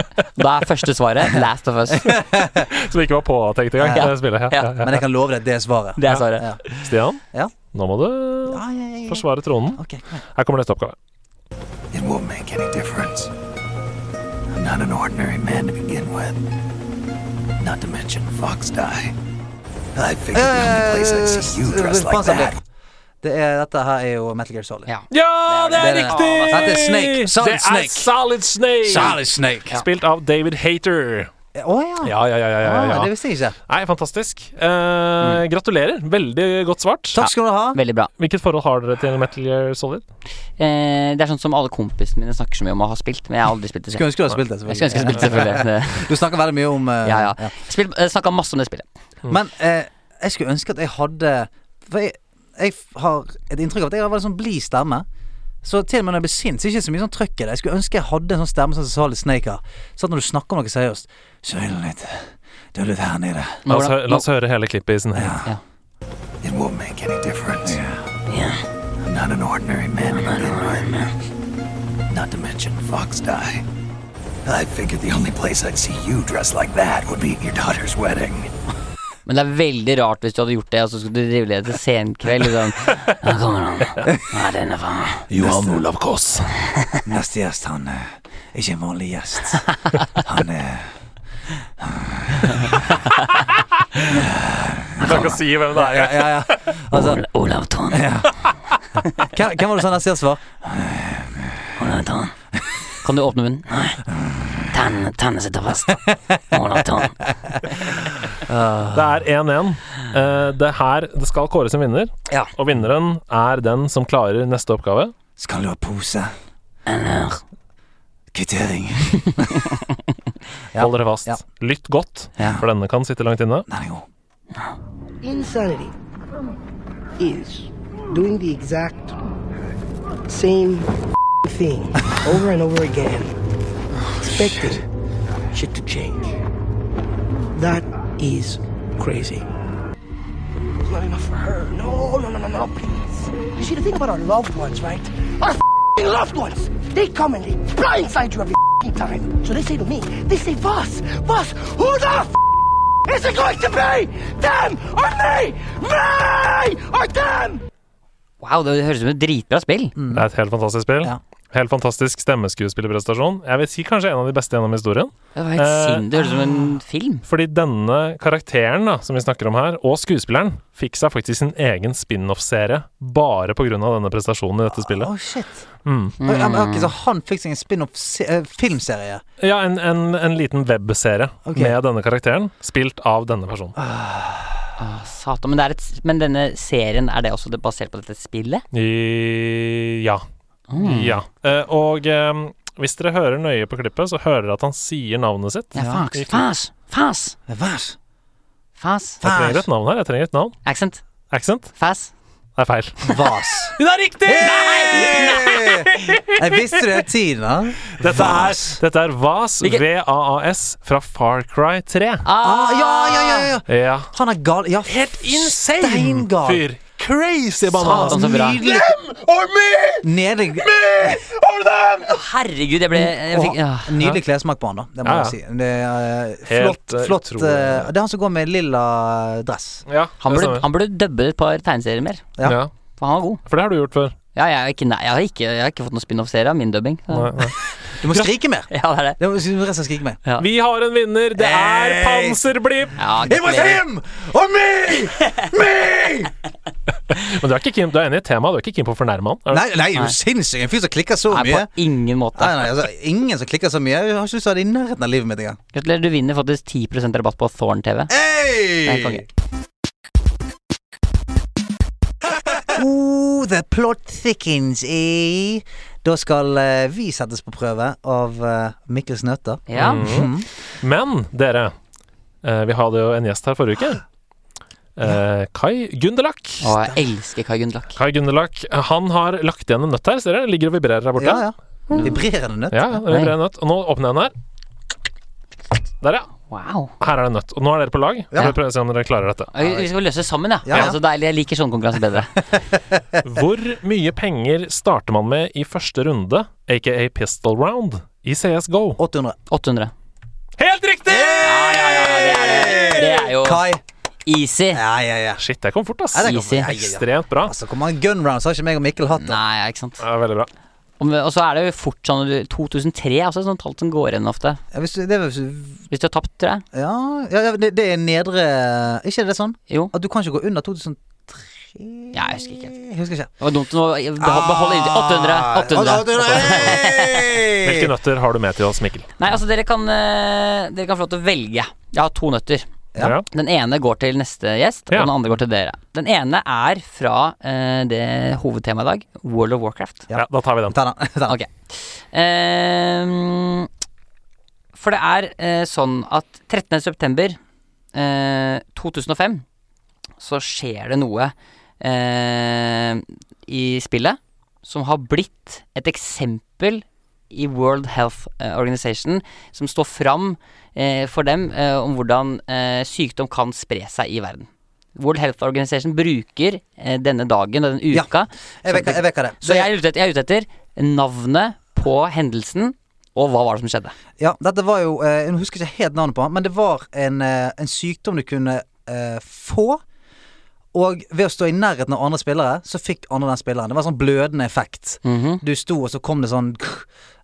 S1: da er første svaret Last of Us.
S2: Som ikke var påtenkt engang.
S1: Ja.
S2: Det spillet. Ja.
S1: Ja.
S2: Ja.
S3: Men jeg kan love deg at det er svaret.
S1: Det Ah, er svaret.
S3: Ja.
S2: Ja. Stian,
S3: Ja.
S2: nå må du
S3: Ja, ja, ja, ja.
S2: forsvare tronen.
S3: Ok, kom igjen.
S2: Her kommer neste oppgave.
S5: It won't make any difference. I'm not an ordinary man to begin with. Not to mention Fox Die. I figured
S3: Panserblipp. Det er, dette her er jo Metal Gear Solid.
S1: Ja.
S2: Ja, det er
S3: det er-
S2: riktig!
S3: Dette er Snake. Solid
S2: det er
S3: Snake.
S2: Solid Snake.
S3: Snake. Å ja.
S2: Spilt av David Hater.
S3: ja.
S2: Ja, ja, ja. ja, ja,
S3: Ah, Det
S2: ja.
S3: visste jeg ikke.
S2: Nei, fantastisk. Eh, Gratulerer. Veldig godt svart.
S3: Takk skal du ha.
S1: Veldig bra.
S2: Hvilket forhold har dere til Metal Gear Solid?
S1: Eh, det er sånn som alle kompisene mine snakker så mye om å ha spilt, men jeg har aldri spilt det
S3: Skulle
S1: selv.
S3: ønske du hadde spilt det.
S1: Jeg skulle ønske jeg
S3: selvfølgelig.
S1: spilte selvfølgelig.
S3: Du snakker veldig mye om eh,
S1: Ja, ja. Jeg spil- eh, snakket masse om det spillet.
S2: Mm.
S3: Men eh, jeg skulle ønske at jeg hadde For jeg, jeg f- har et inntrykk av at jeg har veldig sånn blid stemme. Så til og med når jeg blir sint, så er det ikke så mye sånn trøkk i det. Jeg skulle ønske jeg hadde en sånn stemme som Solid Snake har. Sånn at når du snakker om noe seriøst, så er det litt Da er du her nede.
S2: La oss, hø- la oss høre hele klippet i sin helhet.
S5: It won't make any difference. I'm not an ordinary man. I'm not an ordinary man. Not to mention Fox Die. I figured the only place I'd see you dressed like that would be at your daughter's wedding.
S1: Men det er veldig rart hvis du hadde gjort det, og så skulle du drive det til senkveld. Liksom. Her kommer han. Hva er denne faen?
S3: Johan
S4: Olav Kåss.
S3: Neste gjest, han er ikke en vanlig gjest. Han eh, er
S2: Du kan ikke si hvem det
S3: Ja,
S2: er.
S3: ja. ja. Altså,
S1: Ol- Olav Thon.
S3: hvem, hvem var det som neste gjest var?
S1: Olav Thon. Kan du åpne munnen? Nei. Tennene tennene sitter fast. Olav Thon.
S2: Det er 1-1. Eh, Det her Det skal kåres en vinner,
S1: Ja.
S2: og vinneren er den som klarer neste oppgave.
S3: Skal du ha pose?
S1: Eller
S3: Kvittering. Ja.
S2: Hold dere fast.
S3: Ja.
S2: Lytt godt,
S3: Ja. Mm.
S2: for denne kan sitte langt inne.
S3: Den er god.
S6: insanity is doing the exact same thing over and over again, expecting shit to change. That is crazy. It's not enough for her. No, no, no, no, no, please. You see, the thing about our loved ones, right? Our f***ing loved ones, they come and they blindside you every f***ing time. So they say to me, they say, Voss, Voss, who the f*** is it going to be? Them or me? Me or them?
S1: Wow, det høres ut som et dritbra spill.
S3: Mm.
S2: Det er et helt fantastisk spill.
S3: Ja.
S2: Helt fantastisk stemmeskuespillerprestasjon. Jeg vil si kanskje en av de beste gjennom historien.
S1: Det var helt
S2: Eh,
S1: sinn- Det høres ut som en film.
S2: Fordi denne karakteren da, som vi snakker om her, og skuespilleren, fikk seg faktisk sin egen spin-off-serie bare pga. denne prestasjonen i dette
S3: Å,
S2: spillet.
S3: shit.
S2: Mm.
S3: Oi, ja, men ok, så sånn- han fikk seg en eh, spin-off-filmserie.
S2: Ja, en, en, en liten webserie
S3: Ok. Ah.
S2: med denne karakteren, spilt av denne personen.
S1: Å, Satan. Men, det er et, s- men denne serien, er det også det- basert på dette spillet?
S2: I, ja.
S3: Mm.
S2: ja. Eh, og eh, hvis dere hører nøye på klippet, så hører dere at han sier navnet sitt.
S1: Ja,
S2: i
S1: fas,
S2: klippet.
S1: fas, fas,
S3: Vær
S1: fas.
S2: Jeg trenger et navn her. jeg trenger et navn.
S1: Accent.
S2: Accent?
S1: Fas.
S2: Det er feil.
S3: Vas.
S2: Det er riktig!
S3: Jeg visste det i tiden. da.
S2: Dette er,
S3: Vas.
S2: dette er VAS,
S1: Hvilken-
S2: V-A-A-S, fra Far Cry 3.
S3: Ah, ja, ja, ja, ja.
S2: Ja.
S3: Han er gal... Ja, Helt Steingal.
S2: fyr. Crazy
S1: Satan, så bra.
S3: Nydelig. Nede...
S1: Herregud, jeg ble jeg fikk, ja.
S3: Og Nydelig klessmak på han, da. Det må
S2: Ja,
S3: jeg si. Det er, eh,
S2: Helt,
S3: flott,
S2: eh,
S3: flott
S2: utrolig.
S3: eh, Det er han som går med lilla dress.
S2: Ja,
S1: Han
S2: det
S1: burde,
S2: stemmer.
S1: han burde dubbe et par tegneserier mer,
S3: Ja.
S2: Ja.
S1: for han var god.
S2: For det har du gjort før.
S1: Ja, jeg, har ikke, nei, jeg, har ikke, jeg har ikke fått noen spin-off-serie av min dubbing.
S2: Nei, nei.
S3: Du må skrike mer!
S1: Ja, det er det.
S3: Det må, du må rett og slett skrike mer.
S1: Ja.
S2: Vi har en vinner. Det er
S3: Hey!
S2: Panserblipp!
S1: Ja, gratulerer.
S3: or me!
S2: Men du er, ikke keen, du er enig i temaet, du er ikke keen på å fornærme han? Er du?
S3: Nei, nei, er du sinnssyk? En fyr som klikker så
S1: Nei,
S3: mye.
S1: på ingen måte.
S3: Nei, nei, altså, ingen som klikker så mye. Jeg har ikke lyst til å ha det i nærheten av livet mitt engang.
S1: Gratulerer, du vinner faktisk 10 rabatt på Thorn TV. Nei,
S3: Hey!
S1: konge.
S3: Oh, the plot thickens i Da skal eh, vi settes på prøve av eh, Mikkels nøtter. Mhm.
S1: Ja.
S2: Mm. Men dere, eh, vi hadde jo en gjest her forrige uke. Eh, Kai Gundelak.
S1: Og jeg elsker Kai Gundelak.
S2: Kai Gundelak han har lagt igjen en nøtt her. Ser dere? Ligger og vibrerer her borte.
S3: Ja, ja. Vibrerende nøtt.
S2: Ja, det vibrerer en nøtt. Og nå åpner jeg den her. Der, ja.
S1: Wow.
S2: Her er det en nøtt. Og nå er dere på lag. Ja. Prøve å se om dere klarer dette.
S1: Vi vi skal løse det sammen, ja.
S3: Ja, ja.
S1: Altså, deilig. Jeg liker sånn konkurranse bedre.
S2: Hvor mye penger starter man med i første runde, aka pistol round, i CS GO?
S3: 800.
S1: 800.
S2: Helt riktig!
S1: Det er jo
S3: Kai.
S1: easy.
S3: Ja, ja, ja.
S2: Shit, det kom fort, ass.
S3: Ja, det kom fort.
S1: Easy.
S3: Ja, ja, ja.
S2: Ekstremt bra.
S3: Altså, hvor mange gun rounds har ikke meg og Mikkel hatt? da?
S1: Nei, ja, ikke sant.
S2: Ja, veldig bra.
S1: Og og så er det jo fort sånn du- 2003 er også et sånt altså, sånn tall som går igjen ofte.
S3: Ja, hvis du, det, er hvis du-
S1: Hvis du har tapt, tror jeg.
S3: ja, ja, ja det, det er nedre Ikke er det sånn?
S1: Jo.
S3: At du kan ikke gå under 2003?
S1: Ja, jeg husker ikke helt.
S3: Jeg husker ikke.
S1: Det var dumt å beholde inntil 800.
S3: Ah.
S1: 800.
S3: 800. Hey!
S2: Hvilke nøtter har du med til oss, Mikkel?
S1: Nei, altså, dere kan, eh, dere kan få lov til å velge. Jeg har to nøtter.
S2: Ja.
S1: Den ene går til neste gjest,
S2: Ja.
S1: og den andre går til dere. Den ene er fra eh, det hovedtemaet i dag, World of Warcraft.
S2: Ja, da tar vi den.
S3: Ta den. Ta den.
S1: Ok. Ehm, for det er eh, sånn at 13. september eh, 2005 så skjer det noe eh, i spillet som har blitt et eksempel i World Health eh, Organization som står fram eh, for dem eh, om hvordan eh, sykdom kan spre seg i verden. World Health Organization bruker eh, denne dagen og denne
S3: Ja,
S1: uka
S3: Jeg vet, hva- jeg vet hva det
S1: Så jeg er, ute etter, jeg er ute etter navnet på hendelsen, og hva var det som skjedde.
S3: Ja, dette var jo eh, Jeg husker ikke helt navnet på han, men det var en, eh, en sykdom du kunne eh, få. Og ved å stå i nærheten av andre spillere, så fikk andre den spilleren. Det var sånn blødende effekt.
S1: Mhm.
S3: Du sto, og så kom det sånn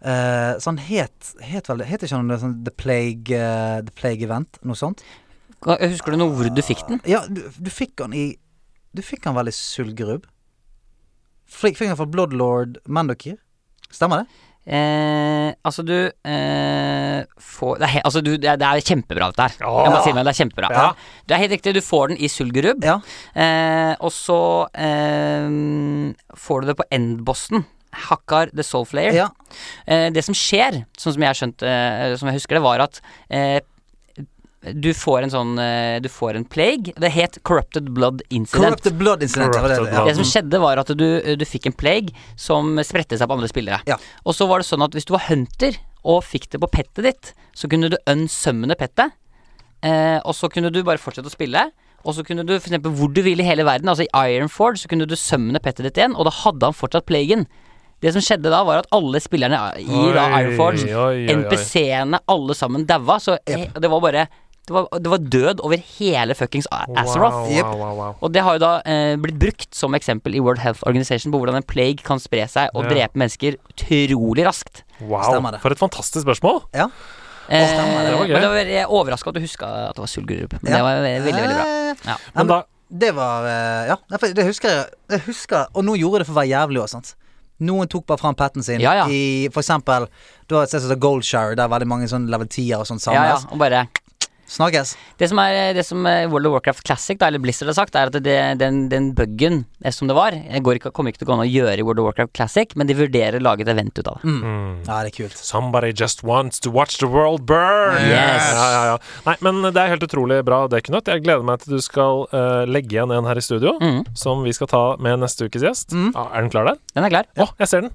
S3: eh, Sånn het, het vel Heter ikke han det sånn The Plague eh, The Plague Event? Noe sånt?
S1: Husker du noe hvor du fikk den?
S3: Ja, du, du fikk han i Du fikk han vel i Sølvgrubb? Fikk fikk han fra Bloodlord Mandokir? Stemmer det?
S1: Eh, altså, du eh, får det er, he- altså, du, det, er, det er kjempebra, dette her. Jeg må si meg, det er kjempebra.
S2: Ja.
S1: Det er helt riktig. Du får den i Sulgerud.
S3: Ja.
S1: Eh, og så eh, får du det på endbossen. Hakkar the Soul Flayer.
S3: Ja.
S1: Eh, det som skjer, sånn som jeg skjønte eh, Som jeg husker det, var at eh, du får en sånn eh, Du får en plague. Det het Corrupted Blood Incident.
S3: Corrupted Blood Incident. det var det,
S2: Corrupted
S3: ja.
S2: Blood.
S1: Det som skjedde var at du, du fikk en plague som spredte seg på andre spillere.
S3: Ja.
S1: Og så var det sånn at hvis du var hunter og fikk det på pettet ditt, så kunne du unsømmende pettet. Eh, og så kunne du bare fortsette å spille. Og så kunne du for eksempel hvor du ville i hele verden, altså i Ironford, så kunne du sømmende pettet ditt igjen, og da hadde han fortsatt plagen. Det som skjedde da, var at alle spillerne i da
S2: Oi,
S1: Ironforge,
S2: oi, oi, oi.
S1: NPC-ene, alle sammen daua. Så he, det var bare det var, det var død over hele fuckings A- Azeroth.
S3: Jep.
S2: Wow, wow, wow.
S1: Og det har jo da eh, blitt brukt som eksempel i World Health Organization på hvordan en plague kan spre seg og
S2: Ja.
S1: drepe mennesker utrolig raskt.
S2: wow.
S3: Stemmer det.
S2: For et fantastisk spørsmål.
S1: Eh,
S3: stemmer det.
S2: Det var gøy.
S1: men det var, jeg er overraska at du huska at det var Sulgerup. Men
S3: Ja.
S1: det var veldig, veldig, veldig bra.
S3: Eh,
S1: Ja.
S3: Nei,
S2: Men da
S3: Det var eh, Ja, nei, for det husker jeg. jeg husker, og noen gjorde det for å være jævlig òg, sant. Noen tok bare fram petten sin
S1: Ja, ja.
S3: i for eksempel Du har et sted som heter Goldshire, der veldig mange sånn level 10-er og sånt
S1: Ja, ja,
S3: samles.
S1: og bare
S3: Snakkes.
S1: Det som, er, det som eh, World of Warcraft Classic, da, eller Blizzard har sagt, er at det, den, den buggen eh, som det var, eh, går ikke, kommer ikke til å gå an å gjøre i World of Warcraft Classic, men de vurderer å lage et event ut av det.
S3: Ja, det er kult.
S2: Somebody just wants to watch the world burn!
S1: Yes.
S2: Ja, ja, ja. Nei, men det er helt utrolig bra, det, Knut. Jeg gleder meg til du skal eh, legge igjen en her i studio,
S1: Mm.
S2: som vi skal ta med neste ukes gjest. Ja, er den klar der? Å,
S1: Den er klar.
S2: jeg ser den!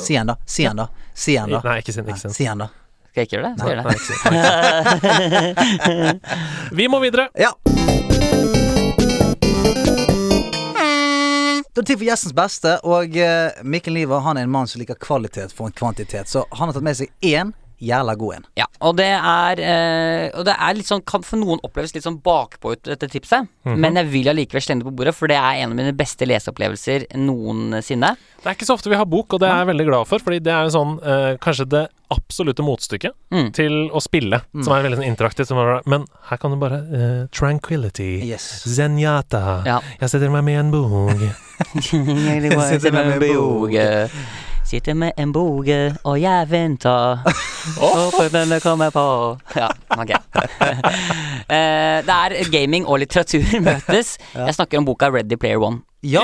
S3: Si en, da. Si en, da. Si en, da.
S2: Nei, ikke sin. Ikke sin.
S3: Si en, da.
S1: Skal jeg ikke gjøre det? Skal jeg gjøre det.
S2: Vi må videre!
S3: Ja. Da er det tid for gjestens beste, og eh, Mikkel Liver han er en mann som liker kvalitet for en kvantitet. Så han har tatt med seg én jævla god en.
S1: Ja, og det er, eh, og det er litt sånn, kan for noen oppleves litt sånn bakpå ut dette tipset, men jeg vil allikevel slenge det på bordet, for det er en av mine beste leseopplevelser noensinne.
S2: Det er ikke så ofte vi har bok, og det er jeg veldig glad for, fordi det er jo sånn eh, kanskje det absolutte motstykket
S1: Mm.
S2: til å spille, som er veldig sånn interaktivt. Som er, men her kan du bare eh, Tranquility.
S3: Yes.
S2: Zenyatta.
S1: Ja.
S2: Jeg setter meg med en bok.
S1: Sitter med en boge, sitter med en boge, og jeg venter, håper denne kommer på. Ja, ok. Eh, det er gaming og litteratur møtes. Jeg snakker om boka Ready Player One.
S3: Ja!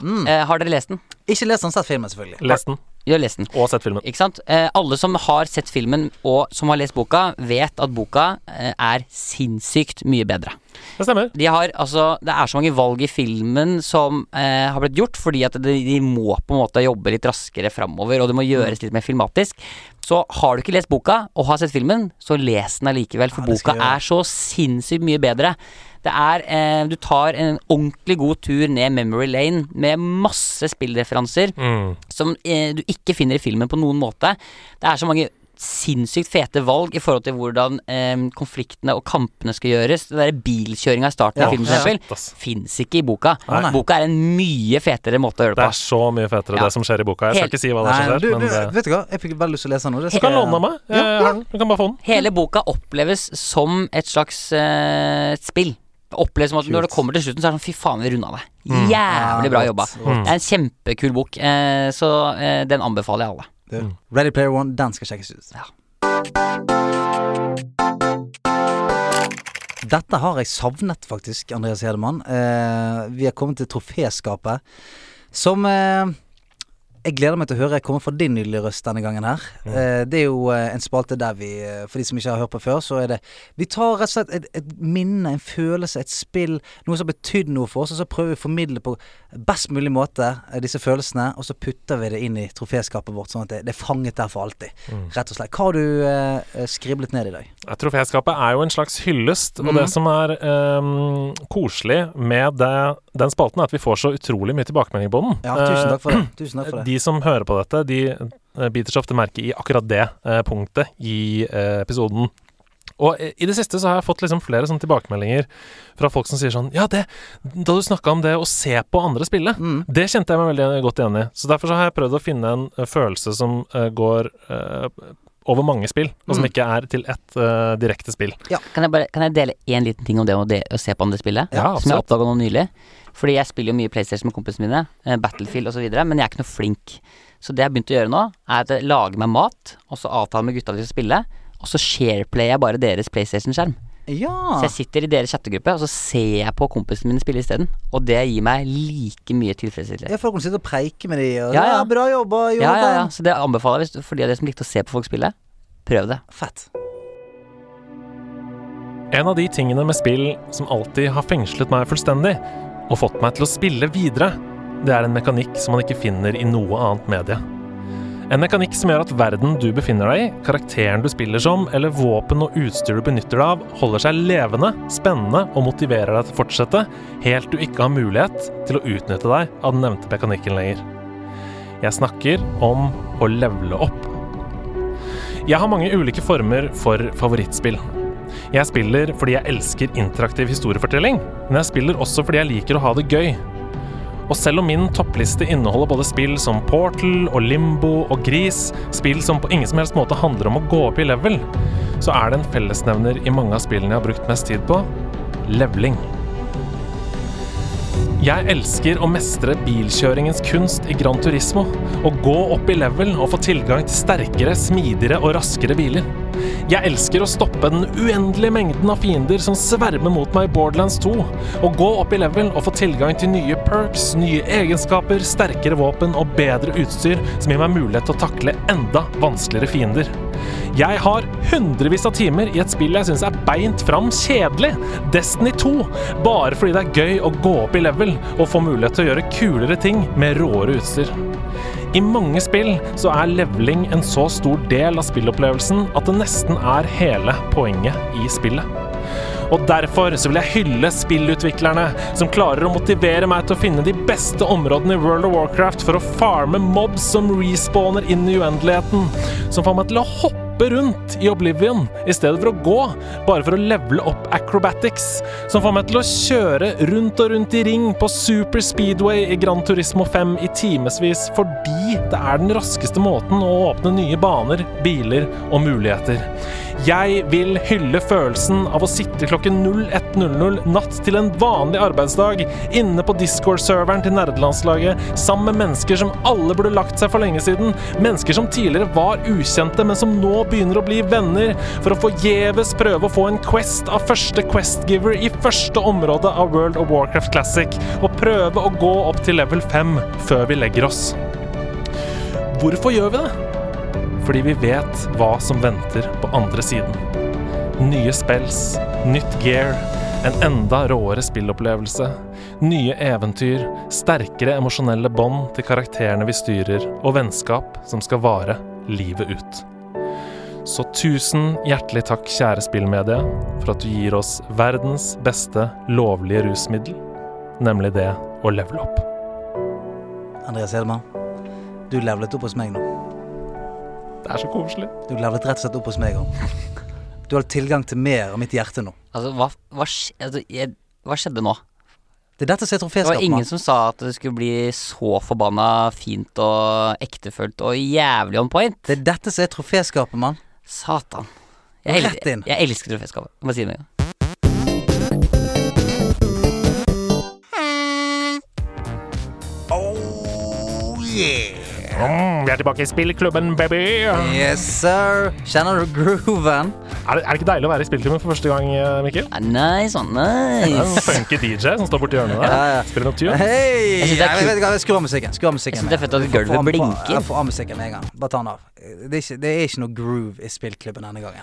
S1: Eh, har dere lest den?
S3: Ikke les den, sett filmen, selvfølgelig.
S2: Les den,
S1: Jo, har lest den.
S2: og sett filmen.
S1: Ikke sant? Eh, alle som har sett filmen og som har lest boka, vet at boka eh, er sinnssykt mye bedre.
S2: Det stemmer.
S1: De har, altså, det er så mange valg i filmen som eh, har blitt gjort, fordi at de, de må på en måte jobbe litt raskere framover, og det
S3: Mm.
S1: må gjøres litt mer filmatisk. Så har du ikke lest boka og har sett filmen, så les den allikevel, for
S3: Ja, det skal
S1: boka
S3: jeg gjøre.
S1: er så sinnssykt mye bedre. Det er, eh, Du tar en ordentlig god tur ned memory lane med masse spillreferanser
S2: Mm.
S1: som eh, du ikke finner i filmen på noen måte. Det er så mange sinnssykt fete valg i forhold til hvordan eh, konfliktene og kampene skal gjøres. Det derre bilkjøringa i starten
S3: Ja,
S1: av filmen, for
S3: ja.
S1: eksempel,
S2: ass.
S1: fins ikke i boka.
S3: nei.
S1: Boka er en mye fetere måte å gjøre
S2: Det
S1: det
S2: er
S1: på.
S2: så mye fetere,
S1: Ja.
S2: det som skjer i boka. Jeg skal
S1: Helt-
S2: ikke si hva det
S3: Nei,
S2: er som
S3: du,
S2: skjer,
S3: du,
S2: men det
S3: vet du hva, jeg fikk veldig lyst til å lese den nå. det
S2: du kan låne av meg. Jeg har den. Du kan bare få den.
S1: Hele boka oppleves som et slags eh, spill. Oppleves som at Når det kommer til slutten, så er det sånn fy faen, vi runda det. Jævlig
S3: Mm.
S1: bra
S3: Ja,
S1: jobba.
S3: godt,
S1: Det er en kjempekul bok, eh, så eh, den anbefaler jeg alle.
S3: Du, Ready Player One, den skal sjekkes ut. Dette har jeg savnet, faktisk, Andreas Hedemann. Eh, vi har kommet til troféskapet, som eh, Jeg gleder meg til å høre komme fra din nydelige røst denne gangen her. Eh, Det er jo eh, en spalte der vi, eh, for de som ikke har hørt på før, så er det Vi tar rett og slett et, et minne, en følelse, et spill, noe som har betydd noe for oss, og så prøver vi å formidle på best mulig måte eh, disse følelsene, og så putter vi det inn i troféskapet vårt, sånn at det, det er fanget der for alltid.
S1: Mm.
S3: Rett og slett. Hva har du eh, skriblet ned i dag?
S2: Troféskapet er jo en slags hyllest, og det
S1: Mm.
S2: som er ehm, koselig med det, den spalten, er at vi får så utrolig mye tilbakemelding på den. Eh,
S3: Ja,
S1: Eh,
S3: tusen takk for det. Tusen takk for det.
S2: De som hører på dette, de eh, biter seg ofte merke i akkurat det eh, punktet i eh, episoden. Og eh, i det siste så har jeg fått liksom flere sånne tilbakemeldinger fra folk som sier sånn Ja, det, da du snakka om det å se på andre spille,
S3: Mm.
S2: det kjente jeg meg veldig godt igjen i. Så derfor så har jeg prøvd å finne en eh, følelse som eh, går eh, over mange spill, og som ikke er til ett eh, direkte spill.
S1: Kan jeg, bare, kan jeg dele én liten ting om det å, de, å se på andre spillet?
S2: Ja,
S1: som jeg
S2: absolutt.
S1: oppdaga nå nylig. Fordi jeg spiller jo mye PlayStation med kompisene mine, eh, Battlefield osv., men jeg er ikke noe flink. Så det jeg har begynt å gjøre nå, er at jeg lager meg mat, og så avtaler med gutta at vi skal spille, og så shareplayer jeg bare deres PlayStation-skjerm.
S3: Ja.
S1: Så
S2: Ah.
S1: jeg sitter i deres chattegruppe, og så ser jeg på kompisene mine spille isteden. Og det gir meg like mye tilfredsstillelse.
S3: Ja, folk kan sitte og preike med de og ja,
S1: Ja, ja.
S3: Bra jobba,
S1: Ja,
S3: Jonathan.
S1: ja, ja. Så det anbefaler jeg hvis- for de av dere som likte å se på folk spille. Prøv det.
S3: Fett.
S2: En av de tingene med spill som alltid har fengslet meg fullstendig, og fått meg til å spille videre, det er en mekanikk som man ikke finner i noe annet medie. En mekanikk som gjør at verden du befinner deg i, karakteren du spiller som, eller våpen og utstyr du benytter deg av, holder seg levende, spennende og motiverer deg til å fortsette, helt til du ikke har mulighet til å utnytte deg av den nevnte mekanikken lenger. Jeg snakker om å levele opp. Jeg har mange ulike former for favorittspill. Jeg spiller fordi jeg elsker interaktiv historiefortelling, men jeg spiller også fordi jeg liker å ha det gøy. Og selv om min toppliste inneholder både spill som Portal og Limbo og Gris, spill som på ingen som helst måte handler om å gå opp i level, så er det en fellesnevner i mange av spillene jeg har brukt mest tid på leveling. Jeg elsker å mestre bilkjøringens kunst i Gran Turismo, og gå opp i level og få tilgang til sterkere, smidigere og raskere biler. Jeg elsker å stoppe den uendelige mengden av fiender som svermer mot meg i Borderlands 2, og gå opp i level og få tilgang til nye perks, nye egenskaper, sterkere våpen og bedre utstyr som gir meg mulighet til å takle enda vanskeligere fiender. Jeg har hundrevis av timer i et spill jeg syns er beint fram kjedelig, Destiny 2, bare fordi det er gøy å gå opp i level og få mulighet til å gjøre kulere ting med råere utstyr. I mange spill så er leveling en så stor del av spillopplevelsen at det nesten er hele poenget i spillet. Og derfor så vil jeg hylle spillutviklerne som klarer å motivere meg til å finne de beste områdene i World of Warcraft for å farme mobs som respawner inn i uendeligheten, som får meg til å hoppe rundt i Oblivion i stedet for å gå, bare for å levele opp acrobatics, som får meg til å kjøre rundt og rundt i ring på super speedway i Gran Turismo 5 i timevis fordi det er den raskeste måten å åpne nye baner, biler og muligheter. Jeg vil hylle følelsen av å sitte klokken 01.00 natt til en vanlig arbeidsdag inne på Discord-serveren til nerdelandslaget sammen med mennesker som alle burde lagt seg for lenge siden. Mennesker som tidligere var ukjente, men som nå begynner å bli venner, for å forgjeves prøve å få en quest av første questgiver i første område av World of Warcraft Classic, og prøve å gå opp til level 5 før vi legger oss. Hvorfor gjør vi det? fordi vi vet hva som venter på andre siden. Nye spells, nytt gear, en enda råere spillopplevelse, nye eventyr, sterkere emosjonelle bånd til karakterene vi styrer, og vennskap som skal vare livet ut. Så tusen hjertelig takk, kjære spillmedie, for at du gir oss verdens beste lovlige rusmiddel, nemlig det å levele opp.
S3: Andreas Hedemann, du levelet opp hos meg nå.
S2: Det er så koselig.
S3: Du levelet rett og slett opp hos meg òg. Du har tilgang til mer av mitt hjerte nå.
S1: Altså, hva, hva, skj- altså, jeg, hva skjedde nå?
S3: Det er dette som er
S1: Det var
S3: troféskapet.
S1: ingen
S3: mann.
S1: som sa at det skulle bli så forbanna fint og ektefølt og jævlig on point.
S3: Det er dette som er troféskapet, mann.
S1: Satan. Jeg, el-
S3: Rett inn.
S1: jeg elsker troféskapet. Jeg må si det med en gang.
S5: Oh, yeah.
S2: Mm, vi er tilbake i spillklubben, baby! Er
S3: Yes, sir. Kjenner du grooven?
S2: det, er det ikke deilig å være i spillklubben for første gang, eh, Mikkel?
S1: Ah, Nice, ah,
S2: Det er en
S1: nice.
S2: funky DJ som står borti hjørnet
S3: Ja, ja.
S2: der. Spiller noe tune.
S3: Hei!
S1: Jeg synes det er
S3: Nei,
S1: kult.
S3: vet du hva, Skru av musikken. Skru av musikken.
S1: synes det er fett at
S3: Jeg får-
S1: gulvet
S3: jeg får-
S1: blinker.
S3: Jeg får av musikken med en gang. Bare ta den av. Det er, ikke, det er ikke noe groove i spillklubben denne gangen.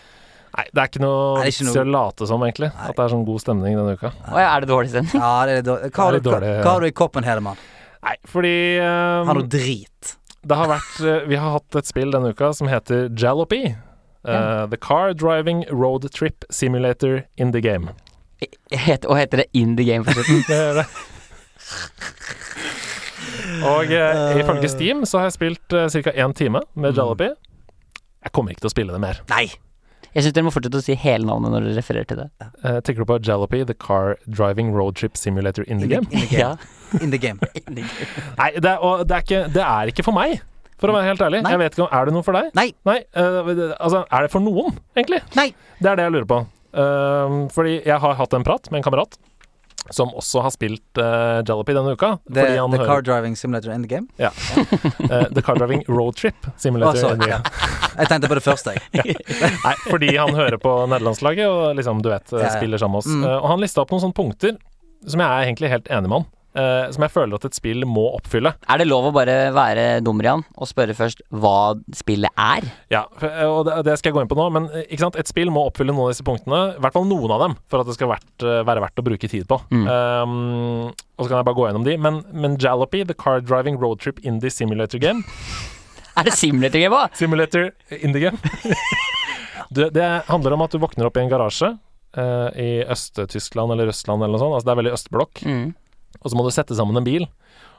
S2: Nei, det er ikke noe
S3: Nei, det
S2: vits
S3: er ikke
S2: i å late som, egentlig. At det er sånn god stemning denne uka.
S1: Å ja, er det dårlig stemning?
S3: Ja, det er dårlig. Hva har,
S2: Det er
S3: du, hva,
S2: dårlig.
S3: hva har du i koppen, Hedemann?
S2: Nei, fordi eh,
S3: Har du drit?
S2: det har vært eh, Vi har hatt et spill denne uka som heter Jalopy. Eh, the Car Driving Road Trip Simulator in the Game.
S1: Het, og heter det In the Game for slutten?
S2: Det gjør det. Og eh, ifølge Steam så har jeg spilt eh, ca. én time med Jalopy. Jeg kommer ikke til å spille det mer.
S3: Nei!
S1: Jeg syns dere må fortsette å si hele navnet når dere refererer til det.
S2: Eh, tenker du på Jalopy, The Car Driving Road Trip Simulator in the Game?
S3: In the game.
S1: Ja.
S3: In the game.
S2: Nei, det er, og det er, ikke, det er ikke for meg, for å være helt ærlig.
S3: Nei.
S2: Jeg vet ikke om, Er det noe for deg?
S3: Nei.
S2: eh, det- altså, er det for noen, egentlig?
S3: Nei.
S2: Det er det jeg lurer på. Eh, fordi jeg har hatt en prat med en kamerat som også har spilt eh, Jalopy denne uka.
S3: The,
S2: fordi han
S3: the
S2: hører-
S3: car driving simulator in the game.
S2: Eh, the Car Driving Road Trip
S3: Å,
S2: Simulator.
S3: sorry.
S2: in the game.
S3: Jeg tenkte på det første, jeg.
S2: Nei, fordi han hører på nederlandslaget og liksom, du vet,
S3: ja.
S2: spiller sammen med oss.
S3: Mm.
S2: Eh, Og han lista opp noen sånne punkter som jeg er egentlig helt enig med han. eh, som jeg føler at et spill må oppfylle.
S1: Er det lov å bare være dummer igjen og spørre først hva spillet er?
S2: Ja, for- eh, og det, det skal jeg gå inn på nå, men eh, ikke sant? et spill må oppfylle noen av disse punktene. I hvert fall noen av dem, for at det skal vært, eh, være verdt å bruke tid på.
S3: Mm.
S2: Um, og så kan jeg bare gå gjennom de. Men, men Jalopy, The Car Driving Road Trip Indie Simulator Game
S1: Er det simulator game òg?
S2: Simulator in the game. du, det handler om at du våkner opp i en garasje eh, i Øst-Tyskland eller Russland eller noe sånt. Altså det er veldig østblokk.
S1: Mm.
S2: Og så må du sette sammen en bil,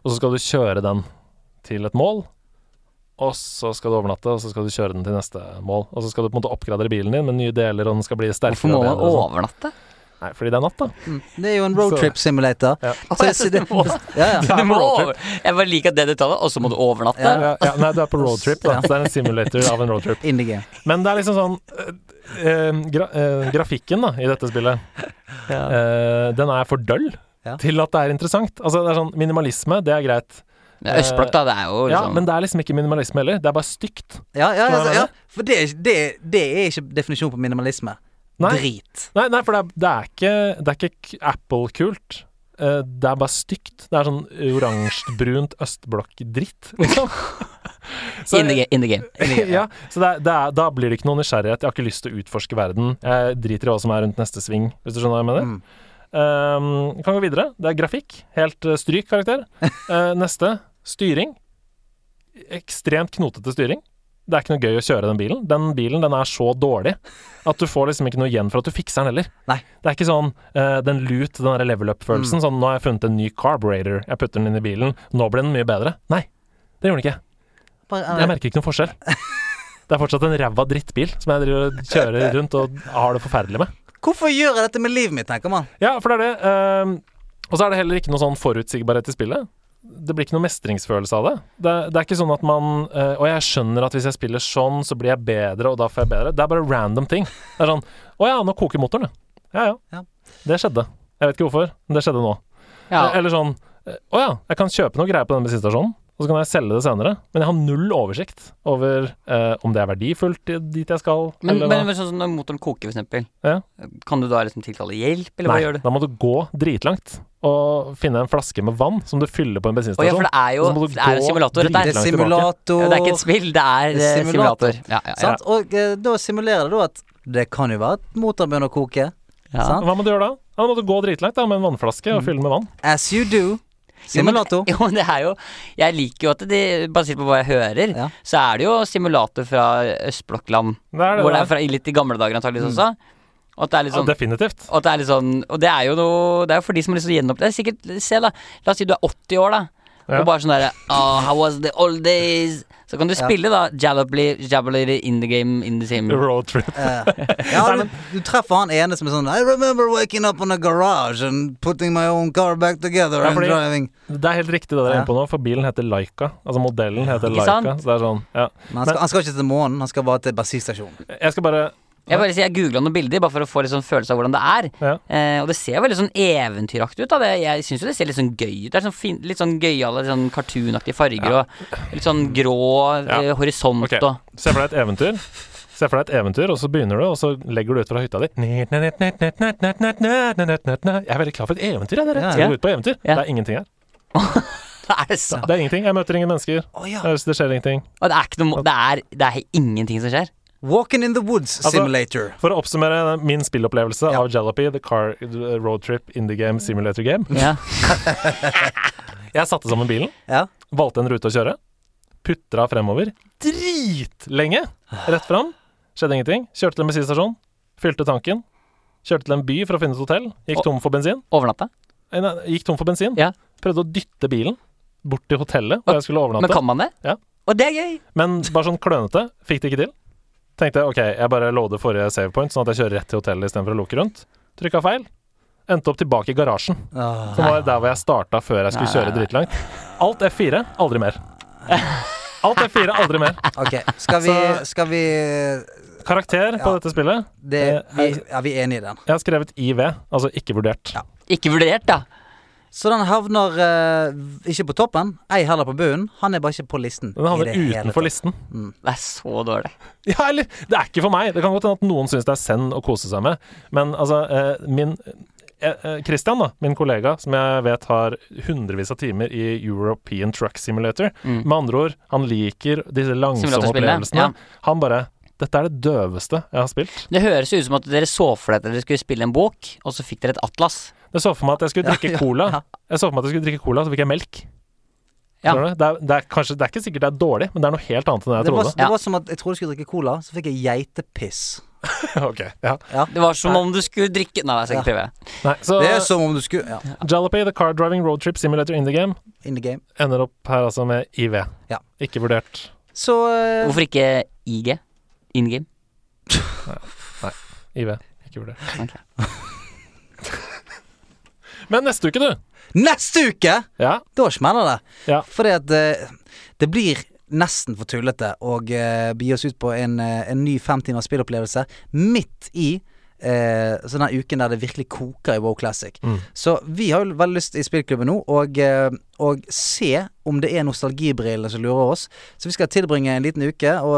S2: og så skal du kjøre den til et mål. Og så skal du overnatte, og så skal du kjøre den til neste mål. Og så skal du på en måte oppgradere bilen din med nye deler, og den skal bli
S1: Hvorfor
S2: sterkere.
S1: må
S2: og bedre
S1: man
S3: altså.
S2: og sånn.
S1: overnatte?
S2: Nei, fordi det er natt, da.
S3: Det er jo en roadtrip simulator.
S2: Ja.
S3: Så jeg- så det- ja, ja.
S1: Du må over... Jeg bare liker at det detaljet, og så må du overnatte.
S2: Ja, ja, nei, du er på roadtrip, da.
S3: Ja.
S2: Så det er en simulator av en roadtrip.
S3: In the game.
S2: Men det er liksom sånn eh, eh, gra eh, Grafikken da, i dette spillet, eh, den er for døll
S3: Ja.
S2: til at det er interessant. Altså det er sånn Minimalisme, det er greit.
S1: Men Østblokk, da. Det er jo
S2: Ja,
S1: liksom
S2: men det er liksom ikke minimalisme heller. Det er bare stygt.
S3: Ja, ja, ja,
S2: Skjønner du hva jeg
S3: ja.
S2: mener?
S3: For det er, ikke- det, er- det er ikke definisjonen på minimalisme.
S2: Nei.
S3: Drit.
S2: Nei, nei for det er, det er ikke, det er ikke k- Apple-kult. Eh, det er bare stygt. Det er sånn oransjebrunt østblokk-dritt, liksom. Så-
S1: in, the game, in the game.
S2: ja, så det er, det er, da blir det ikke noe nysgjerrighet. Jeg har ikke lyst til å utforske verden. Jeg driter i hva som er rundt neste sving, hvis du skjønner hva jeg mener.
S3: Mm.
S2: Um, kan gå videre. Det er grafikk. Helt eh, stryk karakter. Eh, neste. Styring. Ekstremt knotete styring. Det er ikke noe gøy å kjøre den bilen. Den bilen den er så dårlig at du får liksom ikke noe igjen for at du fikser den heller.
S3: Nei. Mm.
S2: Det er ikke sånn eh, den lut, den der level up-følelsen. Sånn nå har jeg funnet en ny carburetor, jeg putter den inn i bilen, nå blir den mye bedre. Nei, det gjorde den ikke. Jeg merker ikke noen forskjell. Det er fortsatt en ræva drittbil som jeg driver og kjører rundt og har det forferdelig med.
S3: Hvorfor gjør jeg dette med livet mitt, tenker man.
S2: Ja, for det er det. ehm, og så er det heller ikke noe sånn forutsigbarhet i spillet. Det blir ikke noe mestringsfølelse av det. Det, er- det er ikke sånn at man eh, Og jeg skjønner at hvis jeg spiller sånn, så blir jeg bedre, og da får jeg bedre. Det er bare random ting. Det er sånn Å ja, nå koker motoren, ja. Ja
S3: Ja.
S2: ja. Det skjedde. Jeg vet ikke hvorfor, men det skjedde nå.
S1: Ja.
S2: Eller sånn eh, Å ja, jeg kan kjøpe noe greier på den bensinstasjonen, og så kan jeg selge det senere. Men jeg har null oversikt over eh, om det er verdifullt i- dit jeg skal,
S1: Men,
S2: eller
S1: men,
S2: hva.
S1: men sånn som når motoren koker, for eksempel.
S2: Ja.
S1: Kan du da liksom tilkalle hjelp, eller hva
S2: Nei,
S1: gjør du?
S2: da må du gå dritlangt og finne en flaske med vann som du fyller på en
S1: Å ja,
S2: bensinstasjon.
S1: for det er jo
S2: Så må du
S1: det er jo
S2: gå
S1: simulator, dette
S2: dritlangt
S1: her.
S3: Det er
S2: langt tilbake.
S3: simulator.
S1: Ja, det er ikke et spill, det er
S3: Det er simulator.
S1: eh, simulator. Sånn. Ja, ja, ja.
S3: Sant? Og eh, da simulerer det da at det kan jo være at motoren begynner å koke.
S1: Ja.
S3: Sant?
S2: Hva må du gjøre da? Ja, da må du gå dritlangt da, med en vannflaske
S1: Mm.
S2: og fylle den med vann.
S3: As you do. Simulator.
S1: Jo, men det er jo Jeg liker jo at de, basert på hva jeg hører,
S3: Ja.
S1: så er det jo simulator fra østblokkland.
S2: Det er det.
S1: hvor det
S2: der.
S1: er fra litt i gamle dager antakeligvis også. Og at det er litt
S2: ja,
S1: sånn
S2: definitivt.
S1: og at det er litt sånn Og det er jo noe Det er jo for de som har lyst til å gjenoppleve Det er sikkert Se, da. La oss si du er 80 år, da.
S2: Ja.
S1: Og bare sånn derre oh, How was the old days? Så kan du spille, da. Jalloply, Jabberly in the game, in the same
S2: Road trip.
S3: Eh, ja, du, du treffer han ene som er sånn I remember waking up in a garage and putting my own car back together
S2: Ja,
S3: and
S2: fordi-
S3: driving.
S2: Det er helt riktig det dere er inne på nå, for bilen heter Laika. Altså modellen heter
S1: Ikke
S2: Laika. Så
S1: sant?
S2: det er sånn, ja.
S3: Men han skal, han skal ikke til månen, han skal bare til bensinstasjonen.
S2: Jeg skal bare
S1: Jeg bare sier, jeg googla noen bilder bare for å få litt sånn følelse av hvordan det er.
S2: Ja.
S1: Eh, og det ser veldig sånn eventyraktig ut. Da. Det, jeg syns jo det ser litt sånn gøy ut. Det er sånn fin, litt sånn gøyale, litt sånn cartoonaktige farger og litt sånn grå
S2: Ja.
S1: eh, horisont
S2: Ok,
S1: og
S2: Se for deg et eventyr. Se for deg et eventyr, og så begynner du, og så legger du ut fra hytta di. Jeg er veldig klar for et eventyr, jeg, dere.
S3: Ja.
S2: Skal vi ut på eventyr?
S1: Ja.
S2: Det er ingenting her.
S1: Er det sant?
S2: Det er ingenting. Jeg møter ingen mennesker.
S3: Å ja.
S2: Jeg- Det skjer ingenting.
S1: Og det er ikke noe mo- Det er, det er ingenting som skjer.
S3: Walking in the woods
S2: Altså-
S3: simulator.
S2: For å oppsummere min spillopplevelse
S3: Ja.
S2: av Jalopy, The Car uh, Road Trip Indie Game Simulator Game
S1: Ja.
S2: Jeg satte sammen bilen,
S3: Ja.
S2: valgte en rute å kjøre, putra fremover dritlenge rett fram. Skjedde ingenting. Kjørte til en bensinstasjon, fylte tanken. Kjørte til en by for å finne et hotell. Gikk tom for bensin.
S1: Overnatta.
S2: Nei, nei, Gikk tom for bensin.
S1: Ja.
S2: Prøvde å dytte bilen bort til hotellet hvor jeg skulle
S1: Men
S2: overnatte.
S1: kan man det?
S2: Ja.
S1: Og det er gøy!
S2: Men bare sånn klønete. Fikk det ikke til. Tenkte jeg OK, jeg bare loader forrige save point, sånn at jeg kjører rett til hotellet istedenfor å loke rundt. Trykka feil. Endte opp tilbake i garasjen,
S3: Åh.
S2: som var der hvor jeg starta før jeg skulle
S1: Nei, nei,
S2: kjøre dritlangt. Alt F4, aldri mer. Alt F4, aldri mer.
S3: Ok, skal vi, skal vi,
S2: Karakter på
S3: Ja.
S2: dette spillet?
S3: det,
S2: Eh,
S3: vi
S2: jeg-
S3: Ja, vi er enige i den.
S2: Jeg har skrevet IV, altså ikke vurdert.
S3: Ja.
S1: Ikke vurdert, da.
S3: Så den havner eh, ikke på toppen, ei heller på bunnen. Han er bare ikke på listen.
S2: Den havner
S3: i det hele tatt.
S2: utenfor listen.
S1: Det er så dårlig.
S2: Ja, eller Det er ikke for meg. Det kan godt hende at noen syns det er send å kose seg med, men altså eh, min eh, eh, Christian, da, min kollega, som jeg vet har hundrevis av timer i European Truck Simulator
S1: Mm.
S2: Med andre ord, han liker disse langsomme
S1: Simulatorspillene,
S2: opplevelsene.
S1: ja.
S2: Han bare Dette er det døveste jeg har spilt.
S1: Det høres jo ut som at dere så for dere at dere skulle spille en bok, og så fikk dere et atlas.
S2: Jeg så for meg at jeg skulle
S3: Ja,
S2: drikke
S3: ja,
S2: cola,
S3: ja.
S2: Jeg så for meg at jeg skulle drikke cola, så fikk jeg melk.
S1: Ja.
S2: Skjønner du? Det, er, det, er kanskje, det er ikke sikkert det er dårlig, men det er noe helt annet enn det jeg
S3: Det var,
S2: trodde.
S3: det var som at jeg trodde jeg skulle drikke cola, så fikk jeg geitepiss.
S2: Ok, ja.
S1: Det var som om du skulle drikke Nei, jeg skal ikke prøve.
S2: Nei, så
S3: Det er som om du skulle Ja,
S2: Jalopy, The Car Driving Road Trip Simulator in the Game,
S3: in the game.
S2: ender opp her altså med IV.
S3: Ja.
S2: Ikke vurdert.
S3: Så eh,
S1: Hvorfor ikke IG? In game?
S2: IV. Ikke vurdert. Men neste uke, du!
S3: Neste uke!
S2: Ja.
S3: Da smeller det.
S2: Ja.
S3: Fordi at eh, det blir nesten for tullete å eh, bi oss ut på en, eh, en ny fem timers spillopplevelse midt i eh, så den uken der det virkelig koker i Wow Classic. Så vi har jo veldig lyst i spillklubben nå og, eh, og se om det er nostalgibrillene som lurer oss. Så vi skal tilbringe en liten uke og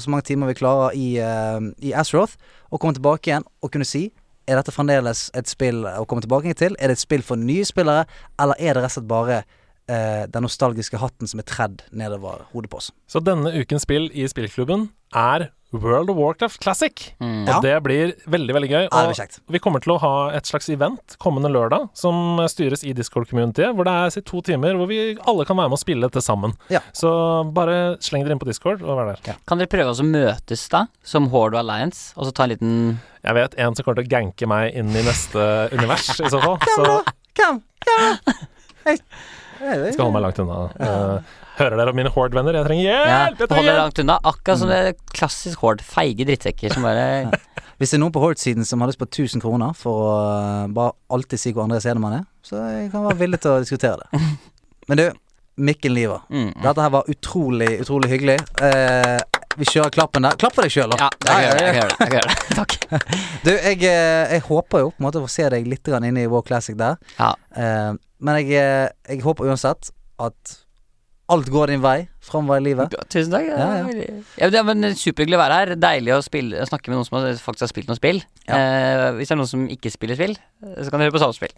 S3: så mange timer vi klarer i, eh, i Asroth, og komme tilbake igjen og kunne si er dette fremdeles et spill å komme tilbake til? Er det et spill for nye spillere, eller er det rett og slett bare eh, den nostalgiske hatten som er tredd nedover hodet på oss?
S2: Så denne ukens spill i spillklubben er World of Warcraft Classic. Og
S3: Mm. Ja.
S2: det blir veldig, veldig gøy.
S3: Ja, det blir kjekt.
S2: vi kommer til å ha et slags event kommende lørdag, som styres i Discord-communityet, hvor det er si, to timer hvor vi alle kan være med og spille dette sammen.
S3: Ja.
S2: Så bare sleng dere inn på Discord og vær der.
S1: Kan dere prøve å så møtes, da? Som Horde og Alliance, og så ta en liten
S2: Jeg vet en som kommer til å ganke meg inn i neste univers, i så fall. Så jeg
S3: Hvem? Ja.
S2: skal holde meg langt unna. Eh, hører dere om mine Horde-venner? Jeg trenger
S1: ja,
S2: hjelp! Jeg
S1: Hold
S2: trenger
S1: dere
S2: hjelp!
S1: langt unna. Akkurat som det er klassisk Horde. Feige drittsekker som bare
S3: Hvis det er noen på Horde-siden som har lyst på 1000 kroner for å eh, bare alltid si hvor Andreas Edemann er, så jeg kan være villig til å diskutere det. Men du, Mikkel Liver.
S1: mm.
S3: Dette her var utrolig, utrolig hyggelig. Eh, vi kjører klappen der. Klapp for deg sjøl, da.
S1: Ja, jeg kan gjøre det. Jeg kan gjøre det. Jeg kan gjøre det. Takk.
S3: Du, jeg, eh, jeg håper jo på en måte å få se deg litt grann inne i War Classic der.
S1: Ja.
S3: Eh, men jeg, eh, jeg håper uansett at alt går din vei framover i livet.
S1: Tusen takk.
S3: Ja, ja.
S1: Ja, det er men Superhyggelig å være her. Deilig å spille, snakke med noen som har- faktisk har spilt noe spill.
S3: Ja.
S1: Eh, hvis det er noen som ikke spiller spill, så kan dere høre på Samspill.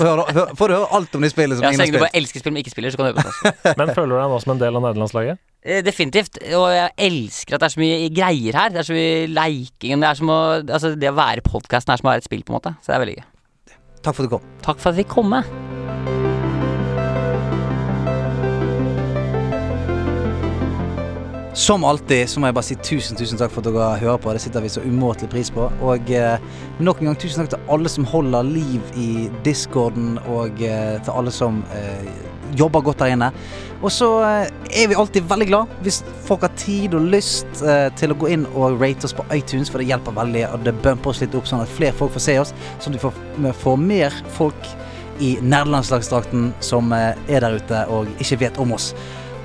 S3: Får høre, hør, får du høre alt om de spillene som
S1: Ja, så
S3: ingen
S1: lenge du
S3: har
S1: bare
S3: spilt.
S1: elsker spill, men ikke spiller, så kan du høre på Samspill.
S2: Men føler du deg nå som en del av nederlandslaget?
S1: Eh, Definitivt. Og jeg elsker at det er så mye greier her. Det er så mye leiking. Det, er som å, altså, det å være i podkasten er som å være et spill, på en måte. Så det er veldig gøy.
S3: Takk for at du kom.
S1: Takk for at jeg fikk komme.
S3: Som alltid så må jeg bare si tusen tusen takk for at dere hører på. Det setter vi så umåtelig pris på. Og eh, nok en gang tusen takk til alle som holder liv i discorden, og eh, til alle som eh, jobber godt der inne. Og så eh, er vi alltid veldig glad hvis folk har tid og lyst eh, til å gå inn og rate oss på iTunes, for det hjelper veldig, og det bumper oss litt opp, sånn at flere folk får se oss, sånn at vi får, vi får mer folk i nerdelandslagsdrakten som eh, er der ute og ikke vet om oss.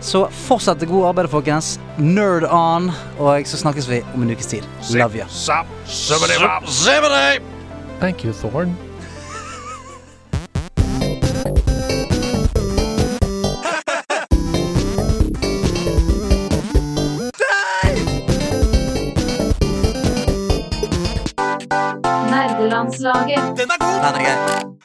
S3: Så fortsett det gode arbeidet, folkens. Nerd on. Og så snakkes vi om en ukes tid. Love you.
S4: Zap, zibbity, bop, zibbity.
S2: Thank you, Thorn.
S7: Nerdelandslaget.
S3: Den er grei.